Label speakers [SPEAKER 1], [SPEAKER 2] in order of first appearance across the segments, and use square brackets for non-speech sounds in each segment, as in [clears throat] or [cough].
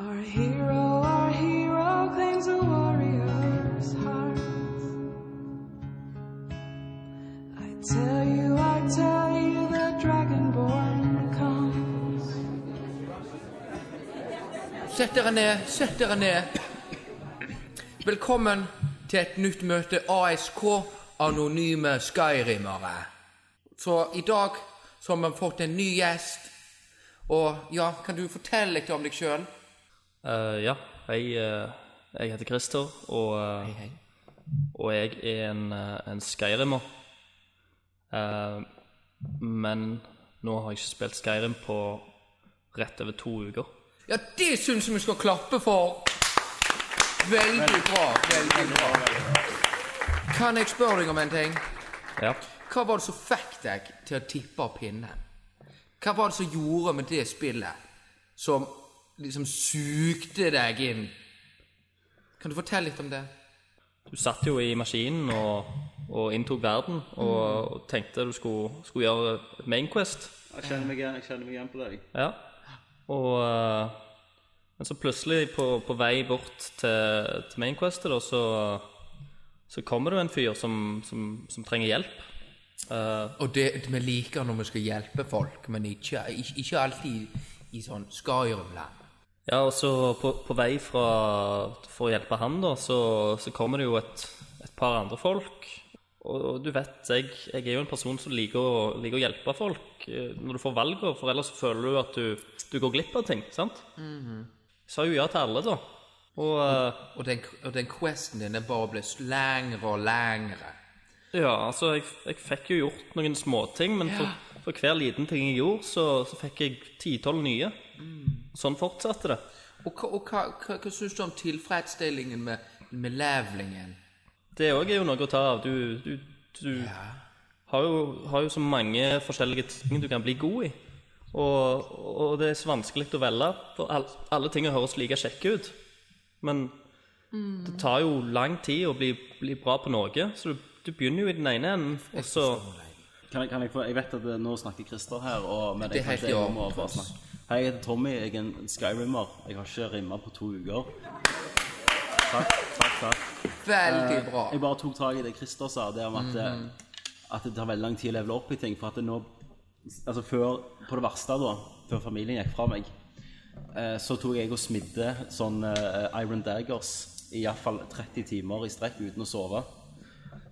[SPEAKER 1] hero, our hero claims a warrior's heart. I tell you, I tell you, the dragonborn comes.
[SPEAKER 2] Sett dere ned, sett dere ned. Velkommen til et nytt møte ASK Anonyme Skyrimere. Så i dag så har vi fått en ny gjest. Og ja, kan du fortelle litt om deg sjøl?
[SPEAKER 3] Eh, ja, jeg, eh, jeg heter Christer, og, eh, og jeg er en, eh, en Skyrimer. Eh, men nå har jeg ikke spilt Skyrim på rett over to uker.
[SPEAKER 2] Ja, det syns jeg vi skal klappe for. Veldig bra. Veldig bra. Kan jeg spørre deg om en ting?
[SPEAKER 3] Ja.
[SPEAKER 2] Hva var det som fikk deg til å tippe pinnen? Hva var det som gjorde med det spillet som liksom sugde deg inn? Kan du fortelle litt om det?
[SPEAKER 3] Du satt jo i maskinen og, og inntok verden, og, og tenkte du skulle, skulle gjøre Mainquest.
[SPEAKER 4] Jeg kjenner meg igjen, jeg kjenner meg igjen på deg.
[SPEAKER 3] Ja. Og eh, Men så plutselig, på, på vei bort til, til Mainquestet, da, så, så kommer det jo en fyr som, som, som trenger hjelp. Eh,
[SPEAKER 2] Og det vi liker når vi skal hjelpe folk, men ikke, ikke, ikke alltid i sånn Skyrim-land.
[SPEAKER 3] ja, og så på, på vei fra, for å hjelpe han, da, så, så kommer det jo et, et par andre folk. Og, og du vet, jeg, jeg er jo en person som liker å, liker å hjelpe folk eh, når du får valget, for ellers føler du at du, du går glipp av ting, sant? Jeg sa jo ja til alle, da. Og eh,
[SPEAKER 2] Og den, og den questen din den bare ble lengre og lengre.
[SPEAKER 3] Ja, altså, jeg, jeg fikk jo gjort noen småting, men for, for hver liten ting jeg gjorde, så, så fikk jeg titolv nye. Sånn fortsatte det.
[SPEAKER 2] Og, hva- og hva, hva, hva syns du om tilfredsstillingen med, med levelingen?
[SPEAKER 3] Det òg er jo noe å ta av. Du, du, du har, jo, har jo så mange forskjellige ting du kan bli god i. Og, og det er så vanskelig å velge, for all, alle ting høres like kjekke ut. Men det tar jo lang tid å bli, bli bra på noe, så du, du begynner jo i den ene enden, og så
[SPEAKER 4] Kan jeg, kan jeg, få, jeg vet at eh, nå snakker Christer her, og, men
[SPEAKER 2] Det er
[SPEAKER 4] jeg,
[SPEAKER 2] helt
[SPEAKER 4] tenkte jeg
[SPEAKER 2] i
[SPEAKER 4] må
[SPEAKER 2] orden,
[SPEAKER 4] bare
[SPEAKER 2] Chris.
[SPEAKER 4] snakke. Hei, jeg heter Tommy, jeg er en skyrimmer. Jeg har ikke rimma på to uker. Takk, takk, takk.
[SPEAKER 2] Veldig bra.
[SPEAKER 4] Jeg bare tok tak i det Christer sa, det om at, eh, at det tar veldig lang tid å levele opp i ting. For at det nå Altså før, på det verste da, før familien gikk fra meg, eh, så tok jeg og smidde sånn eh, Iron Daggers i iallfall 30 timer i strekk uten å sove.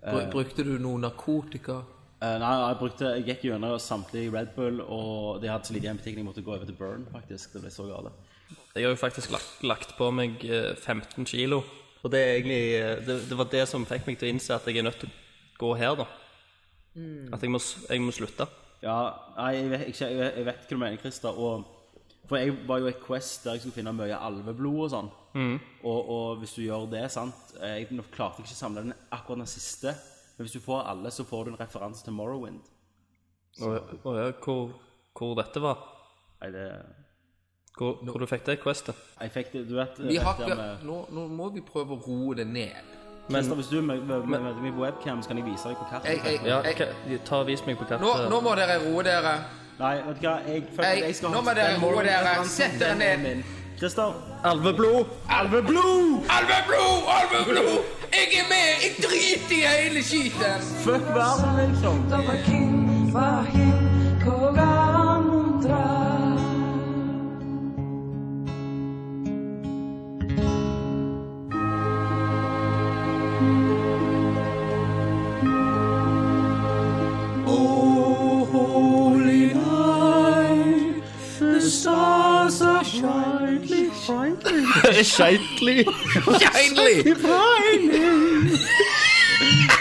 [SPEAKER 2] Bru- Brukte du noe narkotika?
[SPEAKER 4] Eh, nei, jeg, brukte, jeg gikk gjennom samtlige Red Bull, og de hadde så lite igjen på butikken jeg måtte gå over til Burn, faktisk. Det ble så gale.
[SPEAKER 3] Jeg har jo faktisk lagt, lagt på meg eh, 15 kilo. Og det er egentlig eh, det, det var det som fikk meg til å innse at jeg er nødt til å gå her, da. At jeg må, s- jeg må slutte.
[SPEAKER 4] Ja, nei, jeg vet, ikke, jeg, vet, jeg vet hva du mener, Christer. Og, for jeg var jo i et quest der jeg skulle finne mye alveblod og sånn. Og, og hvis du gjør det, sant eh, Jeg nok klarte ikke å samle den akkurat den siste, men hvis du får alle, så får du en referanse til Morrowind.
[SPEAKER 3] Og, og ja, hvor, hvor dette var.
[SPEAKER 4] Nei, det
[SPEAKER 3] Hvor, hvor du fikk det questet.
[SPEAKER 4] Jeg fikk det, du vet
[SPEAKER 2] Vi
[SPEAKER 4] vet
[SPEAKER 2] har,
[SPEAKER 4] det med-
[SPEAKER 2] nå, nå må vi prøve å roe det ned.
[SPEAKER 4] Christer, hvis du mø- mø- mø- møter meg på webcam, så kan jeg vise deg på kartet.
[SPEAKER 2] Jeg, jeg,
[SPEAKER 3] Ja,
[SPEAKER 2] jeg,
[SPEAKER 3] hva- ta og vis meg på kartet.
[SPEAKER 2] nå, nå må dere roe dere.
[SPEAKER 4] Nei, vet du hva, jeg, fuck,
[SPEAKER 2] Nei,
[SPEAKER 4] jeg skal
[SPEAKER 2] nå må dere
[SPEAKER 4] den
[SPEAKER 2] roe dere.
[SPEAKER 4] Morrowind-referansen,
[SPEAKER 2] Sett dere
[SPEAKER 4] den er
[SPEAKER 2] ned.
[SPEAKER 4] min. Christer,
[SPEAKER 3] Alveblod!
[SPEAKER 4] Alveblod!
[SPEAKER 2] Alveblod! Alveblod! Jeg er med! Jeg driter i hele skiten!
[SPEAKER 4] Fuck verden, liksom.
[SPEAKER 1] Dovahkiin, vahin, kogan mundra. Oh, holy night, the stars are brightly shining.
[SPEAKER 3] Skeitlig!
[SPEAKER 2] Endelig!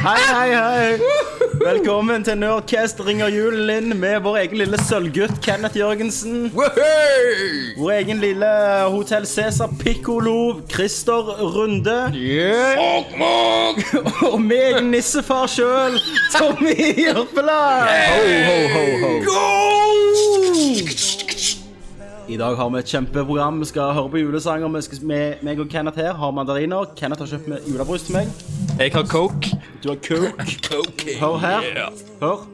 [SPEAKER 4] Hei, hei, hei. Velkommen til Nerdcast ringer julen inn med vår egen lille sølvgutt Kenneth Jørgensen.
[SPEAKER 2] Woohoo!
[SPEAKER 4] Vår egen lille Hotell Cæsar Pikkolo Christer Runde. Og meg, nissefar sjøl, Tommy Jørpeland.
[SPEAKER 3] Ho, ho, ho, ho.
[SPEAKER 4] I dag har vi et kjempeprogram. Vi skal høre på julesanger. Vi skal, med, meg og Kenneth her har mandariner. Kenneth har kjøpt med julebrus til meg.
[SPEAKER 3] Jeg har coke.
[SPEAKER 4] Du har coke.
[SPEAKER 2] Okay.
[SPEAKER 4] Hør her. Hør.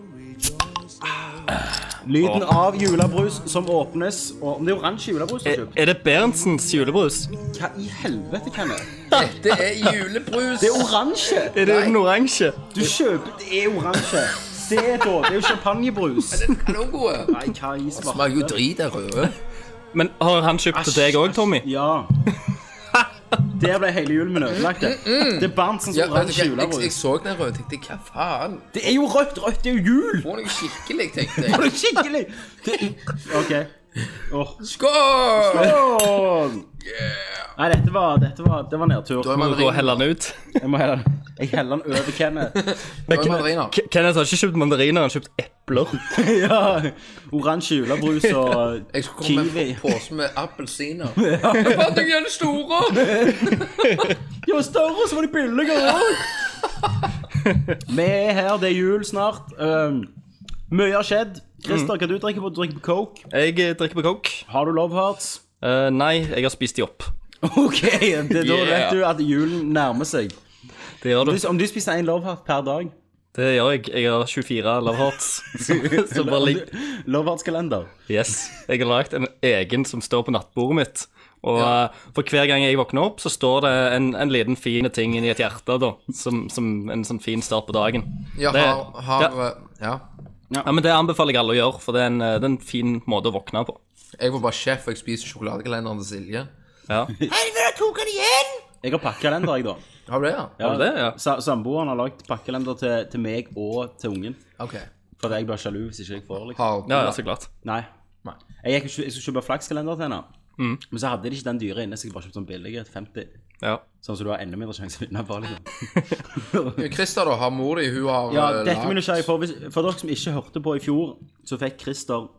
[SPEAKER 4] Lyden av julebrus som åpnes og Om det er oransje julebrus du har
[SPEAKER 3] Er,
[SPEAKER 4] kjøpt?
[SPEAKER 3] er det Berntsens julebrus?
[SPEAKER 4] Hva i helvete kan det?
[SPEAKER 2] Dette er julebrus!
[SPEAKER 4] Det er oransje!
[SPEAKER 3] Er det den oransje?
[SPEAKER 4] Du kjøper Det er oransje. Se, da. Det er jo champagnebrus.
[SPEAKER 2] Den kan også gå.
[SPEAKER 4] Nei, hva i svarte
[SPEAKER 2] Smaker jo drit av røde.
[SPEAKER 3] Men har han kjøpt til deg òg, Tommy?
[SPEAKER 4] Ja. Der ble hele julen min ødelagt. det. Det er Berntsens
[SPEAKER 2] Ja, vet du
[SPEAKER 4] oransje
[SPEAKER 2] hva? jeg, jeg
[SPEAKER 4] julebrus.
[SPEAKER 2] så den røde og tenkte hva faen?
[SPEAKER 4] Det er jo rødt! Rødt det er jo jul!
[SPEAKER 2] Får noe skikkelig, tenkte
[SPEAKER 4] [laughs] Det
[SPEAKER 2] jeg.
[SPEAKER 4] er Skikkelig! Det er- OK. Åh.
[SPEAKER 2] Skål!
[SPEAKER 4] Sånn. Nei, dette var, dette var, det var nedtur.
[SPEAKER 2] Da er
[SPEAKER 3] Må
[SPEAKER 2] man
[SPEAKER 3] du gå og helle den ut?
[SPEAKER 4] Jeg må heller Jeg heller den over Kenneth. [laughs]
[SPEAKER 2] Da
[SPEAKER 3] Men
[SPEAKER 2] er mandariner.
[SPEAKER 3] Ken- Kenneth har ikke kjøpt mandariner, han har kjøpt epler.
[SPEAKER 4] ja. Oransje julebrus og
[SPEAKER 2] [laughs] Jeg skulle komme med
[SPEAKER 4] kiwi.
[SPEAKER 2] en pose med
[SPEAKER 4] [laughs]
[SPEAKER 2] appelsiner. Jeg fant ikke den store!
[SPEAKER 4] De var større, og så var de billigere òg!
[SPEAKER 2] [laughs]
[SPEAKER 4] Vi er her, det er jul snart. Um, mye har skjedd.
[SPEAKER 2] Mm.
[SPEAKER 4] Christer, hva du drikker på? Du drikker på Coke.
[SPEAKER 3] Jeg eh, drikker på coke.
[SPEAKER 4] Har du Love Hearts? [laughs]
[SPEAKER 3] Eh, nei, jeg har spist de opp.
[SPEAKER 4] OK, det, da
[SPEAKER 2] Yeah.
[SPEAKER 4] vet du at julen nærmer seg.
[SPEAKER 3] Det gjør du.
[SPEAKER 4] Hvis- Om du spiser én Love Heart per dag
[SPEAKER 3] Det gjør jeg. Jeg har 24 love hearts. Så, så bare
[SPEAKER 4] Om
[SPEAKER 3] ligg
[SPEAKER 4] du- Love Hearts-kalender.
[SPEAKER 3] Yes. Jeg har lagd en egen som står på nattbordet mitt. Og eh, for hver gang jeg våkner opp, så står det en, en liten fin ting inni et hjerte, da. Som, som en sånn fin start på dagen.
[SPEAKER 2] Ja,
[SPEAKER 3] Det-
[SPEAKER 2] har, har
[SPEAKER 3] ja.
[SPEAKER 2] eh, Ja.
[SPEAKER 3] Ja, men Det anbefaler jeg alle å gjøre, for det er en, eh, det er en fin måte å våkne på.
[SPEAKER 2] Jeg var bare sjef, og jeg spiser sjokoladekalenderen til Silje.
[SPEAKER 3] Ja,
[SPEAKER 4] Jeg har pakkekalender, jeg, da.
[SPEAKER 2] Har du det, ja?
[SPEAKER 3] Har du det? Ja.
[SPEAKER 4] Sa- Samboeren har lagd pakkekalender til, til meg og til ungen.
[SPEAKER 2] Ok.
[SPEAKER 4] For jeg blir sjalu hvis ikke jeg får. liksom.
[SPEAKER 2] Har,
[SPEAKER 3] ja, ja så klart.
[SPEAKER 4] Nei.
[SPEAKER 2] Nei.
[SPEAKER 4] Jeg, gikk, og kjø- jeg skulle kjøpe flakskalender til henne.
[SPEAKER 3] Mm.
[SPEAKER 4] Men så hadde de ikke den dyre inne, så jeg bare kjøpte sånn billig. 50.
[SPEAKER 3] Ja.
[SPEAKER 4] Sånn som du har enda mindre sjanse til å vinne på. Liksom.
[SPEAKER 2] Christer, da, har mor di, hun har
[SPEAKER 4] Ja,
[SPEAKER 2] eh,
[SPEAKER 4] dette
[SPEAKER 2] lagt-
[SPEAKER 4] vil jeg for, hvis, for dere som ikke hørte på i fjor, så fikk Christer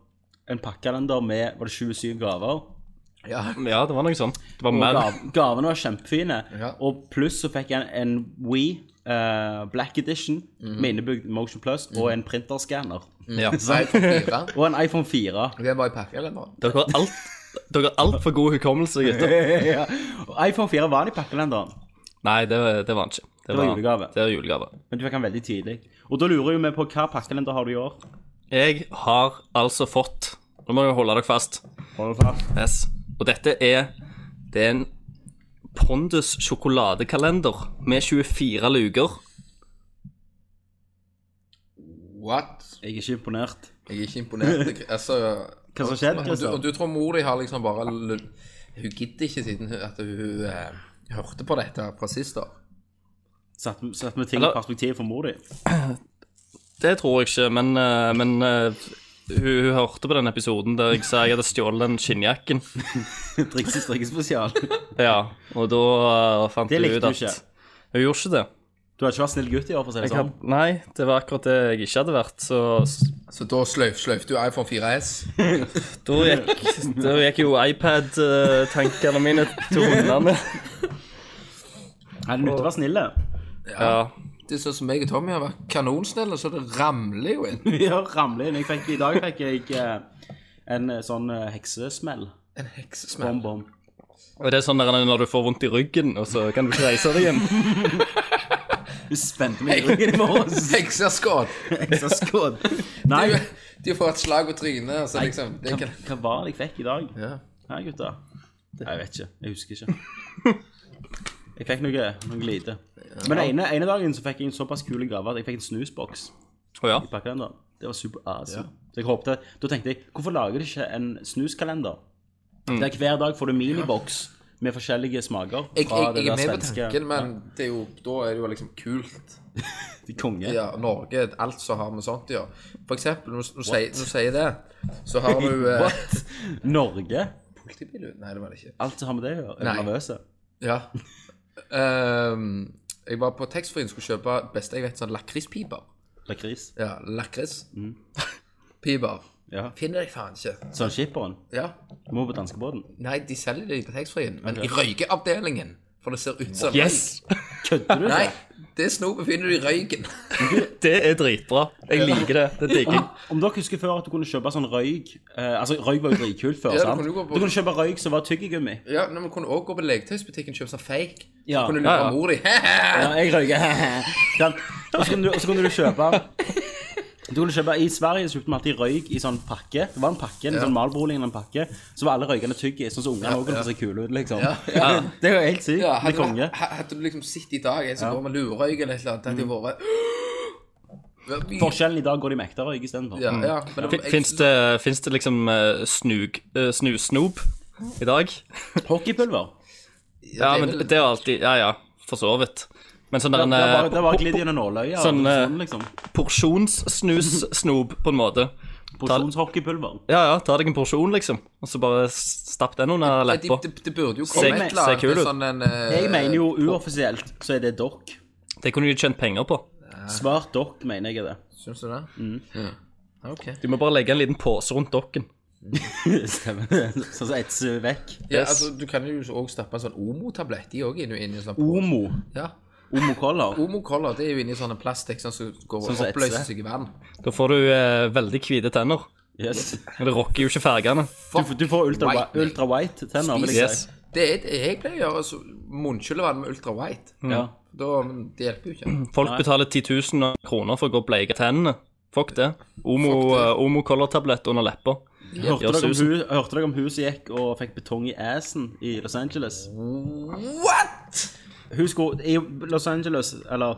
[SPEAKER 4] en pakkekalender med var det 27 gaver.
[SPEAKER 2] Ja.
[SPEAKER 3] ja, det var noe sånn. Det var
[SPEAKER 4] Og
[SPEAKER 3] mer.
[SPEAKER 4] gav, gavene var kjempefine.
[SPEAKER 2] Ja.
[SPEAKER 4] Og pluss så fikk jeg en, en Wii eh, Black Edition
[SPEAKER 3] Mm.
[SPEAKER 4] med innebygd Motion Plus og en printerskanner.
[SPEAKER 3] Ja.
[SPEAKER 2] Nei, fire.
[SPEAKER 4] Og en iPhone [laughs] 4.
[SPEAKER 2] Det var i pakkekalenderen.
[SPEAKER 3] Dere har alt, dere har altfor god hukommelse, gutter.
[SPEAKER 4] [laughs] ja. Og iPhone 4 var den i pakkekalenderen,
[SPEAKER 3] Nei, det, det var han ikke. Det,
[SPEAKER 4] var julegave.
[SPEAKER 3] Det var julegave.
[SPEAKER 4] men du fikk den veldig tidlig. Og da lurer jeg jo vi på hva pakkekalender har du i år?
[SPEAKER 3] Jeg har altså fått Nå må dere holde dere fast.
[SPEAKER 4] Hold fast.
[SPEAKER 3] Yes. Og dette er Det er en Pondus sjokoladekalender med 24 luker.
[SPEAKER 2] What?
[SPEAKER 4] Jeg er ikke imponert.
[SPEAKER 2] Jeg er ikke imponert. Jeg- Altså
[SPEAKER 4] Hva som skjedde,
[SPEAKER 2] og du,
[SPEAKER 4] Christer?
[SPEAKER 2] og du tror mor di har liksom bare l- Hun gidder ikke siden hun, at hun eh, hørte på dette fra sist, da.
[SPEAKER 4] Satt, satt med ting
[SPEAKER 3] Eller-
[SPEAKER 4] i perspektiv for mor di. [laughs]
[SPEAKER 3] Det tror jeg ikke, men, eh, men eh, hun, hun hørte på den episoden der jeg sa jeg hadde stjålet den skinnjakken. [laughs]
[SPEAKER 4] Drikkes i strikkespesial.
[SPEAKER 3] Ja, og da eh, fant
[SPEAKER 4] Det
[SPEAKER 3] hun
[SPEAKER 4] likte
[SPEAKER 3] ut
[SPEAKER 4] du
[SPEAKER 3] at
[SPEAKER 4] ikke.
[SPEAKER 3] Hun gjorde ikke det.
[SPEAKER 4] Du har ikke vært snill gutt i år, for å si det
[SPEAKER 3] Jeg
[SPEAKER 4] sånn.
[SPEAKER 3] had, nei, det var akkurat det jeg ikke hadde vært, så s-
[SPEAKER 2] Så da sløyf, sløyfte hun iPhone 4S.
[SPEAKER 3] da gikk, [laughs] da gikk jo iPad-tankene mine til hundene.
[SPEAKER 4] [laughs] Nei, det nytter å være snill.
[SPEAKER 3] Ja.
[SPEAKER 2] Det er sånn som jeg og Tommy har vært kanonsnille, så det ramler jo inn.
[SPEAKER 4] Ja, ramle inn. Jeg fikk, I dag fikk jeg eh, en eh, sånn eh, heksesmell.
[SPEAKER 2] En heksesmell.
[SPEAKER 4] Bom-bom.
[SPEAKER 3] Og det er sånn der når du får vondt i ryggen, og så kan du ikke reise deg igjen.
[SPEAKER 4] Du spente meg i ryggen i morges. [laughs]
[SPEAKER 2] Hekseskodd.
[SPEAKER 4] Hekseskodd. Nei,
[SPEAKER 2] De får et slag på trynet, og så liksom det
[SPEAKER 4] hva,
[SPEAKER 2] kan,
[SPEAKER 4] hva var det jeg fikk i dag?
[SPEAKER 2] ja.
[SPEAKER 4] Nei, gutta. Nei, jeg vet ikke. Jeg husker ikke. Jeg fikk noe, noe lite. Men den ene, ene dagen så fikk jeg en såpass kul gave at jeg fikk en snusboks.
[SPEAKER 3] Å ja.
[SPEAKER 4] i pakkekalender. Det var super awesome. Så jeg håpte, Da tenkte jeg hvorfor lager de ikke en snuskalender?
[SPEAKER 2] Mm.
[SPEAKER 4] Der hver dag får du miniboks med forskjellige smaker.
[SPEAKER 2] Jeg,
[SPEAKER 4] fra
[SPEAKER 2] jeg,
[SPEAKER 4] det
[SPEAKER 2] jeg er
[SPEAKER 4] der
[SPEAKER 2] med på
[SPEAKER 4] svenske-
[SPEAKER 2] tanken, men det er jo, da er det jo liksom kult.
[SPEAKER 4] De konge.
[SPEAKER 2] Ja, Norge, alt som har med sånt å gjøre. For eksempel, når når du sier- når du sier det, så har du eh,
[SPEAKER 4] Norge.
[SPEAKER 2] Politibil? Nei, det var det ikke.
[SPEAKER 4] Alt som har med det å gjøre. Er
[SPEAKER 2] Nei.
[SPEAKER 4] du nervøse?
[SPEAKER 2] Ja. Ehm, jeg var på taxfree og skulle kjøpe beste jeg vet, sånn lakrispiper.
[SPEAKER 4] Lakris.
[SPEAKER 2] Ja, lakris. [laughs] Piper.
[SPEAKER 4] Ja.
[SPEAKER 2] Finner jeg faen ikke.
[SPEAKER 4] Sånn skipperen.
[SPEAKER 2] Ja.
[SPEAKER 4] Må på danskebåten.
[SPEAKER 2] Nei, de selger det på taxfree-en, men i røykeavdelingen. For det ser ut som
[SPEAKER 3] Yes!
[SPEAKER 4] Kødder du?
[SPEAKER 2] Nei, det snopet finner du i røyken. [laughs]
[SPEAKER 3] Det er dritbra. Jeg liker det. Det digger jeg.
[SPEAKER 4] Om dere husker før at du kunne kjøpe sånn røyk eh, Altså, røyk var jo dritkult før,
[SPEAKER 2] Ja, du
[SPEAKER 4] sant?
[SPEAKER 2] kunne jo gå på-
[SPEAKER 4] Du kunne kjøpe røyk som var tyggegummi. [laughs]
[SPEAKER 2] Ja, men Vi kunne også gå på leketøysbutikken og kjøpe sånn fake.
[SPEAKER 4] Ja.
[SPEAKER 2] Så kunne du
[SPEAKER 3] Ja,
[SPEAKER 2] lure
[SPEAKER 3] ja.
[SPEAKER 2] mor di. [laughs]
[SPEAKER 4] [laughs] Ja, jeg røyker. Sant? Og så kunne du, og så kunne du kjøpe Du du kunne kjøpe, I Sverige så kjøpte vi alltid røyk i sånn pakke. Det var en pakke, en sånn Marlboro-lignende pakke. Så var alle røykene tygge, sånn som ungene òg kunne se kule ut, liksom. [laughs] Det er jo helt sykt.
[SPEAKER 2] Ja,
[SPEAKER 4] det er
[SPEAKER 2] hadde,
[SPEAKER 4] konge.
[SPEAKER 2] du- ha- hadde du liksom sett i dag en som går med lurøyk eller et eller annet, hadde
[SPEAKER 3] Mm.
[SPEAKER 2] det vært [gasps] Hva-
[SPEAKER 4] Forskjellen i dag går de med ekte røyk istedenfor.
[SPEAKER 2] Ja, ja, men det- jeg-
[SPEAKER 3] Fins Mm. det, finnes det liksom eh, snug, eh, snusnop i dag?
[SPEAKER 4] Hockeypulver.
[SPEAKER 2] det
[SPEAKER 3] Ja,
[SPEAKER 2] er
[SPEAKER 3] men
[SPEAKER 2] vel-
[SPEAKER 3] det er jo alltid Ja, ja, for så vidt. Men sånn der en
[SPEAKER 4] Det var, det var
[SPEAKER 3] eh,
[SPEAKER 4] glidd gjennom nåløyet.
[SPEAKER 3] Sånn,
[SPEAKER 4] Sånn,
[SPEAKER 3] eh,
[SPEAKER 4] sånn liksom.
[SPEAKER 3] porsjonssnus-snop, på en måte.
[SPEAKER 4] Porsjonshockeypulver.
[SPEAKER 3] Ja, ja, ta deg en porsjon, liksom, og så bare stapp den under
[SPEAKER 2] Nei, de-
[SPEAKER 3] leppa.
[SPEAKER 2] det, det burde jo komme et
[SPEAKER 3] Ser-
[SPEAKER 2] eller
[SPEAKER 3] ser
[SPEAKER 2] annet
[SPEAKER 3] kul ut.
[SPEAKER 2] sånn en eh,
[SPEAKER 4] Jeg mener jo uoffisielt så er det dokk.
[SPEAKER 3] Det kunne de tjent penger på.
[SPEAKER 4] Svart dokk, mener jeg er det.
[SPEAKER 2] Syns du det?
[SPEAKER 3] Mm.
[SPEAKER 2] Ja. OK.
[SPEAKER 3] Du må bare legge en liten pose rundt dokken.
[SPEAKER 4] Stemmer det. [laughs] Sånn som etser vekk.
[SPEAKER 2] Ja, altså, du kan jo også stappe en sånn Omo-tablett i òg, inn i en sånn
[SPEAKER 4] Omo.
[SPEAKER 2] Ja.
[SPEAKER 4] Omo-collar.
[SPEAKER 2] Omo-cola, det er jo inni sånne plastikk sånn som går
[SPEAKER 4] Sånn
[SPEAKER 2] og
[SPEAKER 4] som
[SPEAKER 2] oppløser
[SPEAKER 4] etser.
[SPEAKER 2] seg i vann.
[SPEAKER 3] Da får du eh, veldig hvite tenner.
[SPEAKER 4] Yes.
[SPEAKER 3] Men det rocker jo ikke fargene.
[SPEAKER 4] Du, du får ultra-white
[SPEAKER 2] White milk.
[SPEAKER 4] ultra white tenner, vil jeg
[SPEAKER 3] Yes.
[SPEAKER 4] si.
[SPEAKER 2] Det er det jeg pleier å gjøre. Altså, Munnkyllevann med Ultra White.
[SPEAKER 4] Ja.
[SPEAKER 2] Da, men det hjelper jo ikke.
[SPEAKER 4] [clears throat]
[SPEAKER 3] Folk betaler 10 000 kroner for å gå og bleike tennene. Fuck det. Omo, eh, Omo Color-tablett under leppa.
[SPEAKER 4] Hørte
[SPEAKER 3] Gjør
[SPEAKER 4] dere, om
[SPEAKER 3] susen.
[SPEAKER 4] hu, hørte dere om hun som gikk og fikk betong i assen i Los Angeles?
[SPEAKER 2] What?!
[SPEAKER 4] Hun skulle, I Los Angeles, eller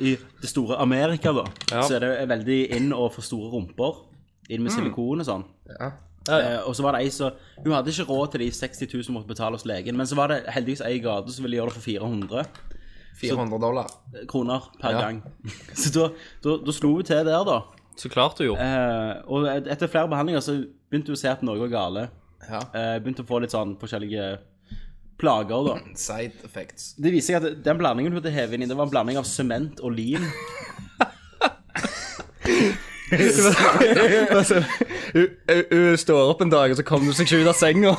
[SPEAKER 4] i det store Amerika, da,
[SPEAKER 3] Ja.
[SPEAKER 4] så er det veldig inn å få store rumper. Inn med silikon og sånn.
[SPEAKER 2] Ja.
[SPEAKER 4] Eh, og så var det ei som Hun hadde ikke råd til de 60 000 hun måtte betale hos legen, men så var det heldigvis ei i gata som ville gjøre det for 400
[SPEAKER 2] 400 dollar.
[SPEAKER 4] kroner per
[SPEAKER 2] Ja.
[SPEAKER 4] gang. [laughs] Så da, da, da slo hun til der, da.
[SPEAKER 3] Så klart du gjorde.
[SPEAKER 4] Eh, og et- etter flere behandlinger så begynte hun å se at noe var gale.
[SPEAKER 2] Ja.
[SPEAKER 4] Eh, begynte å få litt sånn forskjellige plager, da.
[SPEAKER 2] Side effects.
[SPEAKER 4] Det viser seg at den blandingen hun hadde hevet inn i, det var en blanding av sement og lim.
[SPEAKER 3] [laughs] Altså, Hun står opp en dag, og så kommer hun seg ikke ut av senga.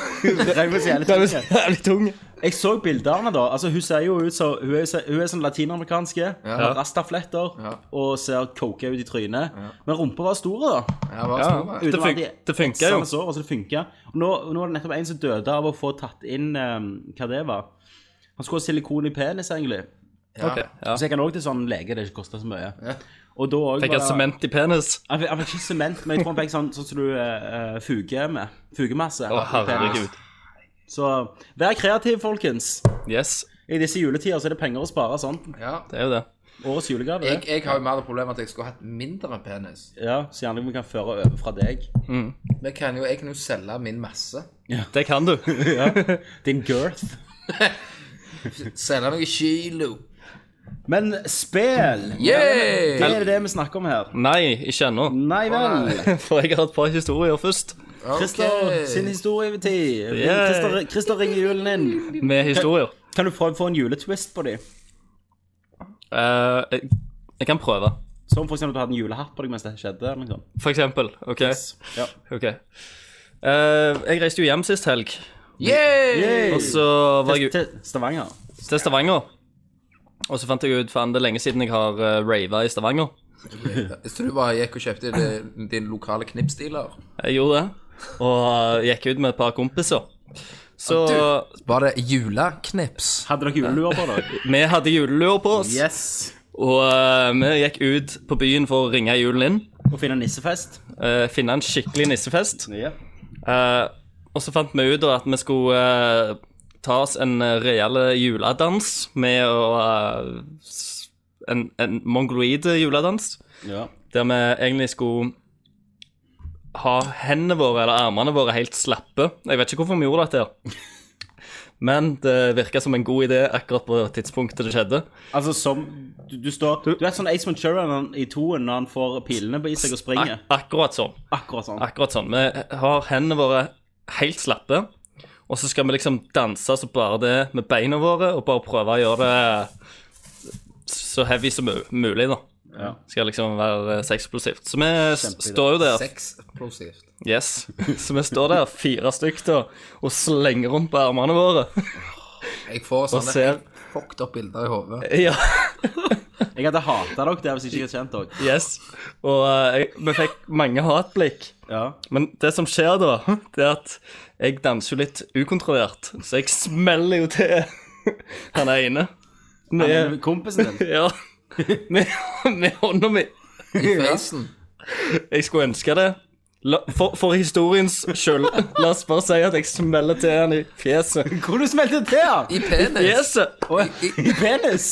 [SPEAKER 4] Drev med så jævlig tungt.
[SPEAKER 3] jævlig tung.
[SPEAKER 4] Jeg så bildene, da. Altså, hun ser jo ut som Hun er, så- hun er sånn latinamerikanske. Har rastafletter og ser coka ut i trynet. Men rumpa var stor, da.
[SPEAKER 2] Ja, hva
[SPEAKER 3] Ja.
[SPEAKER 2] skal det være?
[SPEAKER 3] Det fun- det funker jo.
[SPEAKER 4] Sår, altså det funker. Og nå, nå var det nettopp en som døde av å få tatt inn eh, hva det var. Han skulle ha silikon i penis, egentlig.
[SPEAKER 2] Ja.
[SPEAKER 3] Ok, ja.
[SPEAKER 4] Så jeg kan òg til sånn lege, det ikke koster så mye. Og da òg
[SPEAKER 3] Fikk han sement i penis?
[SPEAKER 4] Han fikk han fikk ikke sement, men jeg tror han fikk sånn sånn som du eh, eh, fuger med. Fugemasse.
[SPEAKER 3] Å,
[SPEAKER 4] i penis.
[SPEAKER 3] herregud.
[SPEAKER 4] Så eh, vær kreativ, folkens.
[SPEAKER 3] Yes,
[SPEAKER 4] I disse juletider så er det penger å spare sånn.
[SPEAKER 2] Ja.
[SPEAKER 3] det er jo det.
[SPEAKER 4] Årets julegave.
[SPEAKER 2] Jeg,
[SPEAKER 4] det.
[SPEAKER 2] jeg har jo mer det problemet at jeg skulle hatt mindre penis.
[SPEAKER 4] Ja, så gjerne vi kan føre over fra [laughs] deg.
[SPEAKER 2] Men jeg kan jo, jeg kan jo selge min masse.
[SPEAKER 3] Det kan du.
[SPEAKER 4] Din girth.
[SPEAKER 2] Selge noen kilo.
[SPEAKER 4] Men spel!
[SPEAKER 2] Yeah!
[SPEAKER 4] Det er det vi snakker om her.
[SPEAKER 3] Nei, ikke ennå. [laughs]
[SPEAKER 4] Nei vel.
[SPEAKER 3] For jeg har et par historier først.
[SPEAKER 4] Christer sin historietid.
[SPEAKER 3] Yeah.
[SPEAKER 4] Christer, Christer ringer julen inn.
[SPEAKER 3] Med historier.
[SPEAKER 4] [laughs] Kan du få, få en juletwist på dem?
[SPEAKER 3] Eh, jeg, jeg kan prøve.
[SPEAKER 4] Som for eksempel at du hadde en julehatt på deg mens det skjedde. eller noe sånt.
[SPEAKER 3] For eksempel. OK.
[SPEAKER 4] Ja.
[SPEAKER 3] ok. Eh, jeg reiste jo hjem sist helg,
[SPEAKER 2] Yeah!
[SPEAKER 3] og så var jeg
[SPEAKER 4] Til, til Stavanger.
[SPEAKER 3] jo til Stavanger. Og så fant jeg ut faen, det er lenge siden jeg har uh, rava i Stavanger.
[SPEAKER 2] Så du bare gikk og kjøpte det- din lokale knipsdealer?
[SPEAKER 3] Jeg gjorde det. Og eh, gikk ut med et par kompiser. Så
[SPEAKER 2] Var det juleknips?
[SPEAKER 4] Hadde dere julelua på dere?
[SPEAKER 3] vi hadde julelua på oss,
[SPEAKER 4] [laughs] Yes.
[SPEAKER 3] og eh, vi gikk ut på byen for å ringe julen inn.
[SPEAKER 4] Og finne nissefest?
[SPEAKER 3] eh, finne en skikkelig nissefest.
[SPEAKER 4] Ja.
[SPEAKER 3] Eh, og så fant vi ut da at vi skulle eh, ta oss en eh, reale juledans med å eh, s- en, en mongoloid juledans.
[SPEAKER 4] ja.
[SPEAKER 3] Der vi egentlig skulle ha hendene våre eller armene våre helt slappe. Jeg vet ikke hvorfor vi gjorde dette. her. Men det virka som en god idé akkurat på tidspunktet det skjedde.
[SPEAKER 4] Altså som Du, du står Du er sånn Ace Ventura når han- i toen når han får pilene på i seg og springer.
[SPEAKER 3] Ak akkurat sånn.
[SPEAKER 4] Akkurat sånn.
[SPEAKER 3] Akkurat sånn. Vi har hendene våre helt slappe, og så skal vi liksom danse så bare det med beina våre, og bare prøve å gjøre det så heavy som mu- mulig, da.
[SPEAKER 4] Ja.
[SPEAKER 3] Skal liksom være sexplosivt. Så vi s-
[SPEAKER 4] Kjempeidé.
[SPEAKER 3] står jo der
[SPEAKER 2] Sexplosivt.
[SPEAKER 3] Yes. Så vi står der, fire stykk, da, og slenger rundt på armene våre.
[SPEAKER 2] Jeg får
[SPEAKER 3] Og
[SPEAKER 2] sånne
[SPEAKER 3] ser
[SPEAKER 2] fucked up bilder i
[SPEAKER 3] [laughs]
[SPEAKER 2] hodet.
[SPEAKER 3] Ja,
[SPEAKER 4] Jeg hadde hata dere der hvis jeg ikke hadde kjent dere.
[SPEAKER 3] yes. Og eh, jeg- vi fikk mange hatblikk.
[SPEAKER 4] Ja.
[SPEAKER 3] Men det som skjer da, det er at jeg danser jo litt ukontrollert, så jeg smeller jo til [laughs] han ene
[SPEAKER 4] Han
[SPEAKER 3] med,
[SPEAKER 4] [laughs] er kompisen din.
[SPEAKER 3] ja, med, med hånda mi.
[SPEAKER 2] I facen.
[SPEAKER 3] Jeg skulle ønske det. La, for, for historiens skyld. La oss bare si at jeg smeller til han i fjeset.
[SPEAKER 4] Hvor du smelte til, ja?
[SPEAKER 2] I penis.
[SPEAKER 3] Fjeset!
[SPEAKER 2] I, i,
[SPEAKER 4] I penis?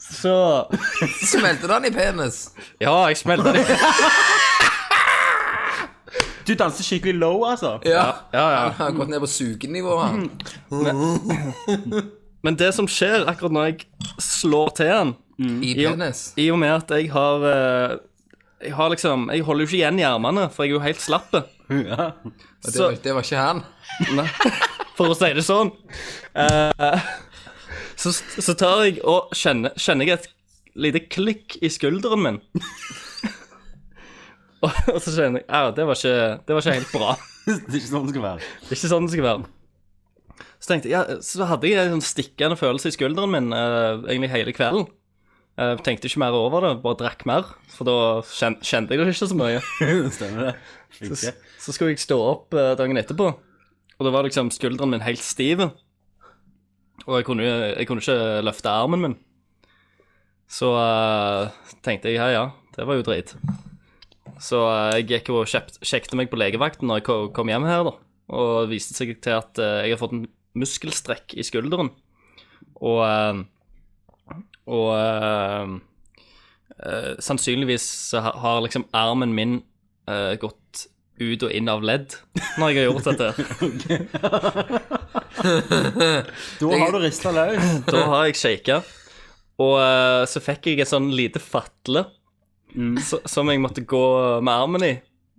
[SPEAKER 3] Så
[SPEAKER 2] smelte den i penis.
[SPEAKER 3] Ja, jeg smelter det. [laughs]
[SPEAKER 4] Du danser skikkelig low, altså.
[SPEAKER 2] Ja. [laughs]
[SPEAKER 3] Ja, ja.
[SPEAKER 2] Han har gått ned på sugenivå, han.
[SPEAKER 3] Men det som skjer akkurat når jeg slår til han,
[SPEAKER 2] I
[SPEAKER 3] Mm. Jo.
[SPEAKER 2] penis.
[SPEAKER 3] i og med at jeg har eh, Jeg har liksom Jeg holder jo ikke igjen i armene, for jeg er jo helt slappe.
[SPEAKER 4] [laughs] Ja.
[SPEAKER 2] Og det,
[SPEAKER 3] Så-
[SPEAKER 2] var, det var ikke han. [laughs]
[SPEAKER 3] Nei, for å si det sånn. Eh, så, så tar jeg og kjenner, kjenner jeg et lite klikk i skulderen min. og, og så kjenner jeg at det, var ikke- det var ikke helt bra.
[SPEAKER 4] Det er ikke sånn det skal [laughs] være.
[SPEAKER 3] Det er ikke sånn det skal være. Så tenkte jeg, ja, så hadde jeg en sånn stikkende følelse i skulderen min eh, egentlig hele kvelden. Eh, tenkte ikke mer over det, bare drakk mer, for da kjen, kjente jeg det ikke så mye.
[SPEAKER 4] Stemmer det?
[SPEAKER 3] Så,
[SPEAKER 4] Ikke.
[SPEAKER 3] så skulle jeg stå opp eh, dagen etterpå, og da var liksom skulderen min helt stiv. Og jeg kunne, jeg kunne ikke løfte armen min. Så eh, tenkte jeg ja, ja, det var jo drit. Så eh, jeg gikk og kjept, sjekket meg på legevakten når jeg ko- kom hjem her, da. Og det viste seg til at eh, jeg har fått en muskelstrekk i skulderen. Og eh, Og eh, eh, sannsynligvis så ha- har liksom armen min eh, gått ut og inn av ledd når jeg har gjort dette.
[SPEAKER 4] Da har du rista løs.
[SPEAKER 3] [laughs] Da har jeg shaka. Og eh, så fikk jeg et sånn lite fatle
[SPEAKER 4] Mm.
[SPEAKER 3] så, som jeg måtte gå med armen i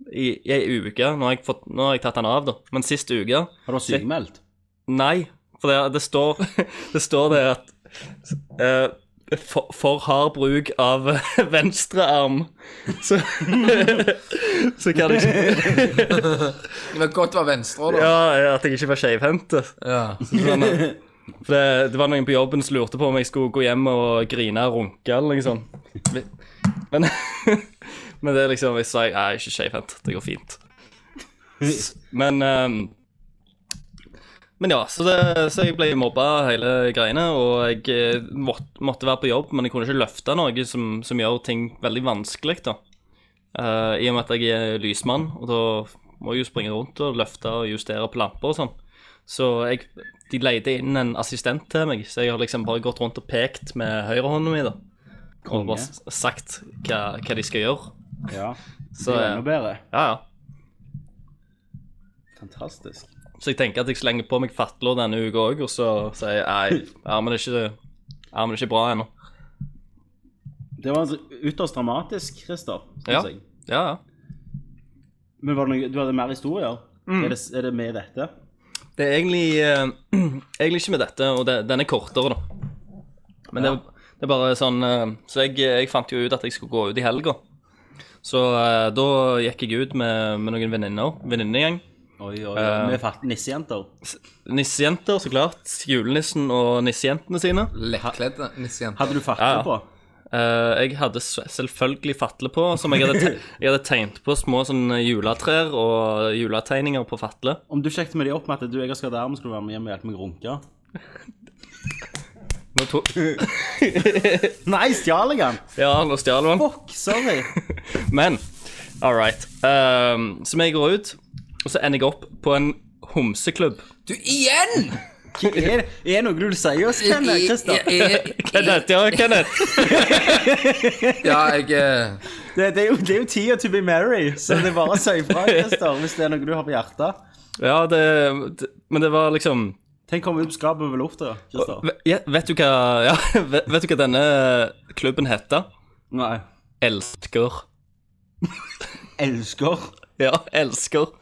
[SPEAKER 3] i, i ei uke. Nå har, jeg fått, nå har jeg tatt den av, da. Men sist uke
[SPEAKER 4] Har du sykemeldt?
[SPEAKER 3] Nei. For det, det, står, [laughs] det står det at eh, for, for hard bruk av [laughs] venstre arm, så, [laughs] så kan jeg ikke [laughs]
[SPEAKER 2] Det var godt det var venstre, da.
[SPEAKER 3] Ja, at jeg ikke var skeivhendt.
[SPEAKER 2] Ja.
[SPEAKER 3] Sånn, eh, For det, det var noen på jobben som lurte på om jeg skulle gå hjem og grine og runke eller noe sånt. Men, [laughs] men det er liksom Jeg sa jeg er ikke skeivhendt. Det går fint. S- Men ehm, Men ja, så, det, så jeg ble mobba hele greiene, og jeg eh, måtte, måtte være på jobb, men jeg kunne ikke løfte noe som, som gjør ting veldig vanskelig, da. Eh, I og med at jeg er lysmann, og da må jeg jo springe rundt og løfte og justere på lamper og sånn. Så jeg, de leide inn en assistent til meg, så jeg har liksom bare gått rundt og pekt med høyrehånda mi, da. Og bare s- sagt hva, hva de skal gjøre.
[SPEAKER 4] Ja.
[SPEAKER 3] Så,
[SPEAKER 4] Det er enda
[SPEAKER 3] ja,
[SPEAKER 4] bedre.
[SPEAKER 3] ja.
[SPEAKER 4] Fantastisk.
[SPEAKER 3] så jeg tenker at jeg slenger på meg fatler denne uka òg, og så sier jeg nei, armen er ikke, armen er ikke bra ennå.
[SPEAKER 4] Det var altså ytterst dramatisk, Christer. synes
[SPEAKER 3] Ja.
[SPEAKER 4] jeg.
[SPEAKER 3] Ja, ja.
[SPEAKER 4] Men var det noe, du hadde mer historier? Er, det, er det med dette?
[SPEAKER 3] Det er egentlig, eh, [clears throat] egentlig ikke med dette, og det, den er kortere, da. Men det, er- det er bare sånn eh, Så jeg, jeg fant jo ut at jeg skulle gå ut i helga. Så eh, da gikk jeg ut med, med noen venninner, venninnegjeng.
[SPEAKER 4] Oi, oi, oi. Vi er fatt- Eh, nissejenter.
[SPEAKER 3] Nissejenter, så klart. Julenissen og nissejentene sine.
[SPEAKER 2] Lettkledde nissejenter.
[SPEAKER 4] Hadde du fatt
[SPEAKER 3] Ja, ja.
[SPEAKER 4] på?
[SPEAKER 3] Eh, jeg hadde s- selvfølgelig fatle på, som jeg hadde, [laughs] te jeg hadde tegnet på små sånne juletrær og juletegninger på fatle.
[SPEAKER 4] Om du sjekket med de opp med at du jeg har skadet armen, skulle du være med hjem og hjelpe meg å runke?
[SPEAKER 3] Nå to
[SPEAKER 4] Nei, stjal jeg den?
[SPEAKER 3] ja, nå stjal du den.
[SPEAKER 4] Fuck, sorry.
[SPEAKER 3] Men all right. Eh, så jeg går ut, og så ender jeg opp på en homseklubb.
[SPEAKER 2] Du, igjen!
[SPEAKER 4] Hva Er, er det noe du vil si oss, Kenneth? Christer?
[SPEAKER 2] I-
[SPEAKER 3] [laughs]
[SPEAKER 2] i- i-
[SPEAKER 3] Kenneth, ja, Kenneth.
[SPEAKER 2] Ja, jeg eh,
[SPEAKER 4] Det, det, er jo, det er jo tida to be married, så det er bare å si ifra, Christer, hvis det er noe du har på hjertet.
[SPEAKER 3] [laughs] Ja, det, det Men det var liksom
[SPEAKER 4] Tenk om vi skapet over lufta, Christer.
[SPEAKER 3] Ve- ja, Vet du hva ja, [laughs] vet, vet du hva denne klubben heter?
[SPEAKER 4] Nei.
[SPEAKER 3] Elsker.
[SPEAKER 4] Elsker.
[SPEAKER 3] [laughs] Ja, elsker.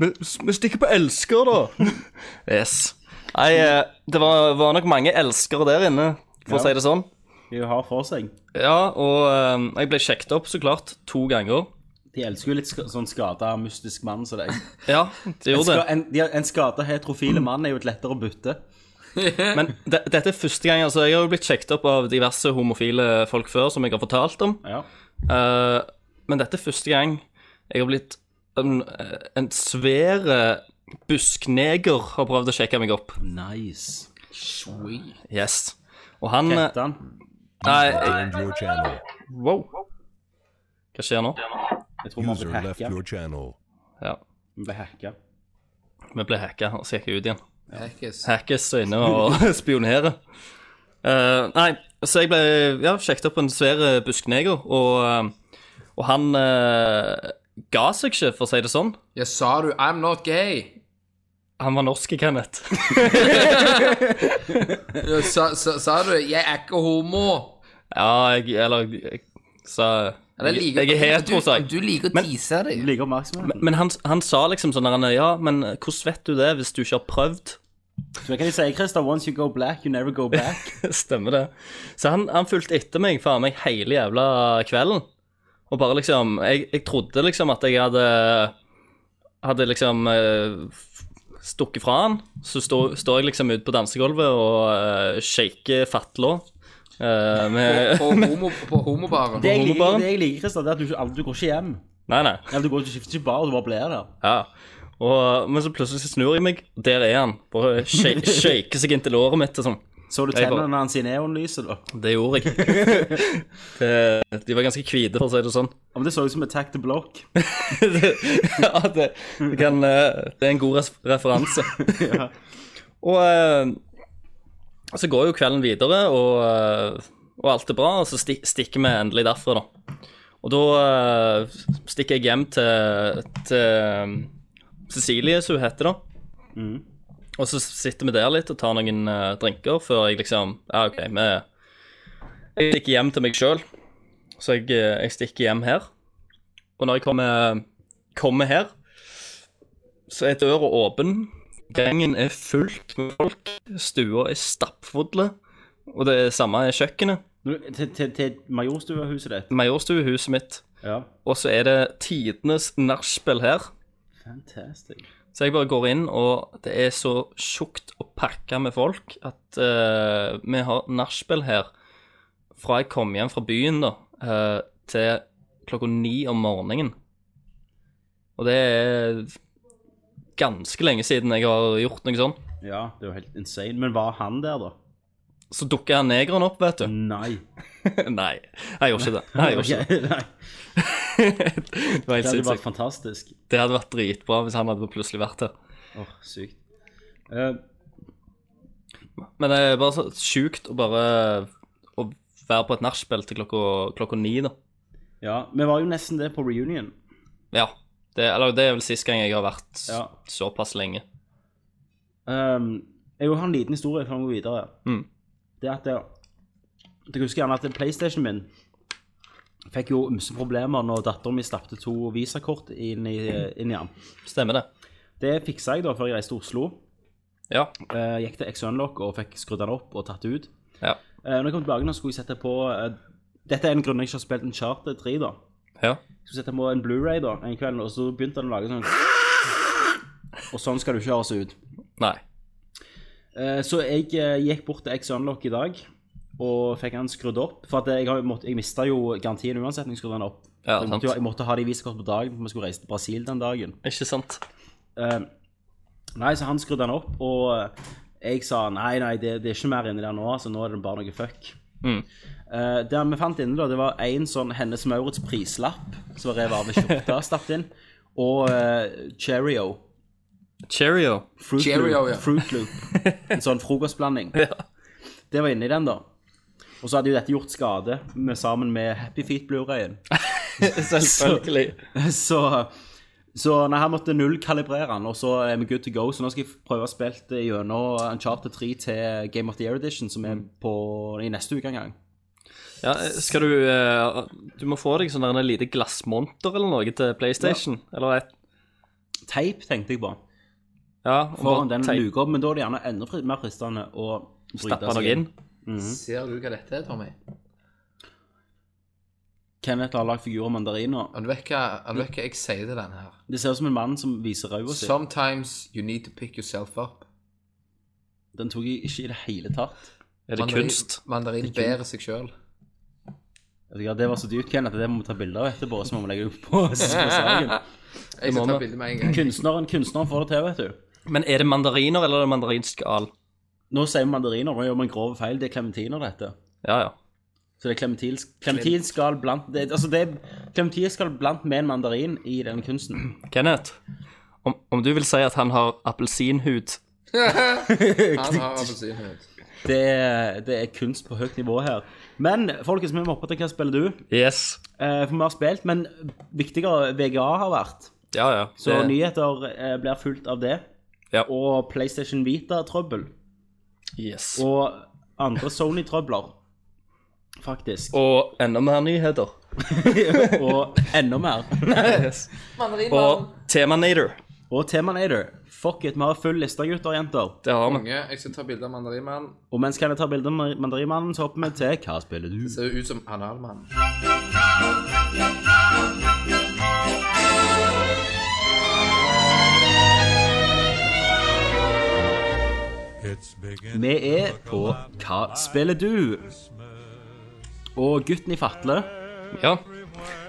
[SPEAKER 3] Vi, vi stikker på elsker, da. [laughs] Yes. Nei, eh, det var, var nok mange elskere der inne, for å
[SPEAKER 4] Ja.
[SPEAKER 3] si det sånn.
[SPEAKER 4] De har for seg.
[SPEAKER 3] Ja, og eh, jeg ble sjekket opp, så klart, to ganger.
[SPEAKER 4] De elsker jo litt sk sånn skada, mystisk mann som deg.
[SPEAKER 3] Ja, det gjorde
[SPEAKER 4] Ska-
[SPEAKER 3] det.
[SPEAKER 4] En, de- en skada heterofile mann er jo et lettere bytte.
[SPEAKER 3] Men de, dette er første gang. altså Jeg har jo blitt sjekket opp av diverse homofile folk før, som jeg har fortalt om.
[SPEAKER 4] Ja.
[SPEAKER 3] Eh, men dette er første gang jeg har blitt en, en svær buskneger har prøvd å sjekke meg opp.
[SPEAKER 4] Nice.
[SPEAKER 2] Sweet.
[SPEAKER 3] Yes. Og han eh,
[SPEAKER 4] Ettan.
[SPEAKER 3] Nei, jeg- Wow. Hva skjer nå?
[SPEAKER 4] Jeg tror man
[SPEAKER 5] User
[SPEAKER 4] ble
[SPEAKER 5] left
[SPEAKER 4] hacka.
[SPEAKER 5] your channel.
[SPEAKER 3] Ja.
[SPEAKER 4] Man ble hacka.
[SPEAKER 3] Vi ble hacka, og så gikk jeg ut igjen.
[SPEAKER 2] Hackes.
[SPEAKER 3] Hackes er inne [laughs] og spionerer. Eh, nei, så jeg ble ja, sjekket opp en svær eh, buskneger, og, eh, og han eh, ga seg ikke, for å si det sånn.
[SPEAKER 2] Ja, sa du 'I'm not gay'?
[SPEAKER 3] Han var norsk, Kenneth. [laughs]
[SPEAKER 2] Ja, sa, sa, sa du 'jeg er ikke homo'?
[SPEAKER 3] ja, jeg, eller jeg sa
[SPEAKER 2] Eller
[SPEAKER 3] jeg,
[SPEAKER 2] liker-
[SPEAKER 3] jeg er hetero, sa
[SPEAKER 2] Du,
[SPEAKER 3] jeg.
[SPEAKER 2] du liker å
[SPEAKER 3] Men-
[SPEAKER 2] tease deg.
[SPEAKER 4] Du liker oppmerksomheten.
[SPEAKER 3] Men han, han sa liksom sånn der, Ja, men hvordan vet du det hvis du ikke har prøvd?
[SPEAKER 4] Så hva kan jeg si, Christer? Once you go black, you never go back.
[SPEAKER 3] [laughs] Stemmer det. Så han, han fulgte etter meg faen meg hele jævla kvelden. Og bare liksom Jeg, jeg trodde liksom at jeg hadde Hadde liksom eh, stukket fra han. Så står står jeg liksom ute på dansegulvet og eh, shaker fatlå. eh, med [laughs]
[SPEAKER 2] På, homo, på homobaren.
[SPEAKER 4] Det jeg liker,
[SPEAKER 3] Homobaren?
[SPEAKER 4] det jeg liker Christer, det er at du, ikke, aldri- du går ikke hjem.
[SPEAKER 3] Nei, nei.
[SPEAKER 4] Eller du går ikke, skifter ikke bar, du bare blir der.
[SPEAKER 3] Ja. Og, men så plutselig så snur jeg meg, og der er han. Bare sha- shaker seg inntil låret mitt og sånn.
[SPEAKER 4] Så du
[SPEAKER 3] Jeg bare-
[SPEAKER 4] tennene hans i neonlyset, da?
[SPEAKER 3] Det gjorde jeg. [laughs] det, de var ganske hvite, for å si det sånn.
[SPEAKER 4] Ja, men det så ut som Attack the Block.
[SPEAKER 3] det, ja, det, det, kan, eh, det er en god res referanse. Og eh, så går jo kvelden videre, og, eh, og alt er bra, og så stik stikker vi endelig derfra, da. Og da eh, stikker jeg hjem til, til Cecilie, som hun heter, da. Og så sitter vi der litt og tar noen eh, drinker før jeg liksom Ja, OK, vi Jeg stikker hjem til meg sjøl, så jeg, eh, jeg stikker hjem her. Og når jeg kommer, kommer her, så er døra åpen. Gangen er fullt med folk. Stua er stappfulle. Og det samme er kjøkkenet.
[SPEAKER 4] Nå- Til, til, til Majorstuehuset ditt.
[SPEAKER 3] Majorstuehuset mitt.
[SPEAKER 4] Ja.
[SPEAKER 3] Og så er det tidenes nachspiel her.
[SPEAKER 4] Fantastic.
[SPEAKER 3] Så jeg bare går inn, og det er så tjukt å pakke med folk at eh, vi har nachspiel her fra jeg kom hjem fra byen, da, eh, til klokka ni om morgenen. Og det er ganske lenge siden jeg har gjort noe sånt.
[SPEAKER 4] Ja, det er jo helt insane. Men var han der, da?
[SPEAKER 3] Så dukker han negeren opp, vet du.
[SPEAKER 4] Nei.
[SPEAKER 3] [laughs] Nei, jeg gjorde ikke det. Nei, jeg gjorde ikke det.
[SPEAKER 4] Mm. [laughs] Ok, nei.
[SPEAKER 3] Det [laughs] var
[SPEAKER 4] Det
[SPEAKER 3] helt
[SPEAKER 4] hadde vært
[SPEAKER 3] sinnssykt.
[SPEAKER 4] fantastisk.
[SPEAKER 3] Det hadde vært dritbra hvis han hadde plutselig vært her.
[SPEAKER 4] Åh, sykt. Eh,
[SPEAKER 3] Men det er bare så sjukt å bare å være på et nachspiel til klokka, klokka ni, da.
[SPEAKER 4] ja, vi var jo nesten det på reunion.
[SPEAKER 3] Ja. Det, eller det er vel sist gang jeg har vært s-
[SPEAKER 4] Ja.
[SPEAKER 3] såpass lenge.
[SPEAKER 4] Um, jeg vil ha en liten historie før vi går videre.
[SPEAKER 3] Mm.
[SPEAKER 4] Det at jeg, jeg husker gjerne at PlayStation min fikk jo ymse problemer når datteren min stappte to visakort inn i, eh, inn i den.
[SPEAKER 3] Stemmer det.
[SPEAKER 4] Det fiksa jeg da før jeg reiste til Oslo.
[SPEAKER 3] Ja.
[SPEAKER 4] Eh, gikk til X-Unlock og fikk skrudd den opp og tatt det ut.
[SPEAKER 3] Ja.
[SPEAKER 4] Eh, når jeg kom tilbake nå, skulle jeg sette på eh, Dette er en grunn jeg ikke har spilt en Charter 3, da.
[SPEAKER 3] ja.
[SPEAKER 4] Jeg skulle sette på en Blu-ray da, en kveld, og så begynte den å lage sånn Og sånn skal det jo ikke høres ut.
[SPEAKER 3] Nei.
[SPEAKER 4] Eh, Så jeg eh, gikk bort til X-Unlock i dag og fikk han skrudd opp. For at jeg, har jo mått- jeg mista jo garantien uansett når jeg skrudde den opp.
[SPEAKER 3] Ja,
[SPEAKER 4] jeg,
[SPEAKER 3] sant.
[SPEAKER 4] måtte, jo- jeg måtte ha det i visekort på dagen, for vi skulle reise til Brasil den dagen.
[SPEAKER 3] Ikke sant?
[SPEAKER 4] Eh, nei, så han skrudde den opp, og eh, jeg sa nei, nei, det, det er ikke mer inni der nå, altså nå er det bare noe fuck.
[SPEAKER 3] Mm.
[SPEAKER 4] Eh, det vi fant inne, da, det var en sånn Hennes Maurits prislapp som var revet av
[SPEAKER 3] [laughs]
[SPEAKER 4] en skjorte, stappet inn, og eh, Cheerio.
[SPEAKER 3] Cheerio.
[SPEAKER 4] Fruit
[SPEAKER 2] Cheerio,
[SPEAKER 4] Loop.
[SPEAKER 2] ja.
[SPEAKER 4] Fruit Loop. En sånn
[SPEAKER 3] [laughs]
[SPEAKER 4] frokostblanding. Det var inni den, da. Og så hadde jo dette gjort skade med, sammen med Happy Feet
[SPEAKER 3] [laughs]
[SPEAKER 4] Blu-rayen.
[SPEAKER 3] Selvfølgelig.
[SPEAKER 4] Så, så nei, her måtte nullkalibrere den, og så er vi good to go. Så nå skal jeg prøve å spille det gjennom Uncharted 3 til Game of the Year Edition, som
[SPEAKER 3] Mm.
[SPEAKER 4] er på, i neste uke en gang.
[SPEAKER 3] [laughs] Ja, skal du eh, Du må få deg sånn der en lite glassmonter eller noe til PlayStation. Eller et
[SPEAKER 4] Teip tenkte jeg på.
[SPEAKER 3] Ja, og bare
[SPEAKER 4] Foran den
[SPEAKER 3] teip-
[SPEAKER 4] luka, men da er det gjerne enda fri- mer fristende å bryte
[SPEAKER 3] stappe
[SPEAKER 4] seg Mhm.
[SPEAKER 3] noe inn.
[SPEAKER 4] Mm.
[SPEAKER 2] Ser du hva dette er, Tommy?
[SPEAKER 4] Kenneth har lagd figurer av mandariner.
[SPEAKER 2] Og Du vet hva, og du vet hva jeg sier til den her?
[SPEAKER 4] Det ser ut som en mann som viser ræva si.
[SPEAKER 2] Sometimes you need to pick yourself up.
[SPEAKER 4] Den tok jeg ikke i det hele tatt.
[SPEAKER 3] Er det
[SPEAKER 2] Mandarin-
[SPEAKER 3] kunst?
[SPEAKER 2] Mandarin bærer seg
[SPEAKER 4] [laughs]
[SPEAKER 2] sjøl.
[SPEAKER 4] Vet du hva, det var så dyrt, Ken, at det må vi ta bilder av etterpå, så må vi legge det ut på, [laughs] på saken.
[SPEAKER 2] Jeg skal ta bilde med en
[SPEAKER 4] [laughs]
[SPEAKER 2] gang.
[SPEAKER 4] Kunstneren, kunstneren får det til, vet du.
[SPEAKER 3] Men er det mandariner eller er det mandarinskall?
[SPEAKER 4] Nå sier vi mandariner, nå gjør vi en grov feil. Det er klementiner, dette.
[SPEAKER 3] Ja, ja.
[SPEAKER 4] Så det er klementinskall blant det, Altså, det, er- Når skal du blande med en mandarin i den kunsten?
[SPEAKER 3] Kenneth, om, om du vil si at han har appelsinhud
[SPEAKER 2] Han har appelsinhud.
[SPEAKER 4] Det er, det er kunst på høyt nivå her. Men folkens, vi må hoppe til hva spiller du?
[SPEAKER 3] Yes.
[SPEAKER 4] Eh, for vi har spilt, men viktigere VGA har vært.
[SPEAKER 3] Ja, ja.
[SPEAKER 4] Så
[SPEAKER 3] Det-
[SPEAKER 4] nyheter eh, blir fulgt av det.
[SPEAKER 3] Ja.
[SPEAKER 4] Og PlayStation Vita-trøbbel.
[SPEAKER 3] yes. Og,
[SPEAKER 4] Og andre Sony-trøbler, faktisk.
[SPEAKER 3] enda mer [laughs] nyheter.
[SPEAKER 4] Og enda mer.
[SPEAKER 3] Og Temanator.
[SPEAKER 4] Og Temanator. Fuck it, vi har full liste, gutter og jenter.
[SPEAKER 3] Det har vi.
[SPEAKER 2] Mange. Jeg skal ta bilde av mandarinmannen.
[SPEAKER 4] Og mens kan jeg ta bilde med Mandarinmannen, så hopper vi til Hva spiller du?
[SPEAKER 2] Ser jo ut som analmannen.
[SPEAKER 4] Vi er på Hva spiller du? Og gutten i fatle,
[SPEAKER 3] Ja.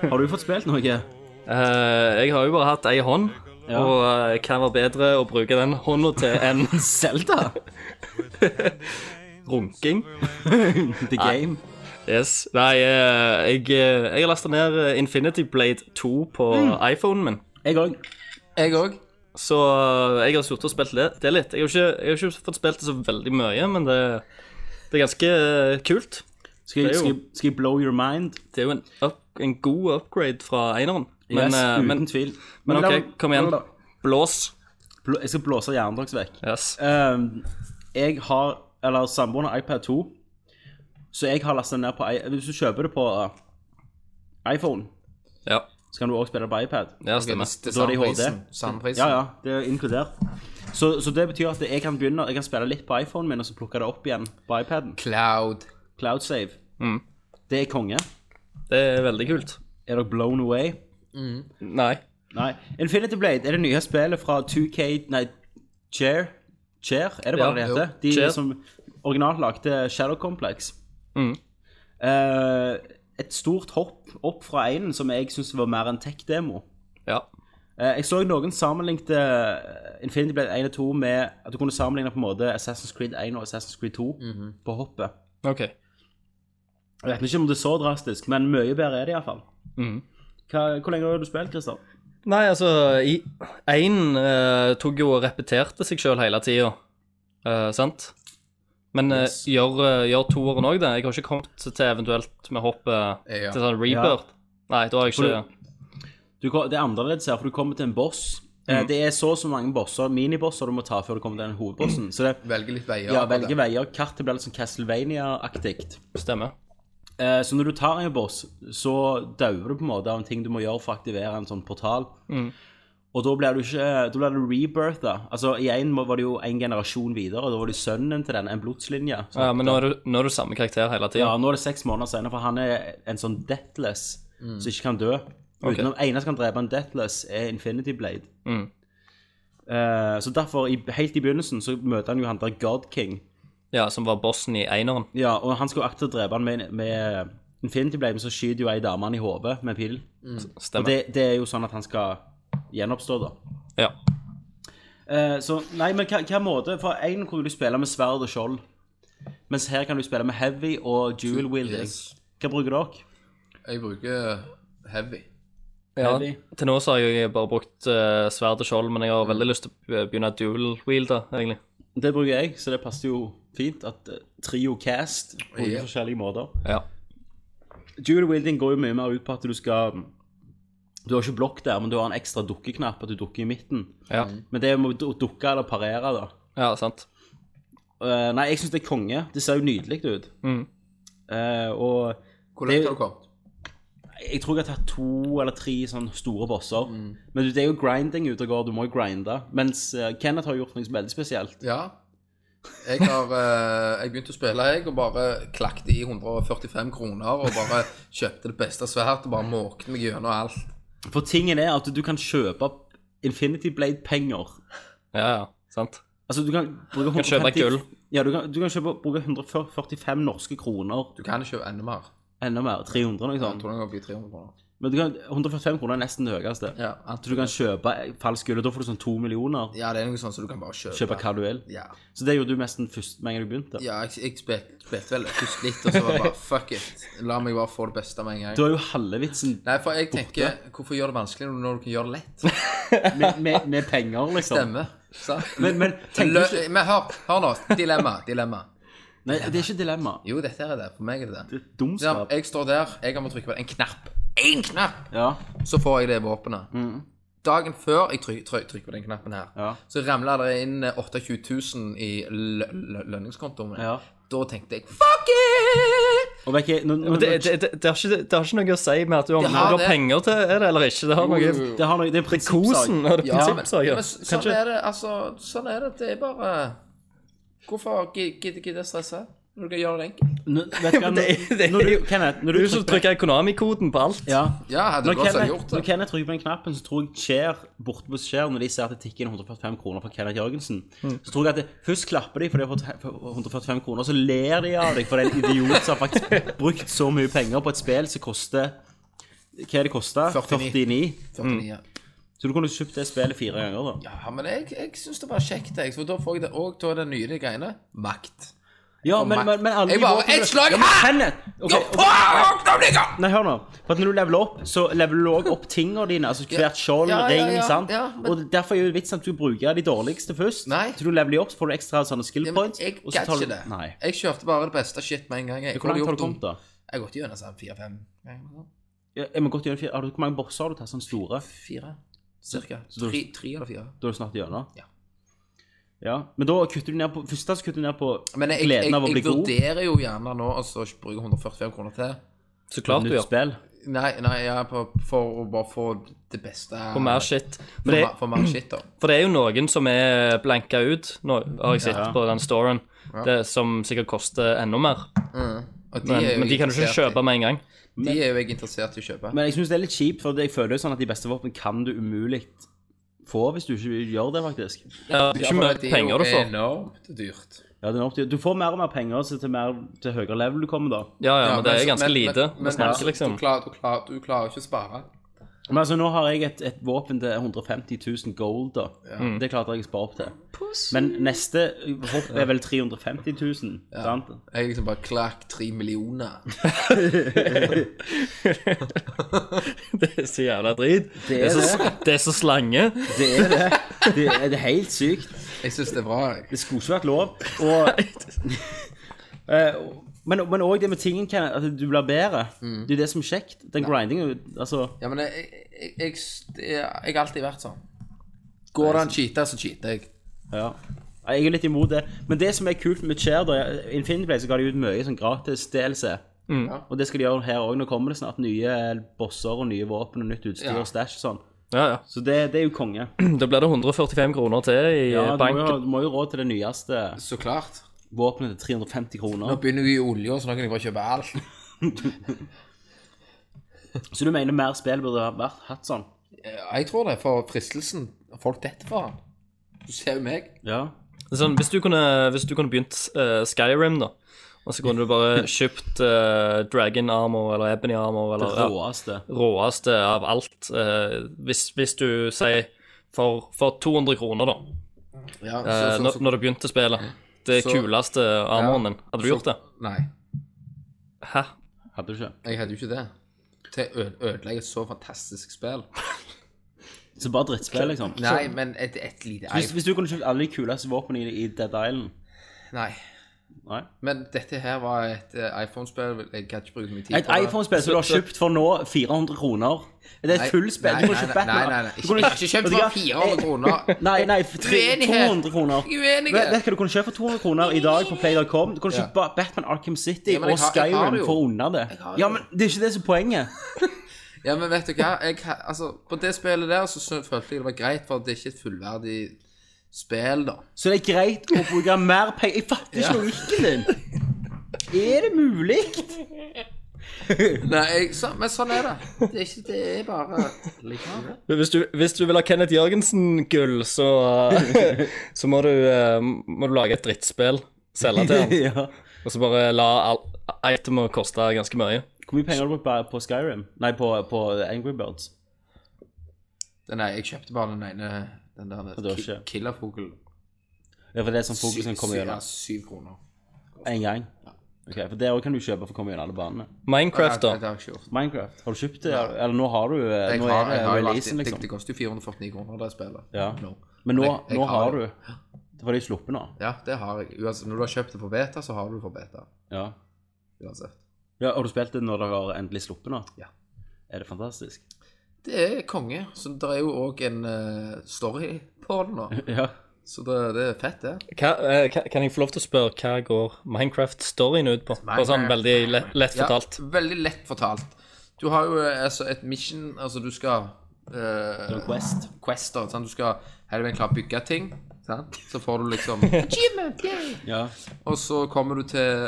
[SPEAKER 4] har du fått spilt noe?
[SPEAKER 3] Eh, jeg har jo bare hatt ei hånd,
[SPEAKER 4] Ja.
[SPEAKER 3] og eh, hva var bedre å bruke den hånda til enn [laughs]
[SPEAKER 4] Zelda?
[SPEAKER 3] runking?
[SPEAKER 4] The Game?
[SPEAKER 3] Yes. Nei, eh, jeg, eh, jeg har lasta ned eh, Infinity Blade 2 på iPhonen min.
[SPEAKER 4] Jeg òg.
[SPEAKER 2] Jeg òg.
[SPEAKER 3] Så eh, jeg har sittet og spilt det, det litt. Jeg har, ikke, jeg har ikke fått spilt det så veldig mye, men det, det er ganske eh, kult.
[SPEAKER 4] Skal, jeg-
[SPEAKER 3] Det er jo-
[SPEAKER 4] skal, jeg- skal jeg blow your mind?
[SPEAKER 3] Det er jo en, up, en god upgrade fra eineren. Men,
[SPEAKER 4] Yes,
[SPEAKER 3] eh,
[SPEAKER 4] uten
[SPEAKER 3] men,
[SPEAKER 4] tvil.
[SPEAKER 3] men
[SPEAKER 4] la-
[SPEAKER 3] OK, kom igjen.
[SPEAKER 4] la- la-
[SPEAKER 3] Blås.
[SPEAKER 4] blå- Jeg skal blåse hjernen deres vekk.
[SPEAKER 3] Yes.
[SPEAKER 4] Ehm, jeg har Eller samboeren har iPad 2, så jeg har lasta ned på i- Hvis du kjøper det på eh, iPhone,
[SPEAKER 3] Ja,
[SPEAKER 4] så kan du òg spille det på iPad.
[SPEAKER 3] ja stemmer.
[SPEAKER 2] Det
[SPEAKER 4] Da er
[SPEAKER 2] er
[SPEAKER 4] det i HD.
[SPEAKER 2] samprisen. Samprisen.
[SPEAKER 4] Ja, ja, det er inkludert. Så, så det betyr at jeg kan begynne Jeg kan spille litt på iPhonen min, og så plukke det opp igjen på iPaden.
[SPEAKER 2] Cloud.
[SPEAKER 4] Cloud save.
[SPEAKER 3] Mm.
[SPEAKER 4] Det er konge.
[SPEAKER 3] Det er veldig kult.
[SPEAKER 4] Er dere blown away?
[SPEAKER 3] Nei.
[SPEAKER 4] Nei. Infinity Blade er det nye spillet fra 2K Nei, Chair? Chair, er det bare
[SPEAKER 3] Ja,
[SPEAKER 4] det heter?
[SPEAKER 3] jo.
[SPEAKER 4] De
[SPEAKER 3] Chair.
[SPEAKER 4] som originalt lagde Shadow Complex.
[SPEAKER 3] Mm,
[SPEAKER 4] Eh, et stort hopp opp fra einen som jeg syns var mer en tech-demo.
[SPEAKER 3] Ja.
[SPEAKER 4] Eh, Jeg så noen sammenlignte Infinity Blade 1 og 2 med at du kunne sammenligne på en måte Assassin's Creed 1 og Assassin's Creed 2
[SPEAKER 2] Mhm.
[SPEAKER 4] på hoppet.
[SPEAKER 3] OK.
[SPEAKER 4] Jeg vet ikke om det er så drastisk, men mye bedre er det iallfall.
[SPEAKER 3] Mhm.
[SPEAKER 4] Hva, hvor lenge har du spilt, Christer?
[SPEAKER 3] Nei, altså, i Ein eh, tok jo og repeterte seg sjøl hele tida, eh, sant? Men eh,
[SPEAKER 4] Yes.
[SPEAKER 3] gjør, eh, gjør toeren òg det? Jeg har ikke kommet til eventuelt med hoppet
[SPEAKER 2] Ja.
[SPEAKER 3] til sånn rebirth. Nei, da har jeg ikke
[SPEAKER 4] For Du, kom- det er annerledes her, for du kommer til en boss. Eh, Det er så og så mange bosser, minibosser du må ta før du kommer til den hovedbossen. Så det
[SPEAKER 2] Velge litt veier.
[SPEAKER 4] ja, velge veier. Kartet blir litt sånn Castlevania-aktig.
[SPEAKER 3] Stemmer.
[SPEAKER 4] Eh, Så når du tar en boss, så dauer du på en måte av en ting du må gjøre for å aktivere en sånn portal.
[SPEAKER 3] Mm.
[SPEAKER 4] Og da blir du ikke Da blir du rebirtha. Altså, i én var det jo en generasjon videre, og da var det sønnen til den, en blodslinje. Så,
[SPEAKER 3] Ja, Eh, men nå er, du, nå er du samme karakter hele
[SPEAKER 4] ja,
[SPEAKER 3] tida.
[SPEAKER 4] nå er det seks måneder senere, for han er en sånn deathless som ikke kan dø.
[SPEAKER 3] Ok.
[SPEAKER 4] Utenom eneste som kan drepe en deathless, er Infinity Blade.
[SPEAKER 3] Mm.
[SPEAKER 4] Eh, så derfor, i, helt i begynnelsen, så møter han jo han der God King.
[SPEAKER 3] Ja, som var bossen i eineren.
[SPEAKER 4] Ja, og han skal jo akte å drepe han med, med Infinity Blade, men så skyter jo ei dame han i hodet med pil. Og
[SPEAKER 3] Stemmer.
[SPEAKER 4] det, det er jo sånn at han skal gjenoppstå, da.
[SPEAKER 3] Ja.
[SPEAKER 4] Eh, så nei, men hva, hva måte For én kunne du spille med sverd og skjold. Mens her kan du spille med heavy og dual wielding.
[SPEAKER 2] Yes.
[SPEAKER 4] Hva bruker dere?
[SPEAKER 2] Jeg bruker heavy.
[SPEAKER 3] Ja,
[SPEAKER 4] Heavy.
[SPEAKER 3] til nå så har jeg bare brukt eh, sverd og skjold, men jeg har veldig lyst til å begynne dual wielder, egentlig.
[SPEAKER 4] Det bruker jeg, så det passer jo fint at eh, trio cast bruker
[SPEAKER 2] Ja.
[SPEAKER 4] forskjellige måter.
[SPEAKER 3] Ja.
[SPEAKER 4] Dual wielding går jo mye mer ut på at du skal mm, Du har ikke blokk der, men du har en ekstra dukkeknapp, at du dukker i midten.
[SPEAKER 3] Ja,
[SPEAKER 4] Men det med å du- dukke eller parere, da.
[SPEAKER 3] ja sant.
[SPEAKER 4] Eh, nei, jeg syns det er konge. Det ser jo nydelig ut.
[SPEAKER 3] Mhm.
[SPEAKER 4] Eh, og
[SPEAKER 2] Hvor
[SPEAKER 4] Det-
[SPEAKER 2] langt har du kommet?
[SPEAKER 4] Jeg tror jeg har tatt to eller tre sånne store bosser. Men det er jo grinding ute og går. Du må jo grinde. Mens eh, Kenneth har gjort noe veldig spesielt.
[SPEAKER 2] Ja. Jeg har eh, Jeg begynte å spille, jeg, og bare klakket i 145 kroner og bare kjøpte det beste svært og bare måkte meg gjennom alt.
[SPEAKER 4] For tingen er at du kan kjøpe Infinity Blade-penger.
[SPEAKER 3] Ja, ja, sant.
[SPEAKER 4] Altså, du kan bruke
[SPEAKER 3] kan kjøpe gull.
[SPEAKER 4] Ja, du kan, du kan kjøpe, bruke 145 norske kroner.
[SPEAKER 2] Du kan ikke kjøpe enda mer.
[SPEAKER 4] Enda mer. 300 noe sånt.
[SPEAKER 2] Tror den går opp i 300 kroner.
[SPEAKER 4] Men du kan, 145 kroner er nesten det høyeste.
[SPEAKER 2] Ja,
[SPEAKER 4] Så du kan kjøpe falsk gull, og da får du sånn to millioner.
[SPEAKER 2] ja, det er noe sånt som du kan bare kjøpe.
[SPEAKER 4] Kjøpe hva du vil.
[SPEAKER 2] Ja.
[SPEAKER 4] Så det gjorde du mest den første med en gang du begynte.
[SPEAKER 2] Ja, jeg, jeg spilte spilte vel først litt, og så var det bare fuck it. La meg bare få det beste med en gang.
[SPEAKER 4] Du har jo halve vitsen
[SPEAKER 2] Nei, for jeg tenker, hvorfor gjøre det vanskelig når du kan gjøre det lett?
[SPEAKER 4] med, med, med penger, liksom.
[SPEAKER 2] Stemme. sant?
[SPEAKER 4] Men, men tenk
[SPEAKER 2] Lø
[SPEAKER 4] ikke
[SPEAKER 2] men hør, hør nå. Dilemma. Dilemma.
[SPEAKER 4] Nei, det er ikke dilemma.
[SPEAKER 2] Jo, dette er det. For meg er det
[SPEAKER 4] Det
[SPEAKER 2] det.
[SPEAKER 4] er
[SPEAKER 2] Ja,
[SPEAKER 4] dumskap.
[SPEAKER 2] jeg står der, jeg må trykke på en knapp. Én knapp!
[SPEAKER 4] Ja.
[SPEAKER 2] Så får jeg det våpenet. Dagen før jeg trykker, trykker på den knappen her,
[SPEAKER 4] Mm. Ja.
[SPEAKER 2] så ramler det inn eh, 28 000 i lø lø lønningskontoen min.
[SPEAKER 4] Ja.
[SPEAKER 2] Da tenkte jeg fuck it!
[SPEAKER 4] Og vet ikke, nå, nå,
[SPEAKER 3] Men det, det, det, det, har ikke, det har ikke noe å si med at du har,
[SPEAKER 2] Det har
[SPEAKER 3] du har
[SPEAKER 2] det.
[SPEAKER 3] penger til er det eller ikke. Det har noe
[SPEAKER 4] det, har noe, det er en prinsippsak.
[SPEAKER 3] Kosen og det
[SPEAKER 2] Ja, men,
[SPEAKER 3] prinsippsaker.
[SPEAKER 2] men s- sånn
[SPEAKER 3] Kanskje-
[SPEAKER 2] er det. Altså, sånn er det. Det er bare Hvorfor gi- gidder gidder jeg stresse? Når du kan gjøre det enkelt.
[SPEAKER 4] Nå, vet du hva,
[SPEAKER 3] Men
[SPEAKER 4] når,
[SPEAKER 3] det er- det er
[SPEAKER 4] når du,
[SPEAKER 3] jo-
[SPEAKER 4] Kenneth, når
[SPEAKER 3] Du
[SPEAKER 4] du
[SPEAKER 3] som trykker Konami-koden på alt.
[SPEAKER 4] ja.
[SPEAKER 2] Ja, hadde
[SPEAKER 4] Når
[SPEAKER 2] du godt
[SPEAKER 4] Kenneth,
[SPEAKER 2] gjort
[SPEAKER 4] når
[SPEAKER 2] det.
[SPEAKER 4] Kenneth trykker på den knappen, så tror jeg Cher borte på Cher, når de ser at det tikker inn 145 kroner fra Kenneth Jørgensen, så tror jeg at det, først klapper de for de har fått he- 145 kroner, og så ler de av deg for det er en idiot som har faktisk brukt så mye penger på et spill som koster Hva er det kosta?
[SPEAKER 2] 49.
[SPEAKER 4] 49.
[SPEAKER 2] 49, ja.
[SPEAKER 4] Så du kunne kjøpt det spillet fire ganger, da.
[SPEAKER 2] Ja, men jeg, jeg syns det var kjekt, jeg. For da får jeg det òg av det nye de greiene. Makt.
[SPEAKER 4] Ja,
[SPEAKER 2] Og
[SPEAKER 4] men,
[SPEAKER 2] makt.
[SPEAKER 4] men, men alle
[SPEAKER 2] Jeg
[SPEAKER 4] de
[SPEAKER 2] bare,
[SPEAKER 4] våpnene-
[SPEAKER 2] «Et slag
[SPEAKER 4] ja, men
[SPEAKER 2] her!»
[SPEAKER 4] Kenneth! ok,
[SPEAKER 2] Nå,
[SPEAKER 4] ok.
[SPEAKER 2] fuck, da blir jeg-
[SPEAKER 4] Nei, hør nå. For at når du leveler opp, så leveler du også
[SPEAKER 2] [laughs]
[SPEAKER 4] opp tingene dine. Altså hvert skjold,
[SPEAKER 2] Ja, ja, ja,
[SPEAKER 4] ring, sant.
[SPEAKER 2] ja, men-
[SPEAKER 4] Og derfor er jo vitsen at du bruker de dårligste først.
[SPEAKER 2] Nei.
[SPEAKER 4] Så du leveler opp, så får du ekstra sånne skill
[SPEAKER 2] Ja, men
[SPEAKER 4] points.
[SPEAKER 2] Jeg
[SPEAKER 4] og så
[SPEAKER 2] gadd
[SPEAKER 4] tar
[SPEAKER 2] ikke
[SPEAKER 4] du-
[SPEAKER 2] det.
[SPEAKER 4] Nei.
[SPEAKER 2] Jeg kjøpte bare det beste shit med en gang. Jeg
[SPEAKER 4] Hvor langt har
[SPEAKER 2] gjort
[SPEAKER 4] du kommet,
[SPEAKER 2] om-
[SPEAKER 4] da?
[SPEAKER 2] Jeg har gått gjennom sånn fire-fem ganger.
[SPEAKER 4] Ja, jeg må godt gjøre fire. Har du, hvor mange bosser har du tatt sånne store?
[SPEAKER 2] Fire, cirka.
[SPEAKER 4] Så da-
[SPEAKER 2] Tre, tre eller fire.
[SPEAKER 4] Da er du snart gjennom.
[SPEAKER 2] Ja.
[SPEAKER 4] Ja, Men da kutter du ned på Først så kutter du ned på
[SPEAKER 2] Men jeg, jeg,
[SPEAKER 4] gleden av å
[SPEAKER 2] jeg,
[SPEAKER 4] bli
[SPEAKER 2] jeg
[SPEAKER 4] god.
[SPEAKER 2] vurderer jo gjerne nå altså, å bruke 145 kroner til.
[SPEAKER 3] Så klart du
[SPEAKER 4] Nytt
[SPEAKER 3] gjør.
[SPEAKER 4] spill.
[SPEAKER 2] Nei, nei ja, på, for å bare få det beste
[SPEAKER 3] På mer shit.
[SPEAKER 2] for,
[SPEAKER 3] For det,
[SPEAKER 2] mer- for mer shit, da.
[SPEAKER 3] for det er jo noen som er blanka ut, nå har jeg sett
[SPEAKER 4] Ja.
[SPEAKER 3] på den storen, det, som sikkert koster enda mer.
[SPEAKER 4] Mm.
[SPEAKER 2] Og de
[SPEAKER 3] Men,
[SPEAKER 2] er jo
[SPEAKER 3] men de kan du ikke
[SPEAKER 2] interessert i-
[SPEAKER 3] kjøpe med en gang.
[SPEAKER 2] De er jo jeg interessert i å kjøpe.
[SPEAKER 4] Men jeg syns det er litt kjipt, for jeg føler jo sånn at de beste våpen kan du umulig få hvis du ikke gjør det, faktisk.
[SPEAKER 3] Ja, det er ikke mye penger du
[SPEAKER 2] Det er jo
[SPEAKER 3] får.
[SPEAKER 2] enormt dyrt.
[SPEAKER 4] altså. Ja, det er nok, Du får mer og mer penger så til mer til høyere level du kommer, da.
[SPEAKER 3] Ja, ja,
[SPEAKER 2] Ja,
[SPEAKER 3] men det er
[SPEAKER 2] så-
[SPEAKER 3] ganske
[SPEAKER 2] men-
[SPEAKER 3] lite
[SPEAKER 2] men-
[SPEAKER 3] vi snakker,
[SPEAKER 2] men-
[SPEAKER 3] liksom.
[SPEAKER 2] Du klarer, du, klarer, du klarer ikke å spare.
[SPEAKER 4] Men altså, nå har jeg et, et våpen til 150 000 gold, da. Det klarte jeg å spare opp til. Men neste hopp er vel 350 000, sant?
[SPEAKER 2] Jeg liksom bare klakk tre millioner.
[SPEAKER 3] [laughs] Det er så jævla drit. Det
[SPEAKER 4] er
[SPEAKER 3] er så, det er så slange.
[SPEAKER 4] Det er det. Det er, det er helt sykt.
[SPEAKER 2] Jeg syns det er bra. jeg.
[SPEAKER 4] Det skulle ikke vært lov. Og, [laughs] eh, men men òg det med tingen, Kenneth, at du blir bedre. Det er jo det som er kjekt. Den grindingen, altså
[SPEAKER 2] Ja, men jeg, jeg, jeg, det er- jeg har alltid vært sånn. Går det an å cheate, så cheater jeg.
[SPEAKER 4] Ja. Nei, Jeg er litt imot det. Men det som er kult med Chair, da Infinity Play så ga de ut mye sånn gratis DLC. Og det skal de gjøre her òg. Nå kommer det snart nye bosser og nye våpen og nytt utstyr
[SPEAKER 2] Ja.
[SPEAKER 4] og stæsj og sånn.
[SPEAKER 3] Ja, ja.
[SPEAKER 4] Så det, det er jo konge.
[SPEAKER 3] Da blir det 145 kroner til i
[SPEAKER 4] Ja, du, må
[SPEAKER 3] banken.
[SPEAKER 4] jo, du må jo råd til det nyeste
[SPEAKER 2] Så klart.
[SPEAKER 4] våpenet til 350
[SPEAKER 2] Nå
[SPEAKER 4] kroner.
[SPEAKER 2] begynner jeg i olja, så nå kan jeg bare kjøpe alt.
[SPEAKER 4] Så du mener mer spill burde ha vært hatt sånn?
[SPEAKER 2] Ja, Jeg tror det, for fristelsen Folk detter for han. Du ser jo meg.
[SPEAKER 4] Ja.
[SPEAKER 3] Sånn, hvis, du kunne, hvis du kunne begynt eh, Skyrim, da, og så kunne du bare
[SPEAKER 2] [laughs]
[SPEAKER 3] kjøpt eh, Dragon Armor eller Ebony Armor
[SPEAKER 4] Det
[SPEAKER 3] eller ja,
[SPEAKER 4] råeste.
[SPEAKER 3] råeste av alt eh, hvis, hvis du sier for, for 200 kroner, da,
[SPEAKER 2] Ja,
[SPEAKER 3] eh,
[SPEAKER 2] så- så-
[SPEAKER 3] når,
[SPEAKER 2] så-
[SPEAKER 3] når du begynte spillet, det
[SPEAKER 2] Så-
[SPEAKER 3] kuleste armoren din, hadde du gjort det?
[SPEAKER 2] Nei,
[SPEAKER 3] Hæ?
[SPEAKER 4] Hadde du ikke?
[SPEAKER 2] jeg hadde jo ikke det. Til å ø- ødelegge et så fantastisk spill.
[SPEAKER 4] Så bare drittspill, liksom.
[SPEAKER 2] [laughs] Nei, men et, et lite
[SPEAKER 4] Hvis,
[SPEAKER 2] ei.
[SPEAKER 4] hvis du kunne kjøpt alle de kuleste våpnene i i Dead Island
[SPEAKER 2] Nei.
[SPEAKER 4] Nei.
[SPEAKER 2] Men dette her var et eh, iPhone-spill. Jeg kan ikke bruke så mye tid
[SPEAKER 4] Et iPhone-spill som du har kjøpt for nå 400 kroner. Det er
[SPEAKER 2] Nei,
[SPEAKER 4] et fullt spill.
[SPEAKER 2] nei,
[SPEAKER 4] Du kunne kjøpt
[SPEAKER 2] nei, nei,
[SPEAKER 4] Batman.
[SPEAKER 2] nei, nei.
[SPEAKER 4] Du Altså, kunne-
[SPEAKER 2] Ikke- ikke kjøpt
[SPEAKER 4] Vet du
[SPEAKER 2] for
[SPEAKER 4] hva? Eh,
[SPEAKER 2] 400 kroner.
[SPEAKER 4] Nei, nei, for [laughs] tre-
[SPEAKER 2] Uenighet.
[SPEAKER 4] 200 kroner.
[SPEAKER 2] Uenighet.
[SPEAKER 4] Vet vet du hva du kunne kjøpt for 200 kroner i dag på Play.com? Du kunne kjøpt ba- Batman Arkham City
[SPEAKER 2] Ja, men jeg
[SPEAKER 4] og
[SPEAKER 2] har- jeg har det
[SPEAKER 4] Skyrim
[SPEAKER 2] jo.
[SPEAKER 4] for under det.
[SPEAKER 2] har det
[SPEAKER 4] Ja,
[SPEAKER 2] jo.
[SPEAKER 4] men det er ikke det som er poenget.
[SPEAKER 2] Ja, men vet du hva? Jeg, ha- altså, på det spillet der så syn- følte jeg det var greit, for det er ikke et fullverdig spill, da.
[SPEAKER 4] Så det er greit å bruke mer penger. Jeg fatter ikke
[SPEAKER 2] Ja.
[SPEAKER 4] logikken din. Er det mulig?
[SPEAKER 2] [laughs] Nei, jeg, så, men sånn er det. Det er, ikke, det er bare liksom.
[SPEAKER 3] Hvis du, hvis du vil ha Kenneth Jørgensen-gull, så,
[SPEAKER 2] [laughs]
[SPEAKER 3] eh, så må, du, eh, må du lage et
[SPEAKER 2] [laughs]
[SPEAKER 3] drittspill, selge til han,
[SPEAKER 4] Ja.
[SPEAKER 3] og så bare la all- itemet koste ganske mye.
[SPEAKER 4] Hvor mye penger har du brukt bare på Skyrim? Nei, på, på Angry Birds.
[SPEAKER 2] Den der, jeg kjøpte bare den ene den der
[SPEAKER 4] det var
[SPEAKER 2] ki-
[SPEAKER 4] ikke-
[SPEAKER 2] killerfuglen.
[SPEAKER 4] Ja, for det er sånn fokus som kommer
[SPEAKER 2] Syv- ja,
[SPEAKER 4] gjennom
[SPEAKER 2] syv kroner.
[SPEAKER 4] én gang. Ok, For der òg kan du kjøpe for å komme gjennom alle banene.
[SPEAKER 3] Minecraft,
[SPEAKER 2] Nei,
[SPEAKER 3] da.
[SPEAKER 2] Det har jeg ikke gjort.
[SPEAKER 4] Minecraft, har du kjøpt det? Eller nå har du eh,
[SPEAKER 2] Jeg
[SPEAKER 4] Nå
[SPEAKER 2] har,
[SPEAKER 4] er det
[SPEAKER 2] jeg har jo alltid,
[SPEAKER 4] releasen,
[SPEAKER 2] det,
[SPEAKER 4] liksom.
[SPEAKER 2] det koster jo 449 kroner, det spillet.
[SPEAKER 4] Ja.
[SPEAKER 2] Nå.
[SPEAKER 4] Men nå,
[SPEAKER 2] Jeg- jeg
[SPEAKER 4] nå
[SPEAKER 2] har
[SPEAKER 4] har
[SPEAKER 2] det.
[SPEAKER 4] du Det var de sluppet nå.
[SPEAKER 2] Ja, det har jeg. Uansett, når du har kjøpt det på beta, så har du det på beta.
[SPEAKER 4] Ja.
[SPEAKER 2] Uansett.
[SPEAKER 4] ja. Har du spilt det når det har endelig sluppet nå?
[SPEAKER 2] Ja.
[SPEAKER 4] Er det
[SPEAKER 2] [laughs]
[SPEAKER 4] fantastisk?
[SPEAKER 2] Det er konge. Så det er jo òg en eh, story på det nå.
[SPEAKER 4] Ja.
[SPEAKER 2] Så det, det er fett, det.
[SPEAKER 3] Hva, eh, ka- kan jeg få lov til å spørre hva går Minecraft-storyen ut på? Bare sånn veldig lett, lett fortalt.
[SPEAKER 2] Ja, veldig lett fortalt. Du har jo eh, altså, et mission Altså, du skal eh,
[SPEAKER 4] Det er Quest.
[SPEAKER 2] Quester. Sant? Du skal hele veien klare å bygge ting. Sant? Så får du liksom Achievement! Yay!
[SPEAKER 4] Ja.
[SPEAKER 2] Og så kommer du til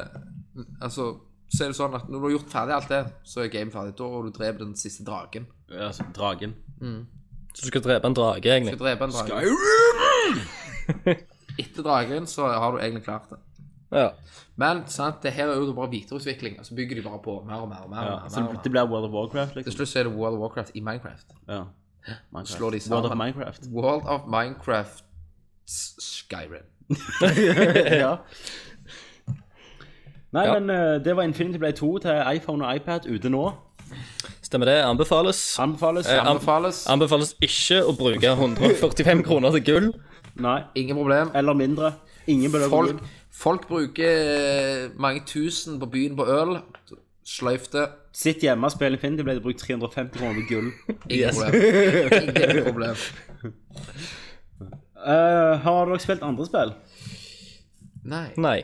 [SPEAKER 2] Altså, så er det sånn at når du har gjort ferdig alt det, så er gamet ferdig. Da og du dreper den siste dragen.
[SPEAKER 4] Ja, så dragen.
[SPEAKER 3] Så du skal drepe en drage,
[SPEAKER 2] Du
[SPEAKER 3] egentlig?
[SPEAKER 2] dreper en drage. Etter dragen så har du egentlig klart det.
[SPEAKER 3] Ja.
[SPEAKER 2] Men sant, det her er jo bare videreutvikling. Altså bygger de bare på mer og mer og mer. og
[SPEAKER 4] Ja.
[SPEAKER 2] mer, og
[SPEAKER 4] Så
[SPEAKER 2] mer, og
[SPEAKER 4] det
[SPEAKER 2] mer.
[SPEAKER 4] blir World of Warcraft,
[SPEAKER 2] Til
[SPEAKER 4] liksom?
[SPEAKER 2] slutt så er det World of Warcraft i Minecraft.
[SPEAKER 4] Ja. Minecraft.
[SPEAKER 2] Slår de
[SPEAKER 4] World of
[SPEAKER 2] sammen.
[SPEAKER 4] Minecraft. [laughs]
[SPEAKER 2] World of Minecraft Skyrim.
[SPEAKER 4] Eh, ja. Nei,
[SPEAKER 3] Ja.
[SPEAKER 4] men eh, det var Infinity Play 2 til iPhone og iPad ute nå.
[SPEAKER 3] Stemmer det. Anbefales.
[SPEAKER 4] Anbefales.
[SPEAKER 3] Eh, an-
[SPEAKER 2] Anbefales.
[SPEAKER 3] Anbefales ikke å bruke 145 kroner til gull.
[SPEAKER 4] Nei.
[SPEAKER 2] Ingen problem.
[SPEAKER 4] Eller mindre. Ingen beløp.
[SPEAKER 2] Folk, folk bruker eh, mange tusen på byen på øl. Sløyf det.
[SPEAKER 4] Sitt hjemme og spill Infinity Blade og bruk 350 kroner på gull.
[SPEAKER 2] Ingen problem. Ingen problem.
[SPEAKER 4] Eh, har dere spilt andre spill? [laughs]
[SPEAKER 2] Nei.
[SPEAKER 3] Nei.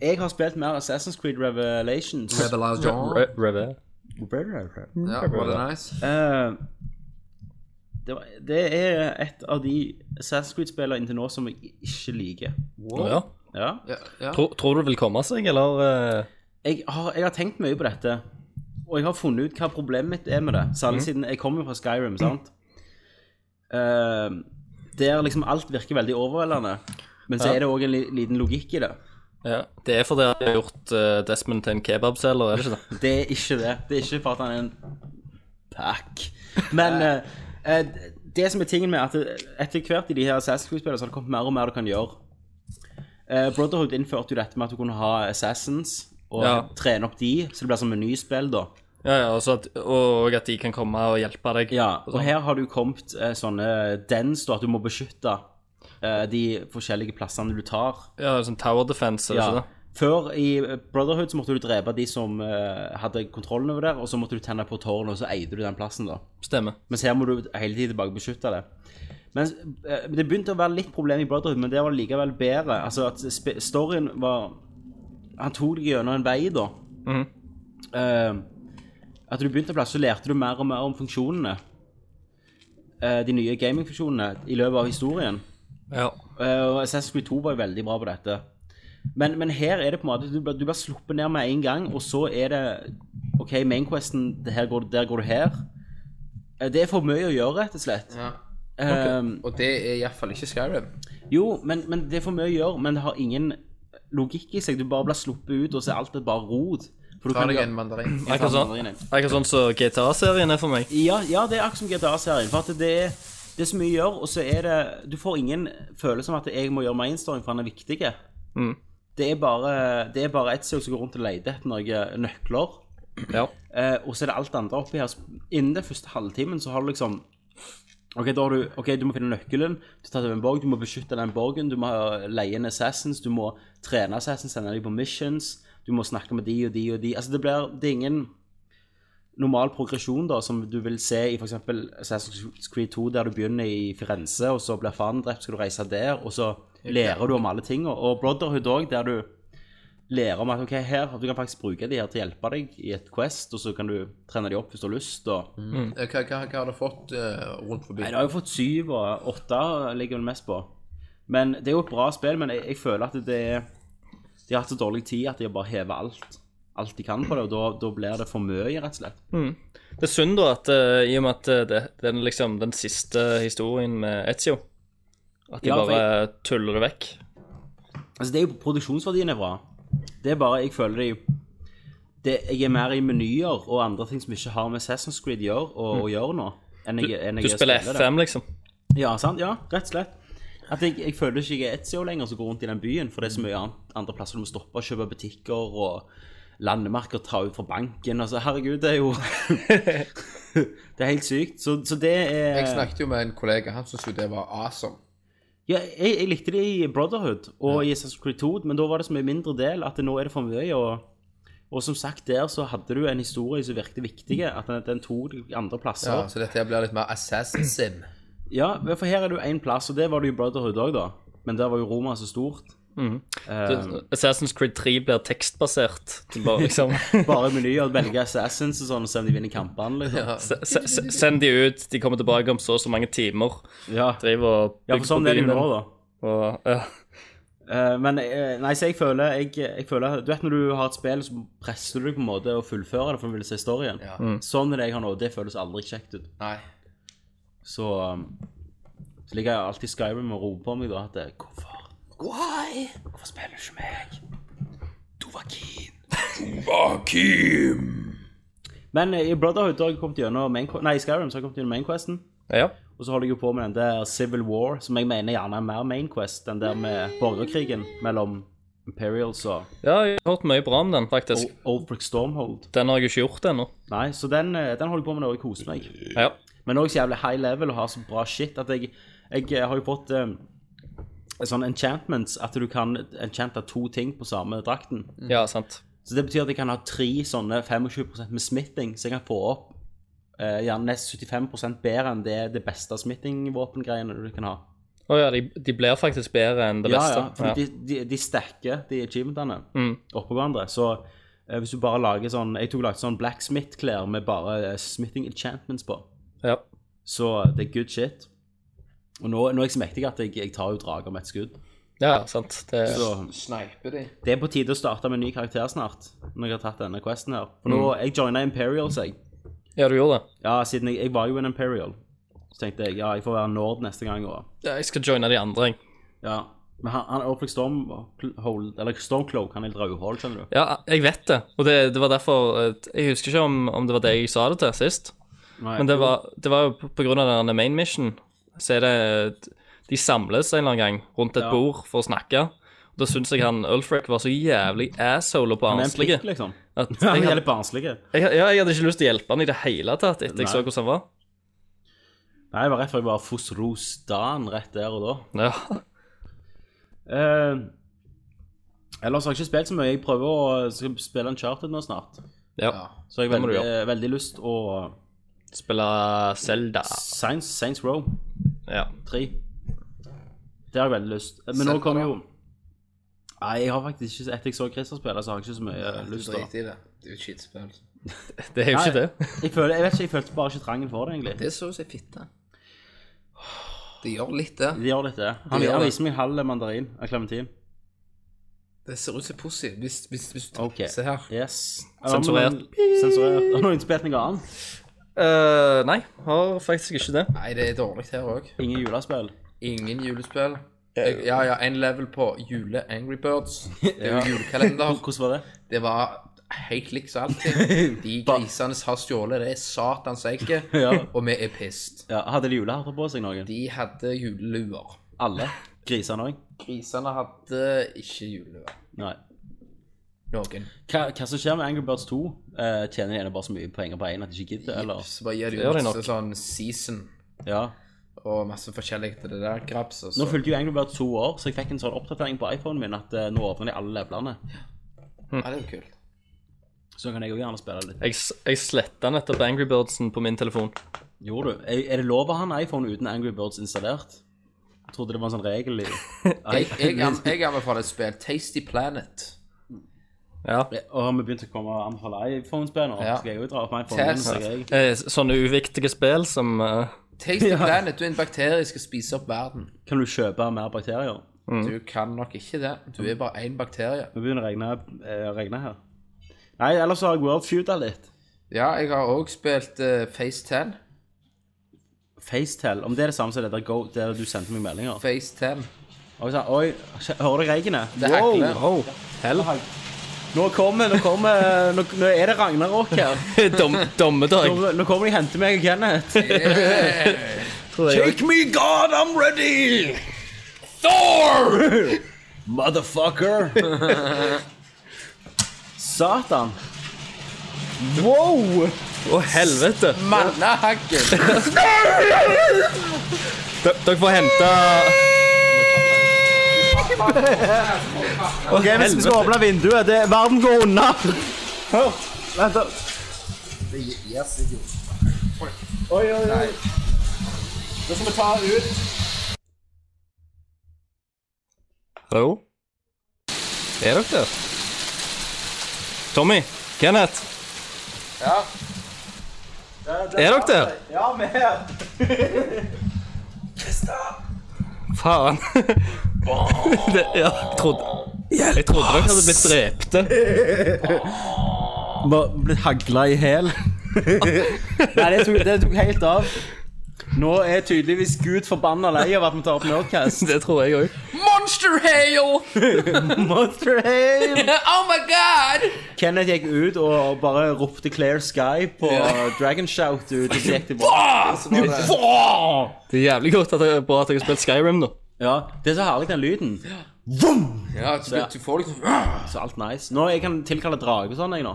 [SPEAKER 4] Jeg har spilt mer Assassin's Creed Revelations.
[SPEAKER 2] Revelation.
[SPEAKER 3] Re- Rever.
[SPEAKER 2] Ja, var det nice?
[SPEAKER 4] Eh, det, var, det er et av de Assassin's Creed-spillene inntil nå som jeg ikke liker.
[SPEAKER 3] Å, ja.
[SPEAKER 4] Ja.
[SPEAKER 2] Ja, ja.
[SPEAKER 3] Tro, tror du det vil komme seg, eller eh,
[SPEAKER 4] Jeg, har, jeg har tenkt mye på dette, og jeg har funnet ut hva problemet mitt er med det. Særlig
[SPEAKER 3] Mhm.
[SPEAKER 4] siden jeg kommer jo fra Skyrim, sant? Eh, der liksom alt virker veldig overveldende. Men så
[SPEAKER 3] Ja.
[SPEAKER 4] er det òg en li- liten logikk i det.
[SPEAKER 3] ja. Det er fordi jeg har gjort eh, Desmond til en kebabselger, er det ikke det?
[SPEAKER 4] Det er ikke det. Det er ikke for at han er en pack. Men eh, eh, det som er tingen med at det- etter hvert i de her Assassin's Creed-spillene så har det kommet mer og mer du kan gjøre. Eh, Brotherhood innførte jo dette med at du kunne ha Assassins og
[SPEAKER 3] Ja.
[SPEAKER 4] trene opp de, så det blir som menyspill, da.
[SPEAKER 3] Ja, ja, altså at, og at de kan komme og sånn. hjelpe deg.
[SPEAKER 4] Ja, og her har du kommet eh, sånne dens, da, at du må beskytte eh, de forskjellige plassene du tar.
[SPEAKER 3] Ja, sånn tower defense, er det ikke
[SPEAKER 4] Ja.
[SPEAKER 3] det?
[SPEAKER 4] Før i eh, Brotherhood så måtte du drepe de som eh, hadde kontrollen over der, og så måtte du tenne på tårnet, og så eide du den plassen, da.
[SPEAKER 3] Stemmer.
[SPEAKER 4] Mens her må du hele tiden bare beskytte det. Men eh, det begynte å være litt problem i Brotherhood, men det var likevel bedre. Altså at sp- storyen var Han tok deg gjennom en vei, da. Eh, at du begynte plass, så lærte du mer og mer om funksjonene. Eh, de nye gamingfunksjonene i løpet av historien.
[SPEAKER 3] Ja.
[SPEAKER 4] Eh, og Assassin's Creed 2 var jo veldig bra på dette. Men, men her er det på en måte Du, blir- du blir sluppet ned med en gang, og så er det OK, mainquesten, det her går, du- der går du her. Eh, Det er for mye å gjøre, rett og slett.
[SPEAKER 2] Ja.
[SPEAKER 4] Ehm,
[SPEAKER 2] Og det er iallfall ikke Skyrim.
[SPEAKER 4] jo, men, men det er for mye å gjøre, men det har ingen logikk i seg. Du bare blir sluppet ut, og så er alt et bare rot. For du
[SPEAKER 2] Ta
[SPEAKER 4] kan
[SPEAKER 2] deg
[SPEAKER 4] gjøre-
[SPEAKER 2] en mandarin.
[SPEAKER 3] Akkurat sånn akkurat sånn som GTA-serien er for meg.
[SPEAKER 4] Ja, ja, det er akkurat som GTA-serien. For at det er, det er så mye å gjøre, og så er det Du får ingen følelse om at jeg må gjøre mainstoring, for han er viktig.
[SPEAKER 3] Mm.
[SPEAKER 4] Det er bare, det er bare Ezio som går rundt og leter etter noen nøkler.
[SPEAKER 3] Ja.
[SPEAKER 4] Eh, og så er det alt det andre oppi her. Innen den første halvtimen så har du liksom OK, da har du, ok, du må finne nøkkelen, du tar til en borg, du må beskytte den borgen, du må ha- leie inn assassins, du må trene assassins, sende dem på missions, du må snakke med de og de og de. Altså, det blir Det er ingen normal progresjon da, som du vil se i f.eks. Assassin's Creed 2, der du begynner i Firenze, og så blir faren drept, skal du reise der, og så lærer du om alle tingene. Og Brotherhood òg, der du lære om at ok, her, du kan faktisk bruke de her til å hjelpe deg i et quest, og så kan du trene de opp hvis du har lyst. Og...
[SPEAKER 2] Eh, Hva, hva, hva har du fått eh, rundt forbi?
[SPEAKER 4] Nei, det har jo fått syv og åtte ligger vel mest på. Men det er jo et bra spill, men jeg, jeg føler at det er De har hatt så dårlig tid at de har bare hevet alt. Alt de kan på det, og da, da blir det for mye, rett og slett.
[SPEAKER 3] Det er synd, da, at eh, i og med at eh, det, det er liksom den siste historien med Ezio At de
[SPEAKER 4] Ja, for
[SPEAKER 3] bare tuller det vekk.
[SPEAKER 4] Altså, det er jo produksjonsverdien er bra. Det er bare jeg føler de det, jeg er mer i menyer og andre ting som ikke har med Assassin's Creed å gjøre, og, og gjør nå. Enn jeg, enn jeg
[SPEAKER 3] Mm. Du spiller
[SPEAKER 4] det.
[SPEAKER 3] F5, liksom.
[SPEAKER 4] Ja, sant? Ja, rett og slett. At jeg, jeg føler ikke jeg er Etzio lenger som går rundt i den byen, for det er så mye annet, andre plasser du må stoppe og kjøpe butikker og landemerker ta ut fra banken. Altså, herregud, det er jo [laughs] Det er helt sykt. Så, så det er
[SPEAKER 2] Jeg snakket jo med en kollega, han syntes jo det var awesome.
[SPEAKER 4] Ja, jeg, jeg likte det i Brotherhood og i Assassin's Creed 2, men da var det så mye mindre del at nå er det for mye. Og, og som sagt, der så hadde du en historie som virkte viktig, at den, den tok deg andre plasser.
[SPEAKER 2] Ja, så dette her blir litt mer Assassin Sim.
[SPEAKER 4] Ja, for her er det jo én plass, og det var det jo i Brotherhood òg, da. Men der var jo Roma så stort. Eh, Um.
[SPEAKER 3] Du- Assassin's Creed 3 blir tekstbasert. Du Bare
[SPEAKER 4] [laughs]
[SPEAKER 3] liksom
[SPEAKER 4] Bare menyer, velge assassins og sånn, og se om de vinner kampene, liksom.
[SPEAKER 3] s- s- s- Send de ut, de kommer tilbake om så og så mange timer.
[SPEAKER 4] Ja,
[SPEAKER 3] Driver og
[SPEAKER 4] ja for sånn er det jo nå, da.
[SPEAKER 3] Og, ja.
[SPEAKER 4] Eh, Men eh, nei, så jeg føler, jeg, jeg føler Du vet når du har et spill, så presser du deg på en måte å fullføre det for å ville se storyen.
[SPEAKER 2] Ja.
[SPEAKER 4] Sånn er det jeg har nå. Det føles aldri kjekt ut.
[SPEAKER 2] Nei.
[SPEAKER 4] Så, um, så ligger jeg alltid i Skyrim og roper på meg da at det, Hvorfor?
[SPEAKER 2] Why?
[SPEAKER 4] Hvorfor spiller du ikke meg? Du var keen.
[SPEAKER 2] Akim!
[SPEAKER 4] Men eh, i Brotherhood har jeg kommet gjennom main, Nei, i Skyrim så har jeg kommet gjennom mainquesten.
[SPEAKER 3] ja.
[SPEAKER 4] Og så holder jeg jo på med den der Civil War, som jeg mener gjerne er mer mainquest. Den der med borgerkrigen mellom Imperials og
[SPEAKER 3] ja, jeg har hørt mye bra om den, faktisk.
[SPEAKER 4] og Oldbrook Stormhold.
[SPEAKER 3] Den har jeg ikke gjort ennå.
[SPEAKER 4] Nei, så den, eh, den holder jeg på med når jeg koser meg.
[SPEAKER 3] Ja.
[SPEAKER 4] Men også så jævlig high level og har så bra shit at jeg, jeg eh, har jo fått eh, sånn enchantments, at du kan enchante to ting på samme drakten.
[SPEAKER 3] ja, sant.
[SPEAKER 4] Så det betyr at jeg kan ha tre sånne 25 med smitting, så jeg kan få opp eh, gjerne nesten 75 bedre enn det, det beste smittingvåpengreiene du kan ha.
[SPEAKER 3] Å ja, de, de blir faktisk bedre enn det
[SPEAKER 4] Ja,
[SPEAKER 3] beste. Mm.
[SPEAKER 4] ja, for De, de, de stacker de achievementene oppå hverandre. Så eh, hvis du bare lager sånn Jeg tok lagde sånn blacksmith-klær med bare eh, smitting enchantments på.
[SPEAKER 3] ja.
[SPEAKER 4] Så det er good shit. Og nå, nå er jeg så mektig at jeg, jeg tar jo drager med et skudd.
[SPEAKER 3] ja, ja, sant. Det,
[SPEAKER 4] Så
[SPEAKER 2] Sneipe de.
[SPEAKER 4] det er på tide å starte med en ny karakter snart, når jeg har tatt denne questen her. For nå,
[SPEAKER 3] Mm.
[SPEAKER 4] jeg joina Imperials, jeg.
[SPEAKER 3] ja, du gjorde det.
[SPEAKER 4] Ja, siden jeg, jeg var jo en Imperial, så tenkte jeg ja, jeg får være nord neste gang. Og,
[SPEAKER 3] Ja, jeg skal joine de andre, jeg.
[SPEAKER 4] ja. Men han, han Orphic Storm, hold, eller Stormcloak, han vil dra uhold, skjønner du.
[SPEAKER 3] Ja, jeg vet det. Og det, det var derfor eh, Jeg husker ikke om, om det var det jeg sa det til sist.
[SPEAKER 4] Nei,
[SPEAKER 3] Men det var, det var jo på- på grunn av den main mission. Så er det De samles en eller annen gang rundt et bord for å snakke. Og Da syns jeg han Ulfrek var så jævlig asshole og
[SPEAKER 4] han er en
[SPEAKER 3] barnslig.
[SPEAKER 4] plikt,
[SPEAKER 3] [laughs]
[SPEAKER 4] liksom. [laughs]
[SPEAKER 3] at
[SPEAKER 4] Han
[SPEAKER 3] Jeg,
[SPEAKER 4] er
[SPEAKER 3] hadde-
[SPEAKER 4] litt barnslig. Nei,
[SPEAKER 3] jeg, ja, jeg hadde ikke lyst til å hjelpe han i det hele tatt etter jeg
[SPEAKER 4] Nei.
[SPEAKER 3] så hvordan han var.
[SPEAKER 4] det var rett før jeg var Fosros Dan rett der og da.
[SPEAKER 3] Ja,
[SPEAKER 4] Eh, ellers har jeg ikke spilt så mye. Jeg prøver å eh, skal spille en charter nå snart.
[SPEAKER 3] ja.
[SPEAKER 2] Ja.
[SPEAKER 4] Så har jeg
[SPEAKER 3] Det må du
[SPEAKER 4] veldig, eh, veldig lyst å eh,
[SPEAKER 3] Spille Selda.
[SPEAKER 4] Saints, Saints Row
[SPEAKER 3] Ja.
[SPEAKER 4] 3. Det har jeg veldig lyst. Eh, Men nå
[SPEAKER 2] Zelda,
[SPEAKER 4] kommer jo Nei, jeg har faktisk ikke Etter jeg så Christer spille, så har jeg ikke så mye eh,
[SPEAKER 2] Du
[SPEAKER 4] lyst. da
[SPEAKER 2] driter i det. Det er jo et skitspill.
[SPEAKER 3] Det er jo ikke
[SPEAKER 4] Nei.
[SPEAKER 3] det.
[SPEAKER 4] Jeg, føler, jeg vet ikke, jeg følte bare ikke trangen for det, egentlig.
[SPEAKER 2] Det er så å si fitte. Det gjør litt, det.
[SPEAKER 4] De gjør litt det. Han,
[SPEAKER 2] Det gjør
[SPEAKER 4] han
[SPEAKER 2] det.
[SPEAKER 4] viser meg en halv mandarin av klementin.
[SPEAKER 2] Det ser ut som pussy. Hvis, hvis, hvis du
[SPEAKER 4] Ok.
[SPEAKER 2] Se her.
[SPEAKER 4] Yes.
[SPEAKER 3] Sensurert.
[SPEAKER 4] Sensurert. Har noen spilt noe annet?
[SPEAKER 3] Eh, nei, har faktisk ikke det.
[SPEAKER 2] Nei, det er dårlig her òg.
[SPEAKER 4] Ingen julespill?
[SPEAKER 2] Ingen julespill. Jeg, ja, ja, en level på jule-Angry Birds. Det er jo
[SPEAKER 4] Ja.
[SPEAKER 2] julekalender.
[SPEAKER 4] Hvordan
[SPEAKER 2] [laughs]
[SPEAKER 4] var det?
[SPEAKER 2] Det var helt likt som alltid. De grisene som har stjålet, det er satans egge,
[SPEAKER 4] Ja.
[SPEAKER 2] og vi er pissed.
[SPEAKER 4] Ja, hadde de julehatter på seg, noen?
[SPEAKER 2] De hadde juleluer.
[SPEAKER 4] Alle? Grisene òg?
[SPEAKER 2] Grisene hadde ikke juleluer.
[SPEAKER 4] Nei.
[SPEAKER 2] Noen.
[SPEAKER 4] Hva, hva som skjer med Angry Birds 2? Eh, tjener de ene bare så mye penger på én at de ikke gidder, eller?
[SPEAKER 2] Så bare gir de
[SPEAKER 3] gjør de
[SPEAKER 2] ut
[SPEAKER 3] nok.
[SPEAKER 2] så- sånn season
[SPEAKER 4] Ja.
[SPEAKER 2] og masse forskjellig til det der graps. Og
[SPEAKER 4] Nå
[SPEAKER 2] så.
[SPEAKER 4] fulgte jo Angry Birds to år, så jeg fikk en sånn oppdatering på iPhonen min at eh, nå åpner de alle levelene.
[SPEAKER 2] Ja, det er jo kult.
[SPEAKER 4] Så kan jeg jo gjerne spille litt.
[SPEAKER 3] Jeg, s- jeg sletta nettopp Angry Birdsen på min telefon.
[SPEAKER 4] Gjorde du? Er, er det lov å ha en iPhone uten Angry Birds installert? Jeg trodde det var en sånn regel i
[SPEAKER 2] [laughs] Jeg, jeg,
[SPEAKER 3] [laughs]
[SPEAKER 2] an- jeg anbefaler et spill. Tasty Planet.
[SPEAKER 3] Ja.
[SPEAKER 4] Og har vi begynt å komme og anbefale iPhone-spill nå?
[SPEAKER 2] Ja.
[SPEAKER 4] Skal jeg jo dra opp iPhonen min?
[SPEAKER 2] Test.
[SPEAKER 4] så jeg-
[SPEAKER 3] Eh, s- Sånne uviktige spill som eh, [laughs]
[SPEAKER 2] Tasty Planet, du er en bakterie som skal spise opp verden.
[SPEAKER 4] Kan du kjøpe mer bakterier?
[SPEAKER 3] Mm.
[SPEAKER 2] Du kan nok ikke det. Du er bare én bakterie.
[SPEAKER 4] Nå begynner det å regne, eh, regne her. Nei, ellers så har jeg World Feudal litt.
[SPEAKER 2] Ja, jeg har òg spilt eh, Face 10.
[SPEAKER 4] FaceTel, om det er det samme som det der, Go, der du sendte meg meldinger.
[SPEAKER 2] Face 10.
[SPEAKER 4] Og jeg sa, oi, hører du reggene?
[SPEAKER 2] Det hagler. [laughs]
[SPEAKER 3] Wow. Hell.
[SPEAKER 4] Hag- Nå kommer, nå kommer Nå, nå er det Ragnarok her.
[SPEAKER 3] Dom, dommedag.
[SPEAKER 4] Nå, nå kommer de og henter meg og [laughs] Kenneth.
[SPEAKER 3] tror jeg.
[SPEAKER 4] me, God, I'm ready! Thor! Motherfucker! [laughs] Satan. Wow!
[SPEAKER 3] Å, helvete.
[SPEAKER 2] Mannehakken!
[SPEAKER 3] D dere får hente
[SPEAKER 4] Ok, Hvis vi skal åpne vinduet det, Verden går unna. Hør. Vent, da. Oi, oi, oi. Nå skal vi ta ut
[SPEAKER 3] Hallo? Er dere der? Tommy? Kenneth?
[SPEAKER 2] Ja.
[SPEAKER 3] Er dere der?
[SPEAKER 4] Ja, vi er her.
[SPEAKER 3] Faen. [laughs] Det, ja, jeg trodde Jeg trodde dere hadde blitt drepte.
[SPEAKER 4] Bare blitt hagla i hæl. [laughs] Nei, det tok, det tok helt av. Nå er tydeligvis Gud forbanna lei av at vi tar opp Nerdcast.
[SPEAKER 3] [laughs] Det tror jeg òg.
[SPEAKER 2] Monster
[SPEAKER 3] [laughs]
[SPEAKER 2] hail!
[SPEAKER 4] [laughs] Monster Hail!
[SPEAKER 2] Oh my god!
[SPEAKER 4] Kenneth gikk ut og bare ropte Clear Sky på Dragon Shout ut, og så gikk det bra.
[SPEAKER 3] Det er jævlig godt at det er bra at jeg har spilt Skyrim nå.
[SPEAKER 4] Ja, det er så herlig, den lyden.
[SPEAKER 2] Ja, til slutt så får du liksom [gasps]
[SPEAKER 4] Så alt nice. Nå, Jeg kan tilkalle drage og sånn, jeg nå.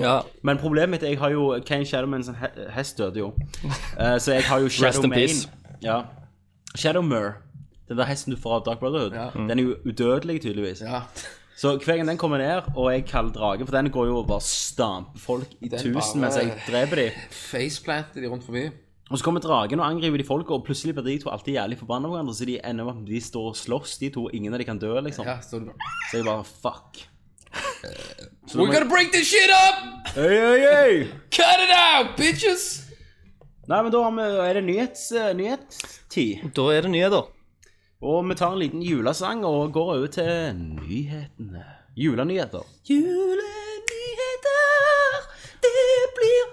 [SPEAKER 3] Ja.
[SPEAKER 4] Men problemet mitt er jeg har jo Kane Shadowman sin he- hest døde [laughs] jo. Eh, så jeg har jo
[SPEAKER 3] Rest in
[SPEAKER 4] Shadowman.
[SPEAKER 3] peace.
[SPEAKER 4] Ja. Shadowmer. Den der hesten du får av Dark Brotherhood. Den er jo udødelig, tydeligvis.
[SPEAKER 2] Ja.
[SPEAKER 4] Så hver gang den kommer ned, og jeg kaller dragen, for den går jo og bare stamper folk i
[SPEAKER 2] Den
[SPEAKER 4] tusen
[SPEAKER 2] bare-
[SPEAKER 4] mens jeg dreper dem.
[SPEAKER 2] Faceplanter de rundt forbi.
[SPEAKER 4] Og så kommer dragen og angriper de folka, og plutselig blir de to alltid jævlig forbanna på hverandre, så de ender med at de står og slåss, de to, og ingen av de kan dø, liksom.
[SPEAKER 2] Ja, så du bare
[SPEAKER 4] Så jeg bare fuck. Så da
[SPEAKER 2] We're
[SPEAKER 4] må jeg-
[SPEAKER 2] gonna break this shit up!
[SPEAKER 4] Øy, øy, øy!
[SPEAKER 2] Cut it out, bitches!
[SPEAKER 4] Nei, men da har vi, er det nyhets, eh, nyhetstid.
[SPEAKER 3] Da er det nyheter.
[SPEAKER 4] Og vi tar en liten julesang og går over til nyhetene. Julenyheter.
[SPEAKER 2] Julenyheter, det blir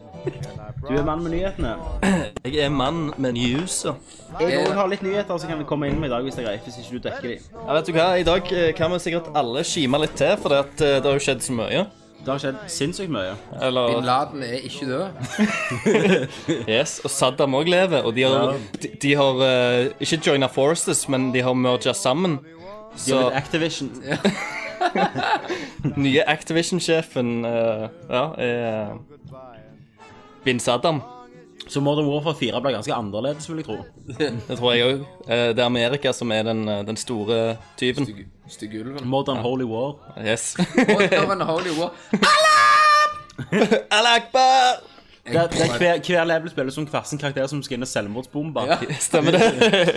[SPEAKER 4] du er mann med nyhetene.
[SPEAKER 3] Jeg er mann med news. ja.
[SPEAKER 4] Jeg òg har litt nyheter, så kan vi komme inn med i dag hvis det er greit. Hvis ikke du dekker de.
[SPEAKER 3] Ja, vet du hva? I dag eh, kan vi sikkert alle kime litt til, for det, at, eh, det har jo skjedd så mye.
[SPEAKER 4] Det har skjedd sinnssykt mye.
[SPEAKER 2] Bin
[SPEAKER 3] Eller,
[SPEAKER 2] Laden er ikke død.
[SPEAKER 3] yes, og Saddam òg lever. Og de har, de, de har eh, ikke joina forces, men de har merga sammen.
[SPEAKER 4] De har
[SPEAKER 3] Så
[SPEAKER 4] blitt Activision.
[SPEAKER 3] nye Activision-sjefen eh, ja, er Bin Saddam.
[SPEAKER 4] Så Modern Warfare 4 ble ganske annerledes, vil jeg tro.
[SPEAKER 3] Det tror jeg òg. det er Amerika som er den, eh, den store tyven.
[SPEAKER 2] Styggulven.
[SPEAKER 4] Modern Holy War.
[SPEAKER 3] Yes. [laughs]
[SPEAKER 2] Wonder and Holy War.
[SPEAKER 3] Al Akbar!
[SPEAKER 4] Der, der hver, hver level spilles som hver sin karakter som skal inn og selvmordsbombe.
[SPEAKER 2] Ja.
[SPEAKER 3] Stemmer
[SPEAKER 4] [laughs]
[SPEAKER 3] det?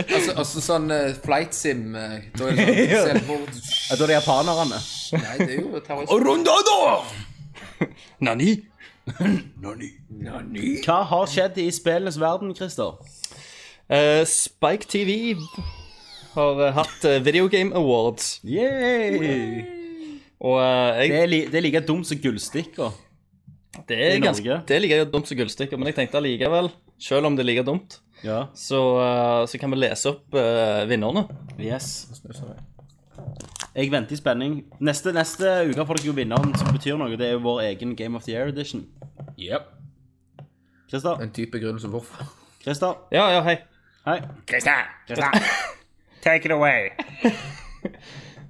[SPEAKER 2] Altså, altså sånn eh, flight sim eh, Da er [laughs] det sånn selvmord
[SPEAKER 4] Da er det japanerne.
[SPEAKER 2] Nei, det er jo terrorisme.
[SPEAKER 3] Nani?
[SPEAKER 4] Hva har skjedd i spillenes verden, Christer?
[SPEAKER 3] Eh, Spike TV har eh, hatt eh, Video Game Awards.
[SPEAKER 4] Yay!
[SPEAKER 3] Og eh,
[SPEAKER 4] Det
[SPEAKER 3] jeg,
[SPEAKER 4] er, li, det er like dumt som gullstikker.
[SPEAKER 3] det er
[SPEAKER 4] i
[SPEAKER 3] ganske
[SPEAKER 4] Norge.
[SPEAKER 3] Det er like dumt som gullstikker, men jeg tenkte allikevel, selv om det er like dumt,
[SPEAKER 4] Ja.
[SPEAKER 3] så, eh, så kan vi lese opp eh, vinnerne.
[SPEAKER 4] Yes. Jeg venter i spenning. Neste, neste uke får dere jo vinneren som betyr noe. Det er jo vår egen Game of the Year edition.
[SPEAKER 2] Yep.
[SPEAKER 4] Christer,
[SPEAKER 2] En type begrunnelse hvorfor.
[SPEAKER 4] Christer,
[SPEAKER 3] Ja, ja, hei.
[SPEAKER 4] hei.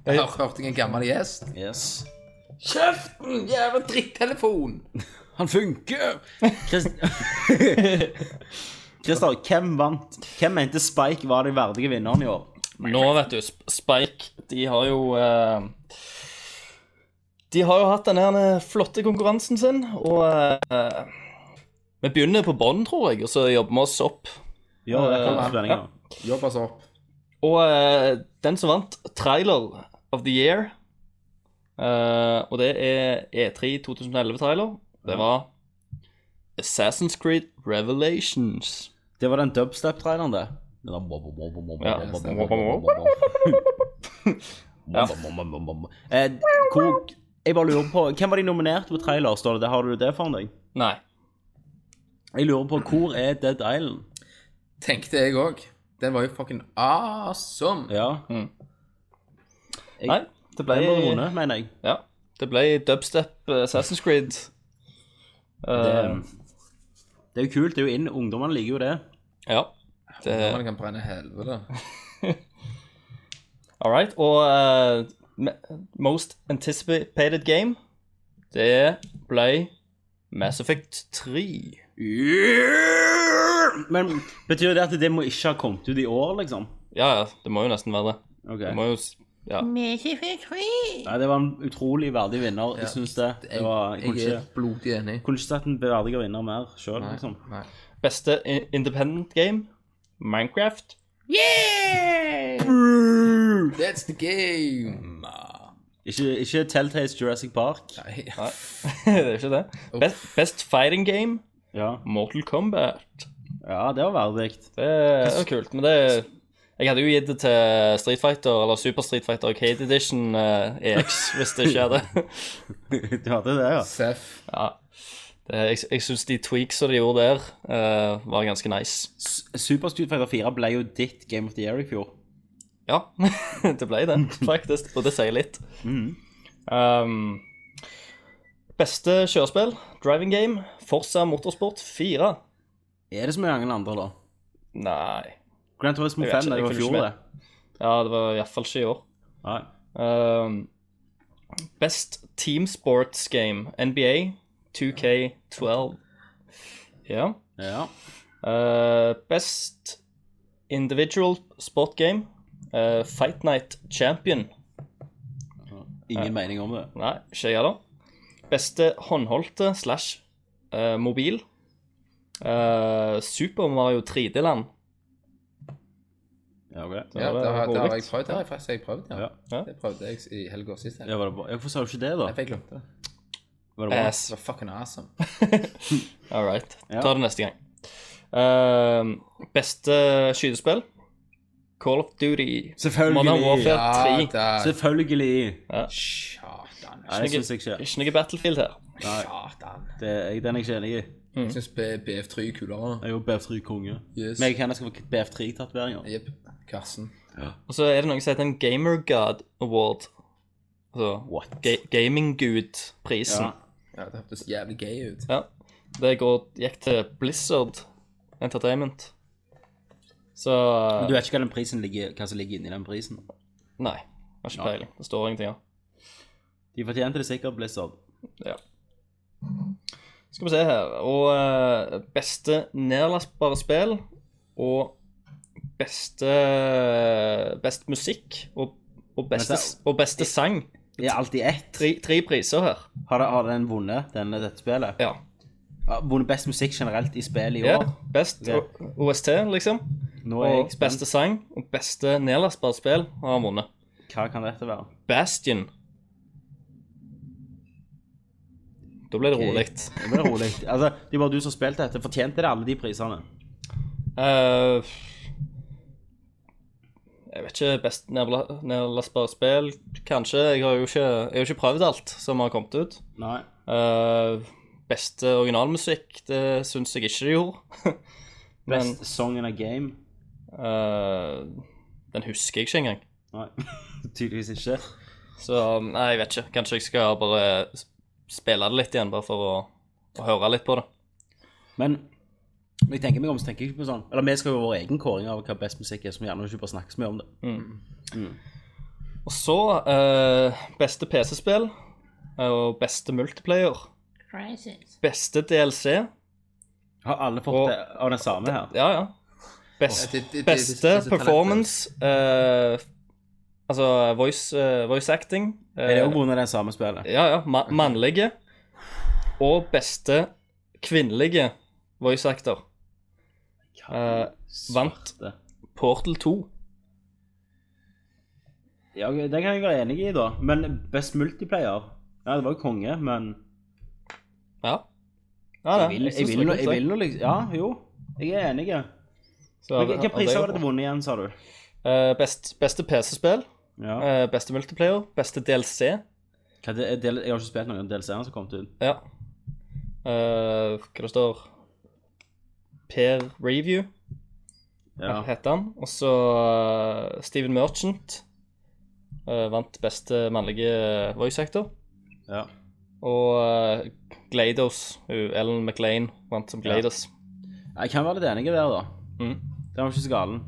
[SPEAKER 2] Jeg har hørt jeg en gammel gjest.
[SPEAKER 4] Yes.
[SPEAKER 2] Kjeften, jævla drittelefon!
[SPEAKER 4] Han funker! [laughs] Christer, hvem vant? Hvem mente Spike var den verdige vinneren i år?
[SPEAKER 3] Nå, vet du, Sp- Spike, de har jo eh, De har jo hatt den her eh, flotte konkurransen sin, og eh, Vi begynner på bånn, tror jeg, og så jobber vi oss opp.
[SPEAKER 4] Ja, det kan
[SPEAKER 3] Eh,
[SPEAKER 4] være spenning nå.
[SPEAKER 2] Jobb altså. oss opp.
[SPEAKER 3] Og eh, den som vant Trailer of the Year eh, Og det er E3 2011-trailer. Det var Assassin's Creed Revelations.
[SPEAKER 4] Det var den dubstep-traileren, det. Den der wob, wob, wob, wob, wob,
[SPEAKER 3] Ja.
[SPEAKER 4] wob, wob, wob, wob, [laughs] wob. Wob, wob, wob, wob, wob. Eh, hvor- Jeg bare lurer på Hvem var de nominert på trailer? Står det det? Har du det foran deg?
[SPEAKER 3] Nei.
[SPEAKER 4] Jeg lurer på hvor er Dead Island?
[SPEAKER 2] Tenkte jeg òg. Den var jo fucking awesome.
[SPEAKER 4] Ja. Jeg,
[SPEAKER 3] Nei, det ble
[SPEAKER 4] Den var vunnet, mener jeg.
[SPEAKER 3] Ja. Det ble dubstep eh, Assassin's Creed. [laughs] Eh,
[SPEAKER 4] Det, Um, det er jo kult. Det er jo inn. Ungdommene liker jo det.
[SPEAKER 3] ja. Det,
[SPEAKER 2] Man kan brenne helvete.
[SPEAKER 3] all right. Og eh, me- Most Anticipated Game, det ble Mass Effect 3.
[SPEAKER 4] Men betyr det at det må ikke ha kommet ut i år, liksom?
[SPEAKER 3] Ja, ja, det må jo nesten være det.
[SPEAKER 4] Ok.
[SPEAKER 3] Det må jo s- Ja.
[SPEAKER 4] Nei, det var en utrolig verdig vinner. Jeg syns det. det var, jeg kunne
[SPEAKER 2] jeg er
[SPEAKER 4] ikke,
[SPEAKER 2] blodig enig.
[SPEAKER 4] kunne ikke sett en verdigere vinner mer sjøl, liksom.
[SPEAKER 2] Nei.
[SPEAKER 3] Beste i- independent game? Minecraft. [laughs]
[SPEAKER 2] That's the game.
[SPEAKER 4] Ikke, ikke Telltales Jurassic Park.
[SPEAKER 2] Nei.
[SPEAKER 3] Nei, det er ikke det. Best, best fighting game?
[SPEAKER 4] Ja,
[SPEAKER 3] Mortal Kombat.
[SPEAKER 4] ja det var verdig.
[SPEAKER 3] Det er jo kult, men det Jeg hadde jo gitt det til Street Fighter, eller Super Street Fighter Arcade Edition eh, EX, hvis det [laughs] ikke hadde
[SPEAKER 4] Du hadde det, ja.
[SPEAKER 2] Seff.
[SPEAKER 3] Ja. Det, jeg jeg syns de tweaksa de gjorde der, eh, var ganske nice.
[SPEAKER 4] S- Super Street Fighter 4 ble jo ditt Game of the Year i fjor.
[SPEAKER 3] Ja, [laughs] det ble det, faktisk. Og det sier litt. Um, beste kjørespill, driving game, Forza Motorsport 4.
[SPEAKER 4] Er det så mange andre, da?
[SPEAKER 3] Nei.
[SPEAKER 4] Gran Turismo
[SPEAKER 3] Jeg vet ikke,
[SPEAKER 4] 5 det
[SPEAKER 3] jeg
[SPEAKER 4] var i
[SPEAKER 3] følger
[SPEAKER 4] fjor,
[SPEAKER 3] ikke
[SPEAKER 4] det.
[SPEAKER 3] Ja, det var iallfall ikke i år.
[SPEAKER 4] Nei.
[SPEAKER 3] Um, best team sports game, NBA 2K12. Ja.
[SPEAKER 4] Ja.
[SPEAKER 3] Uh, best individual sport game, uh, Fight Night Champion.
[SPEAKER 4] Ingen mening om det.
[SPEAKER 3] Nei, ikke jeg heller. Beste håndholdte slash eh, mobil. Eh, Super Mario 3D-land.
[SPEAKER 4] Ja,
[SPEAKER 2] Ja,
[SPEAKER 4] ok.
[SPEAKER 3] var
[SPEAKER 2] det har, det har
[SPEAKER 3] hovedvikt.
[SPEAKER 2] jeg prøvd. Det har jeg faktisk jeg prøvd, ja.
[SPEAKER 4] Ja.
[SPEAKER 3] Ja.
[SPEAKER 2] Det prøvde jeg i helga sist. Jeg.
[SPEAKER 4] Ja, var det bra? Ja, Hvorfor sa du ikke det, da?
[SPEAKER 2] Nei, for jeg glemte det.
[SPEAKER 4] Var det bra?
[SPEAKER 2] Det
[SPEAKER 3] Ass.
[SPEAKER 2] var fucking awesome.
[SPEAKER 3] All right.
[SPEAKER 4] Ja.
[SPEAKER 3] Ta det neste gang. Eh, beste skytespill? Call of Duty. Modern
[SPEAKER 4] Selvfølgelig.
[SPEAKER 3] Warfare
[SPEAKER 4] Ja.
[SPEAKER 3] 3.
[SPEAKER 2] der.
[SPEAKER 4] Selvfølgelig.
[SPEAKER 2] Satan.
[SPEAKER 4] Nei, det syns jeg ikke.
[SPEAKER 3] Ikke noe Battlefield her.
[SPEAKER 2] Satan.
[SPEAKER 4] Det er jeg- den er jeg ikke enig i.
[SPEAKER 2] Jeg syns BF3 er kulere.
[SPEAKER 4] Jeg er jo BF3 konge.
[SPEAKER 2] Yes.
[SPEAKER 4] Men jeg kan jeg skal få BF3-tatoveringer.
[SPEAKER 2] Jepp. Karsten.
[SPEAKER 3] Og så er det noe som heter en Gamer God Award. Altså
[SPEAKER 4] What? sånn-
[SPEAKER 3] ga Gaming-gud-prisen.
[SPEAKER 4] Ja.
[SPEAKER 2] Ja, det hørtes jævlig gay ut.
[SPEAKER 3] Ja. Det går, gikk til Blizzard Entertainment. Så eh,
[SPEAKER 4] Du vet ikke hva, den prisen ligger, hva som ligger inni den prisen?
[SPEAKER 3] Nei. Har ikke peiling. Det står ingenting her.
[SPEAKER 4] De fortjente det sikkert, Blizzard.
[SPEAKER 3] Ja. Skal vi se her Og eh, beste nedlastbare spill og beste Best musikk og, og, beste,
[SPEAKER 4] Vent
[SPEAKER 3] og beste sang.
[SPEAKER 4] Det er alltid ett.
[SPEAKER 3] Tre, tre priser her.
[SPEAKER 4] Har, det, har den vunnet, denne, dette spillet?
[SPEAKER 3] Ja.
[SPEAKER 4] Har Vunnet best musikk generelt i spill i
[SPEAKER 3] ja.
[SPEAKER 4] år?
[SPEAKER 3] Best
[SPEAKER 4] Ja.
[SPEAKER 3] O- OST, liksom.
[SPEAKER 4] Nå er jeg
[SPEAKER 3] Og
[SPEAKER 4] spent.
[SPEAKER 3] beste sang og beste nedlastbare spill har han vunnet.
[SPEAKER 4] Hva kan dette være?
[SPEAKER 3] Bastion. Da ble det rolig.
[SPEAKER 4] Det blir rolig. Altså, det var du som spilte dette. Fortjente det alle de prisene?
[SPEAKER 3] Eh, jeg vet ikke. Best nedla- nedlastbare spill, kanskje. Jeg har jo ikke, jeg har jo ikke prøvd alt som har kommet ut.
[SPEAKER 4] Nei.
[SPEAKER 3] Eh, beste originalmusikk, det syns jeg ikke det gjorde. [laughs] Men
[SPEAKER 4] Best song in a game?
[SPEAKER 3] eh, den husker jeg ikke engang.
[SPEAKER 4] Nei. [laughs] Tydeligvis ikke.
[SPEAKER 3] Så nei, jeg vet ikke. Kanskje jeg skal bare s- spille det litt igjen, bare for å, å høre litt på det.
[SPEAKER 4] Men når jeg tenker meg om, så tenker jeg ikke på sånn Eller vi skal jo ha vår egen kåring av hva best musikk er, som gjerne ikke bare snakkes mye om det.
[SPEAKER 3] Mm.
[SPEAKER 4] Mm.
[SPEAKER 3] Og så eh, beste PC-spill eh, og beste multiplayer. Beste DLC.
[SPEAKER 4] Har alle fått
[SPEAKER 3] Og-
[SPEAKER 4] det av den samme her?
[SPEAKER 3] Ja, ja. Best,
[SPEAKER 2] Det- det- det- det- det-
[SPEAKER 3] beste
[SPEAKER 2] det- det-
[SPEAKER 3] performance eh, Altså voice, eh, voice acting. eh,
[SPEAKER 4] Er det òg vunnet det samme spillet?
[SPEAKER 3] ja, ja. Ma mannlige. Og beste kvinnelige voice actor. Eh, vant
[SPEAKER 4] Det.
[SPEAKER 3] Portal 2.
[SPEAKER 4] Ja, ok, det kan jeg være enig i, da. Men best multiplayer Ja, det var jo konge, men
[SPEAKER 3] Ja. Nei, nei,
[SPEAKER 4] Jeg vil, jeg
[SPEAKER 3] synes
[SPEAKER 4] vil,
[SPEAKER 3] det
[SPEAKER 4] nå-
[SPEAKER 3] var
[SPEAKER 4] jeg
[SPEAKER 3] kult,
[SPEAKER 4] vil nå liksom Ja, jo. Jeg er enig.
[SPEAKER 3] Så av-
[SPEAKER 4] Hvilke
[SPEAKER 3] av
[SPEAKER 4] priser
[SPEAKER 3] det
[SPEAKER 4] var det du
[SPEAKER 3] var-
[SPEAKER 4] vunnet igjen, sa du?
[SPEAKER 3] Eh, best, beste PC-spill,
[SPEAKER 4] Ja.
[SPEAKER 3] eh, beste multiplayer, beste DLC.
[SPEAKER 4] Hva er det, er del, jeg har ikke spilt noen av DLC-ene som kom ut.
[SPEAKER 3] Ja. Eh, hva det står Per Review
[SPEAKER 4] Ja.
[SPEAKER 3] heter han. Og så eh, Steven Merchant eh, vant beste mannlige voice actor.
[SPEAKER 4] ja.
[SPEAKER 3] Og eh, Glados, hun Ellen McLean, vant som Glados.
[SPEAKER 4] Jeg kan være litt enig der, da.
[SPEAKER 3] Mm.
[SPEAKER 4] Den var ikke så galen.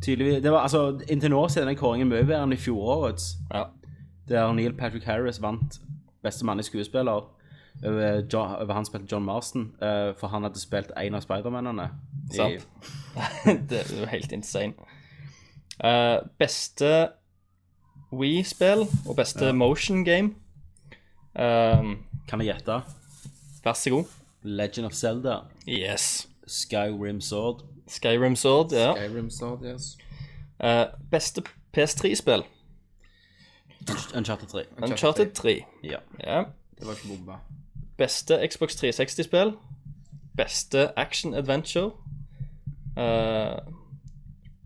[SPEAKER 4] Tydeligvis det var, altså, Inntil nå så er denne kåringen mye bedre enn i fjorårets,
[SPEAKER 3] Ja.
[SPEAKER 4] der Neil Patrick Harris vant beste mannlige skuespiller over, John, over han spilte John Marston, eh, for han hadde spilt en av Spidermennene. i-
[SPEAKER 3] Sant. [laughs] det er jo helt insane. Eh, beste Wii-spill og beste motion game. Eh,
[SPEAKER 4] Kan jeg gjette?
[SPEAKER 3] vær så god.
[SPEAKER 4] Legend of Zelda,
[SPEAKER 3] Yes.
[SPEAKER 4] Skyrim Sword,
[SPEAKER 3] Skyrim Sword, ja.
[SPEAKER 2] Skyrim Sword, yes.
[SPEAKER 3] Eh, beste PS3-spill.
[SPEAKER 4] Unch- Uncharted 3.
[SPEAKER 3] Uncharted 3.
[SPEAKER 4] Ja.
[SPEAKER 3] Ja.
[SPEAKER 2] Det var ikke bomba.
[SPEAKER 3] Beste Xbox 360-spill. Beste action adventure. Eh,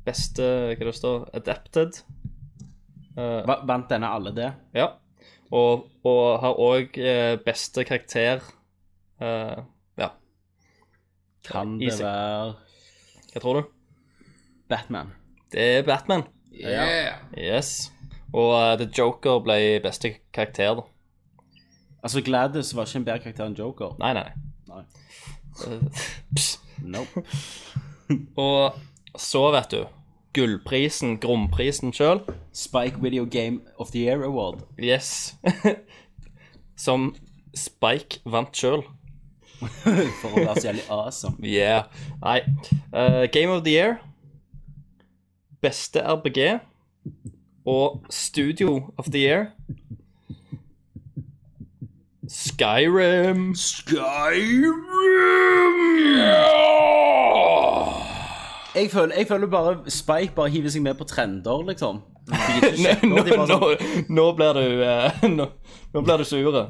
[SPEAKER 3] beste Hva det står Adapted. Eh,
[SPEAKER 4] Va- Vant denne alle det?
[SPEAKER 3] Ja. Og, og har òg beste karakter eh, Ja,
[SPEAKER 4] Kan
[SPEAKER 3] Easy.
[SPEAKER 4] det være
[SPEAKER 3] hva tror du?
[SPEAKER 4] Batman?
[SPEAKER 3] Det er Batman.
[SPEAKER 2] Yeah!
[SPEAKER 3] Yes. Og eh, The Joker ble beste karakter, da.
[SPEAKER 4] Altså, Gladys var ikke en bedre karakter enn Joker.
[SPEAKER 3] Nei, nei, nei.
[SPEAKER 4] Nei.
[SPEAKER 3] [laughs] Pss.
[SPEAKER 4] Nope.
[SPEAKER 3] Og så, vet du Gullprisen, Gromprisen sjøl.
[SPEAKER 4] Spike Video Game of the Year Award.
[SPEAKER 3] Yes. [laughs] Som Spike vant sjøl.
[SPEAKER 4] For å være så jævlig awesome.
[SPEAKER 3] Yeah. Nei. Eh, Game of the Year. Beste RPG. Og Studio of the Year. Skyrim.
[SPEAKER 4] Jeg føler, jeg føler bare Spike bare hiver seg med på trender,
[SPEAKER 3] [laughs]
[SPEAKER 4] liksom.
[SPEAKER 3] Nå, nå, nå,
[SPEAKER 4] sånn-
[SPEAKER 3] nå blir du eh, [laughs] Nå, nå blir du sure.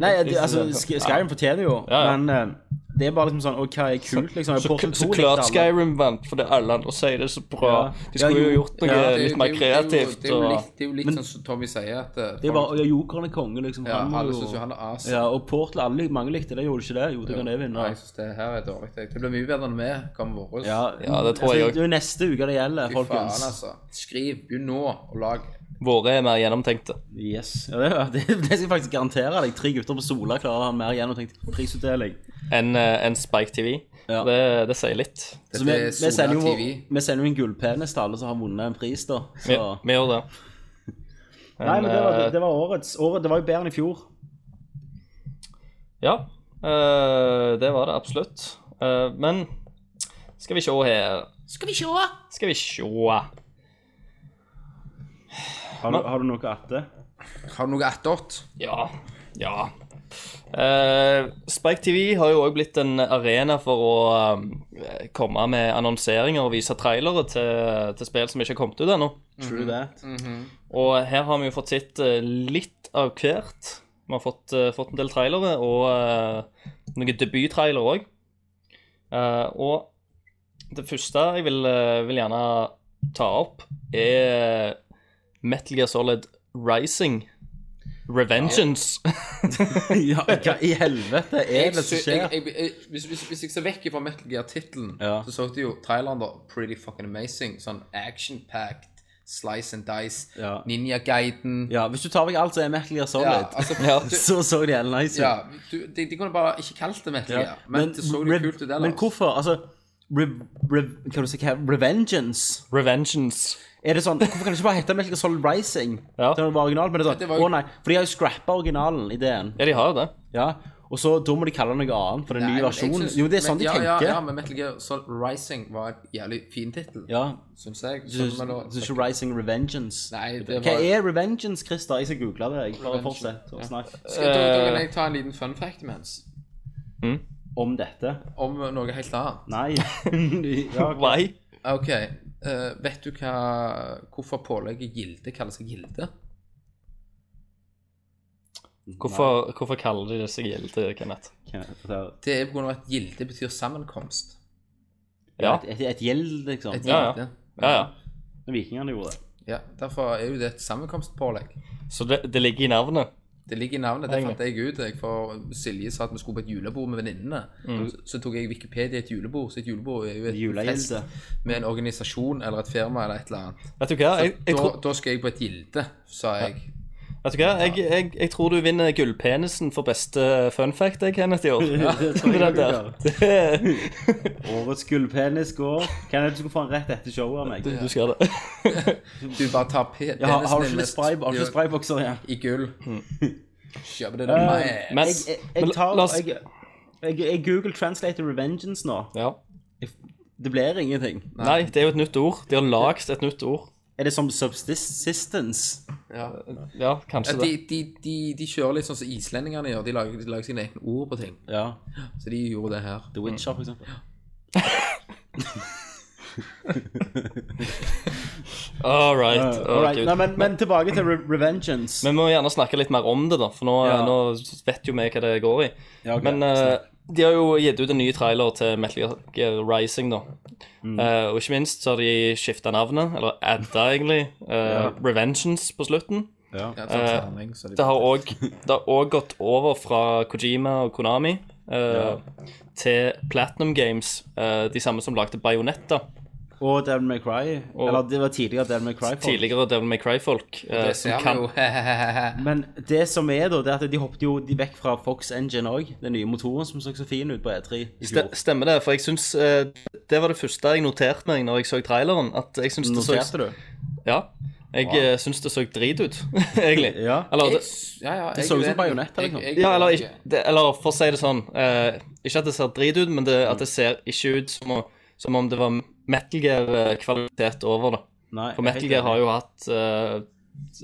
[SPEAKER 4] Nei, det, altså, Sk- Skyrim fortjener jo,
[SPEAKER 3] Ja, ja.
[SPEAKER 4] men eh, det er bare liksom sånn Å, hva er kult, liksom?
[SPEAKER 3] Så,
[SPEAKER 4] Portal 2
[SPEAKER 3] så
[SPEAKER 4] likte
[SPEAKER 3] klart
[SPEAKER 4] alle.
[SPEAKER 3] Skyrim vant, fordi alle andre sier det så bra.
[SPEAKER 4] Ja.
[SPEAKER 3] De skulle
[SPEAKER 4] Ja,
[SPEAKER 3] jo
[SPEAKER 4] jo.
[SPEAKER 3] gjort noe
[SPEAKER 4] Ja, det er jo-
[SPEAKER 3] litt mer kreativt.
[SPEAKER 2] Det er jo, det er jo,
[SPEAKER 3] Og,
[SPEAKER 2] litt, det er jo litt sånn som Tommy sier, at eh,
[SPEAKER 4] Det er
[SPEAKER 2] folk-
[SPEAKER 4] bare Ja, Jokeren er konge, liksom.
[SPEAKER 2] ja,
[SPEAKER 4] Han må
[SPEAKER 2] alle
[SPEAKER 4] jo-
[SPEAKER 2] syns jo han er as.
[SPEAKER 4] Ja, og Portal alle, mange likte det, gjorde de ikke det? Jo, det kan det vinne.
[SPEAKER 2] Nei, jeg synes det her er dårlig. jeg. Det blir mye bedre enn vi kan våres.
[SPEAKER 4] Ja, Altså,
[SPEAKER 3] Ja, det tror jeg også.
[SPEAKER 4] Det er jo neste uke det gjelder,
[SPEAKER 2] Fy
[SPEAKER 4] folkens.
[SPEAKER 2] faen, altså. Skriv. Begynn nå og lag.
[SPEAKER 3] våre er mer gjennomtenkte.
[SPEAKER 4] Yes. Ja, det, det, [laughs] det skal jeg faktisk garantere deg. Tre gutter på Sola klarer å ha en mer gjennomtenkt prisutdeling.
[SPEAKER 3] enn eh, enn Spike TV.
[SPEAKER 4] Ja.
[SPEAKER 3] Det, det sier litt.
[SPEAKER 4] Så
[SPEAKER 2] Dette
[SPEAKER 4] vi,
[SPEAKER 2] er
[SPEAKER 4] vi,
[SPEAKER 2] Sola
[SPEAKER 4] sender jo,
[SPEAKER 2] TV.
[SPEAKER 4] vi sender jo en gullpenis til alle som har vunnet en pris, da. Så.
[SPEAKER 3] Vi, vi gjør det. Men,
[SPEAKER 4] Nei, men det var,
[SPEAKER 3] eh,
[SPEAKER 4] det var årets. Året, det var jo bedre enn i fjor.
[SPEAKER 3] Ja, eh, det var det absolutt. Eh, men skal vi se her Skal vi se?
[SPEAKER 4] Har du, har du noe etter?
[SPEAKER 2] Har du noe attåt?
[SPEAKER 3] Ja. Ja. Eh, Spike TV har jo òg blitt en arena for å eh, komme med annonseringer og vise trailere til, til spill som ikke har kommet ut ennå.
[SPEAKER 4] True that.
[SPEAKER 3] Og her har vi jo fått sett eh, litt av hvert. Vi har fått, eh, fått en del trailere, og eh, noen debuttrailere òg. og det første jeg vil, eh, vil gjerne ta opp, er Metal Gear Solid Rising. Revengeance.
[SPEAKER 4] [laughs] ja, hva i helvete er det som
[SPEAKER 2] sy- jeg,
[SPEAKER 4] skjer?
[SPEAKER 2] jeg, jeg, hvis, hvis, hvis jeg ser vekk fra Metal Gear-tittelen,
[SPEAKER 4] Ja.
[SPEAKER 2] så så jeg jo traileren da Pretty fucking amazing. Sånn action-packed, slice and dice,
[SPEAKER 4] Ja.
[SPEAKER 2] ninja-guiden.
[SPEAKER 4] Ja, Hvis du tar vekk alt som er Metal Gear
[SPEAKER 2] Ja,
[SPEAKER 4] [laughs] Solid,
[SPEAKER 2] altså, du,
[SPEAKER 4] så så det jævlig nice ut.
[SPEAKER 2] ja, du, de, de kunne bare ikke kalt det Metal Gear, men, det så jo
[SPEAKER 4] rev-
[SPEAKER 2] kult ut ellers.
[SPEAKER 4] Men hvorfor? Altså re, re, Hva du sier her? Revengeance?
[SPEAKER 3] Revengeance.
[SPEAKER 4] Er det sånn, Hvorfor kan det ikke bare hete Metal Gear Solid Rising?
[SPEAKER 3] Ja.
[SPEAKER 4] Det var originalt, men det er sånn,
[SPEAKER 2] Det var jo-
[SPEAKER 4] Å nei, for de har jo scrappa originalen, ideen.
[SPEAKER 3] Ja, de har jo det.
[SPEAKER 4] Ja, Og så da må de kalle det noe annet, for det er en
[SPEAKER 2] Nei,
[SPEAKER 4] ny
[SPEAKER 2] men jeg
[SPEAKER 4] versjon.
[SPEAKER 2] synes-
[SPEAKER 4] Jo, det er sånn
[SPEAKER 2] men-
[SPEAKER 4] de
[SPEAKER 2] ja,
[SPEAKER 4] tenker.
[SPEAKER 2] Ja, ja, men Metal Gear Solid Rising var en jævlig fin tittel,
[SPEAKER 4] ja.
[SPEAKER 2] syns jeg.
[SPEAKER 4] Du
[SPEAKER 2] Som er da-
[SPEAKER 4] syns ikke Rising Revengeance?
[SPEAKER 2] Nei, det
[SPEAKER 4] Hva
[SPEAKER 2] var-
[SPEAKER 4] er Revengeance, Christer? Jeg skal google det. Jeg bare
[SPEAKER 2] Revengeance.
[SPEAKER 4] fortsett å snakke
[SPEAKER 2] Skal da, da kan jeg ta en liten fun fact imens,
[SPEAKER 4] om dette.
[SPEAKER 2] om noe helt annet.
[SPEAKER 4] [laughs] Nei. ja, ok.
[SPEAKER 3] Why?
[SPEAKER 2] Ok, eh, vet du hva, hvorfor pålegget gilde kaller seg gilde?
[SPEAKER 3] Hvorfor, hvorfor kaller de det seg gilde, Kenneth?
[SPEAKER 4] Hva- altså,
[SPEAKER 2] Det er på grunn av at gilde betyr sammenkomst.
[SPEAKER 3] Ja,
[SPEAKER 4] Et, et, et gjeld, liksom.
[SPEAKER 2] Et
[SPEAKER 3] Ja, ja.
[SPEAKER 2] gilde.
[SPEAKER 3] ja, ja.
[SPEAKER 4] Vikingene gjorde det.
[SPEAKER 2] Ja, Derfor er jo det et sammenkomstpålegg.
[SPEAKER 3] Så det, det ligger i navnet?
[SPEAKER 2] Det ligger i navnet. Det
[SPEAKER 3] Egentlig.
[SPEAKER 2] fant jeg ut. Jeg for Silje sa at vi skulle på et julebord med venninnene.
[SPEAKER 4] Mm.
[SPEAKER 2] Så, så tok jeg Wikipedia et julebord. Så et julebord er jo et
[SPEAKER 4] Julegilde.
[SPEAKER 2] fest med en organisasjon eller et firma eller et eller annet.
[SPEAKER 3] Vet du hva, jeg, jeg,
[SPEAKER 2] da,
[SPEAKER 3] tror-
[SPEAKER 2] da skal jeg på et gilde, sa jeg.
[SPEAKER 3] vet du hva? Jeg, jeg, jeg tror du vinner gullpenisen for beste fun fact, jeg, Kenneth,
[SPEAKER 4] [laughs]
[SPEAKER 3] i år.
[SPEAKER 4] tror jeg
[SPEAKER 3] Med den
[SPEAKER 4] du
[SPEAKER 3] der.
[SPEAKER 4] gjør. Årets gullpenis går Kan jeg du skulle få den rett etter showet av meg?
[SPEAKER 3] [laughs] Du skal det.
[SPEAKER 2] Du bare tar pe-
[SPEAKER 4] Ja, har, har
[SPEAKER 2] penisen
[SPEAKER 4] du ikke
[SPEAKER 2] din
[SPEAKER 4] litt spray, har du ikke
[SPEAKER 2] i-
[SPEAKER 4] litt spraybokser igjen?
[SPEAKER 2] i gull.
[SPEAKER 4] Mm.
[SPEAKER 2] Kjøp det der. Nei.
[SPEAKER 4] Eh,
[SPEAKER 3] Men,
[SPEAKER 4] Jeg, jeg,
[SPEAKER 3] men
[SPEAKER 4] jeg tar
[SPEAKER 3] la oss
[SPEAKER 4] jeg, jeg, jeg Google Translator Revengeance nå.
[SPEAKER 3] ja.
[SPEAKER 4] Det blir ingenting.
[SPEAKER 3] Nei, det er jo et nytt ord. De har lagd et nytt ord.
[SPEAKER 4] Er det som subsistence?
[SPEAKER 2] Ja.
[SPEAKER 3] Ja,
[SPEAKER 2] Ja,
[SPEAKER 3] kanskje
[SPEAKER 2] de,
[SPEAKER 3] det.
[SPEAKER 2] de, de, de kjører litt sånn som islendingene gjør. De lager, de lager sine egne ord på ting.
[SPEAKER 4] Ja.
[SPEAKER 2] Så de gjorde det her.
[SPEAKER 4] The Witcher, for eksempel.
[SPEAKER 3] All right.
[SPEAKER 4] Eh,
[SPEAKER 3] Å,
[SPEAKER 4] alright.
[SPEAKER 3] Gud.
[SPEAKER 4] Nei, men, men tilbake til re Revengeance.
[SPEAKER 3] Vi må gjerne snakke litt mer om det, da, for nå,
[SPEAKER 4] Ja.
[SPEAKER 3] nå vet jo vi hva det går i.
[SPEAKER 4] Ja, ok.
[SPEAKER 3] Men eh, de har jo gitt ut en ny trailer til Metal Gear Rising, da.
[SPEAKER 2] Mm.
[SPEAKER 3] Eh, og ikke minst så har de skifta navnet, eller adda egentlig,
[SPEAKER 2] [laughs]
[SPEAKER 3] eh, Revengeance på slutten.
[SPEAKER 2] Ja, sånn
[SPEAKER 4] Eh,
[SPEAKER 2] terning, så de-
[SPEAKER 3] Det har òg det har også gått over fra Kojima og Konami eh, til Platinum Games, eh, de samme som lagde Bajonetta.
[SPEAKER 4] Og Devil May Cry. Eller det var tidligere Devil May Cry. folk.
[SPEAKER 3] Tidligere Devil May Cry-folk. eh,
[SPEAKER 2] det
[SPEAKER 3] som
[SPEAKER 2] ser vi
[SPEAKER 3] kan-
[SPEAKER 2] jo. [laughs]
[SPEAKER 4] Men det som er, da, det er at de hoppet jo de vekk fra Fox Engine òg. Den nye motoren som så så fin ut på E3 i fjor.
[SPEAKER 3] Ste- Stemmer det, for jeg syns eh, Det var det første jeg noterte meg når jeg så traileren. At jeg syns det så
[SPEAKER 4] Noterte du?
[SPEAKER 3] Ja. Jeg wow. syns det så drit ut, [laughs] egentlig.
[SPEAKER 4] Ja.
[SPEAKER 3] Eller, det,
[SPEAKER 2] Ja, ja, jeg
[SPEAKER 4] så ut som
[SPEAKER 2] er enig.
[SPEAKER 4] bajonetter,
[SPEAKER 2] Jeg-
[SPEAKER 4] liksom.
[SPEAKER 2] jeg-
[SPEAKER 3] ja, eller, ikke- det, eller for å si det sånn eh, Ikke at det ser drit ut, men det, at det ser ikke ut som, å, som om det var Metal Gear-kvalitet over det.
[SPEAKER 4] Nei.
[SPEAKER 3] For Metal Gear har jo hatt eh,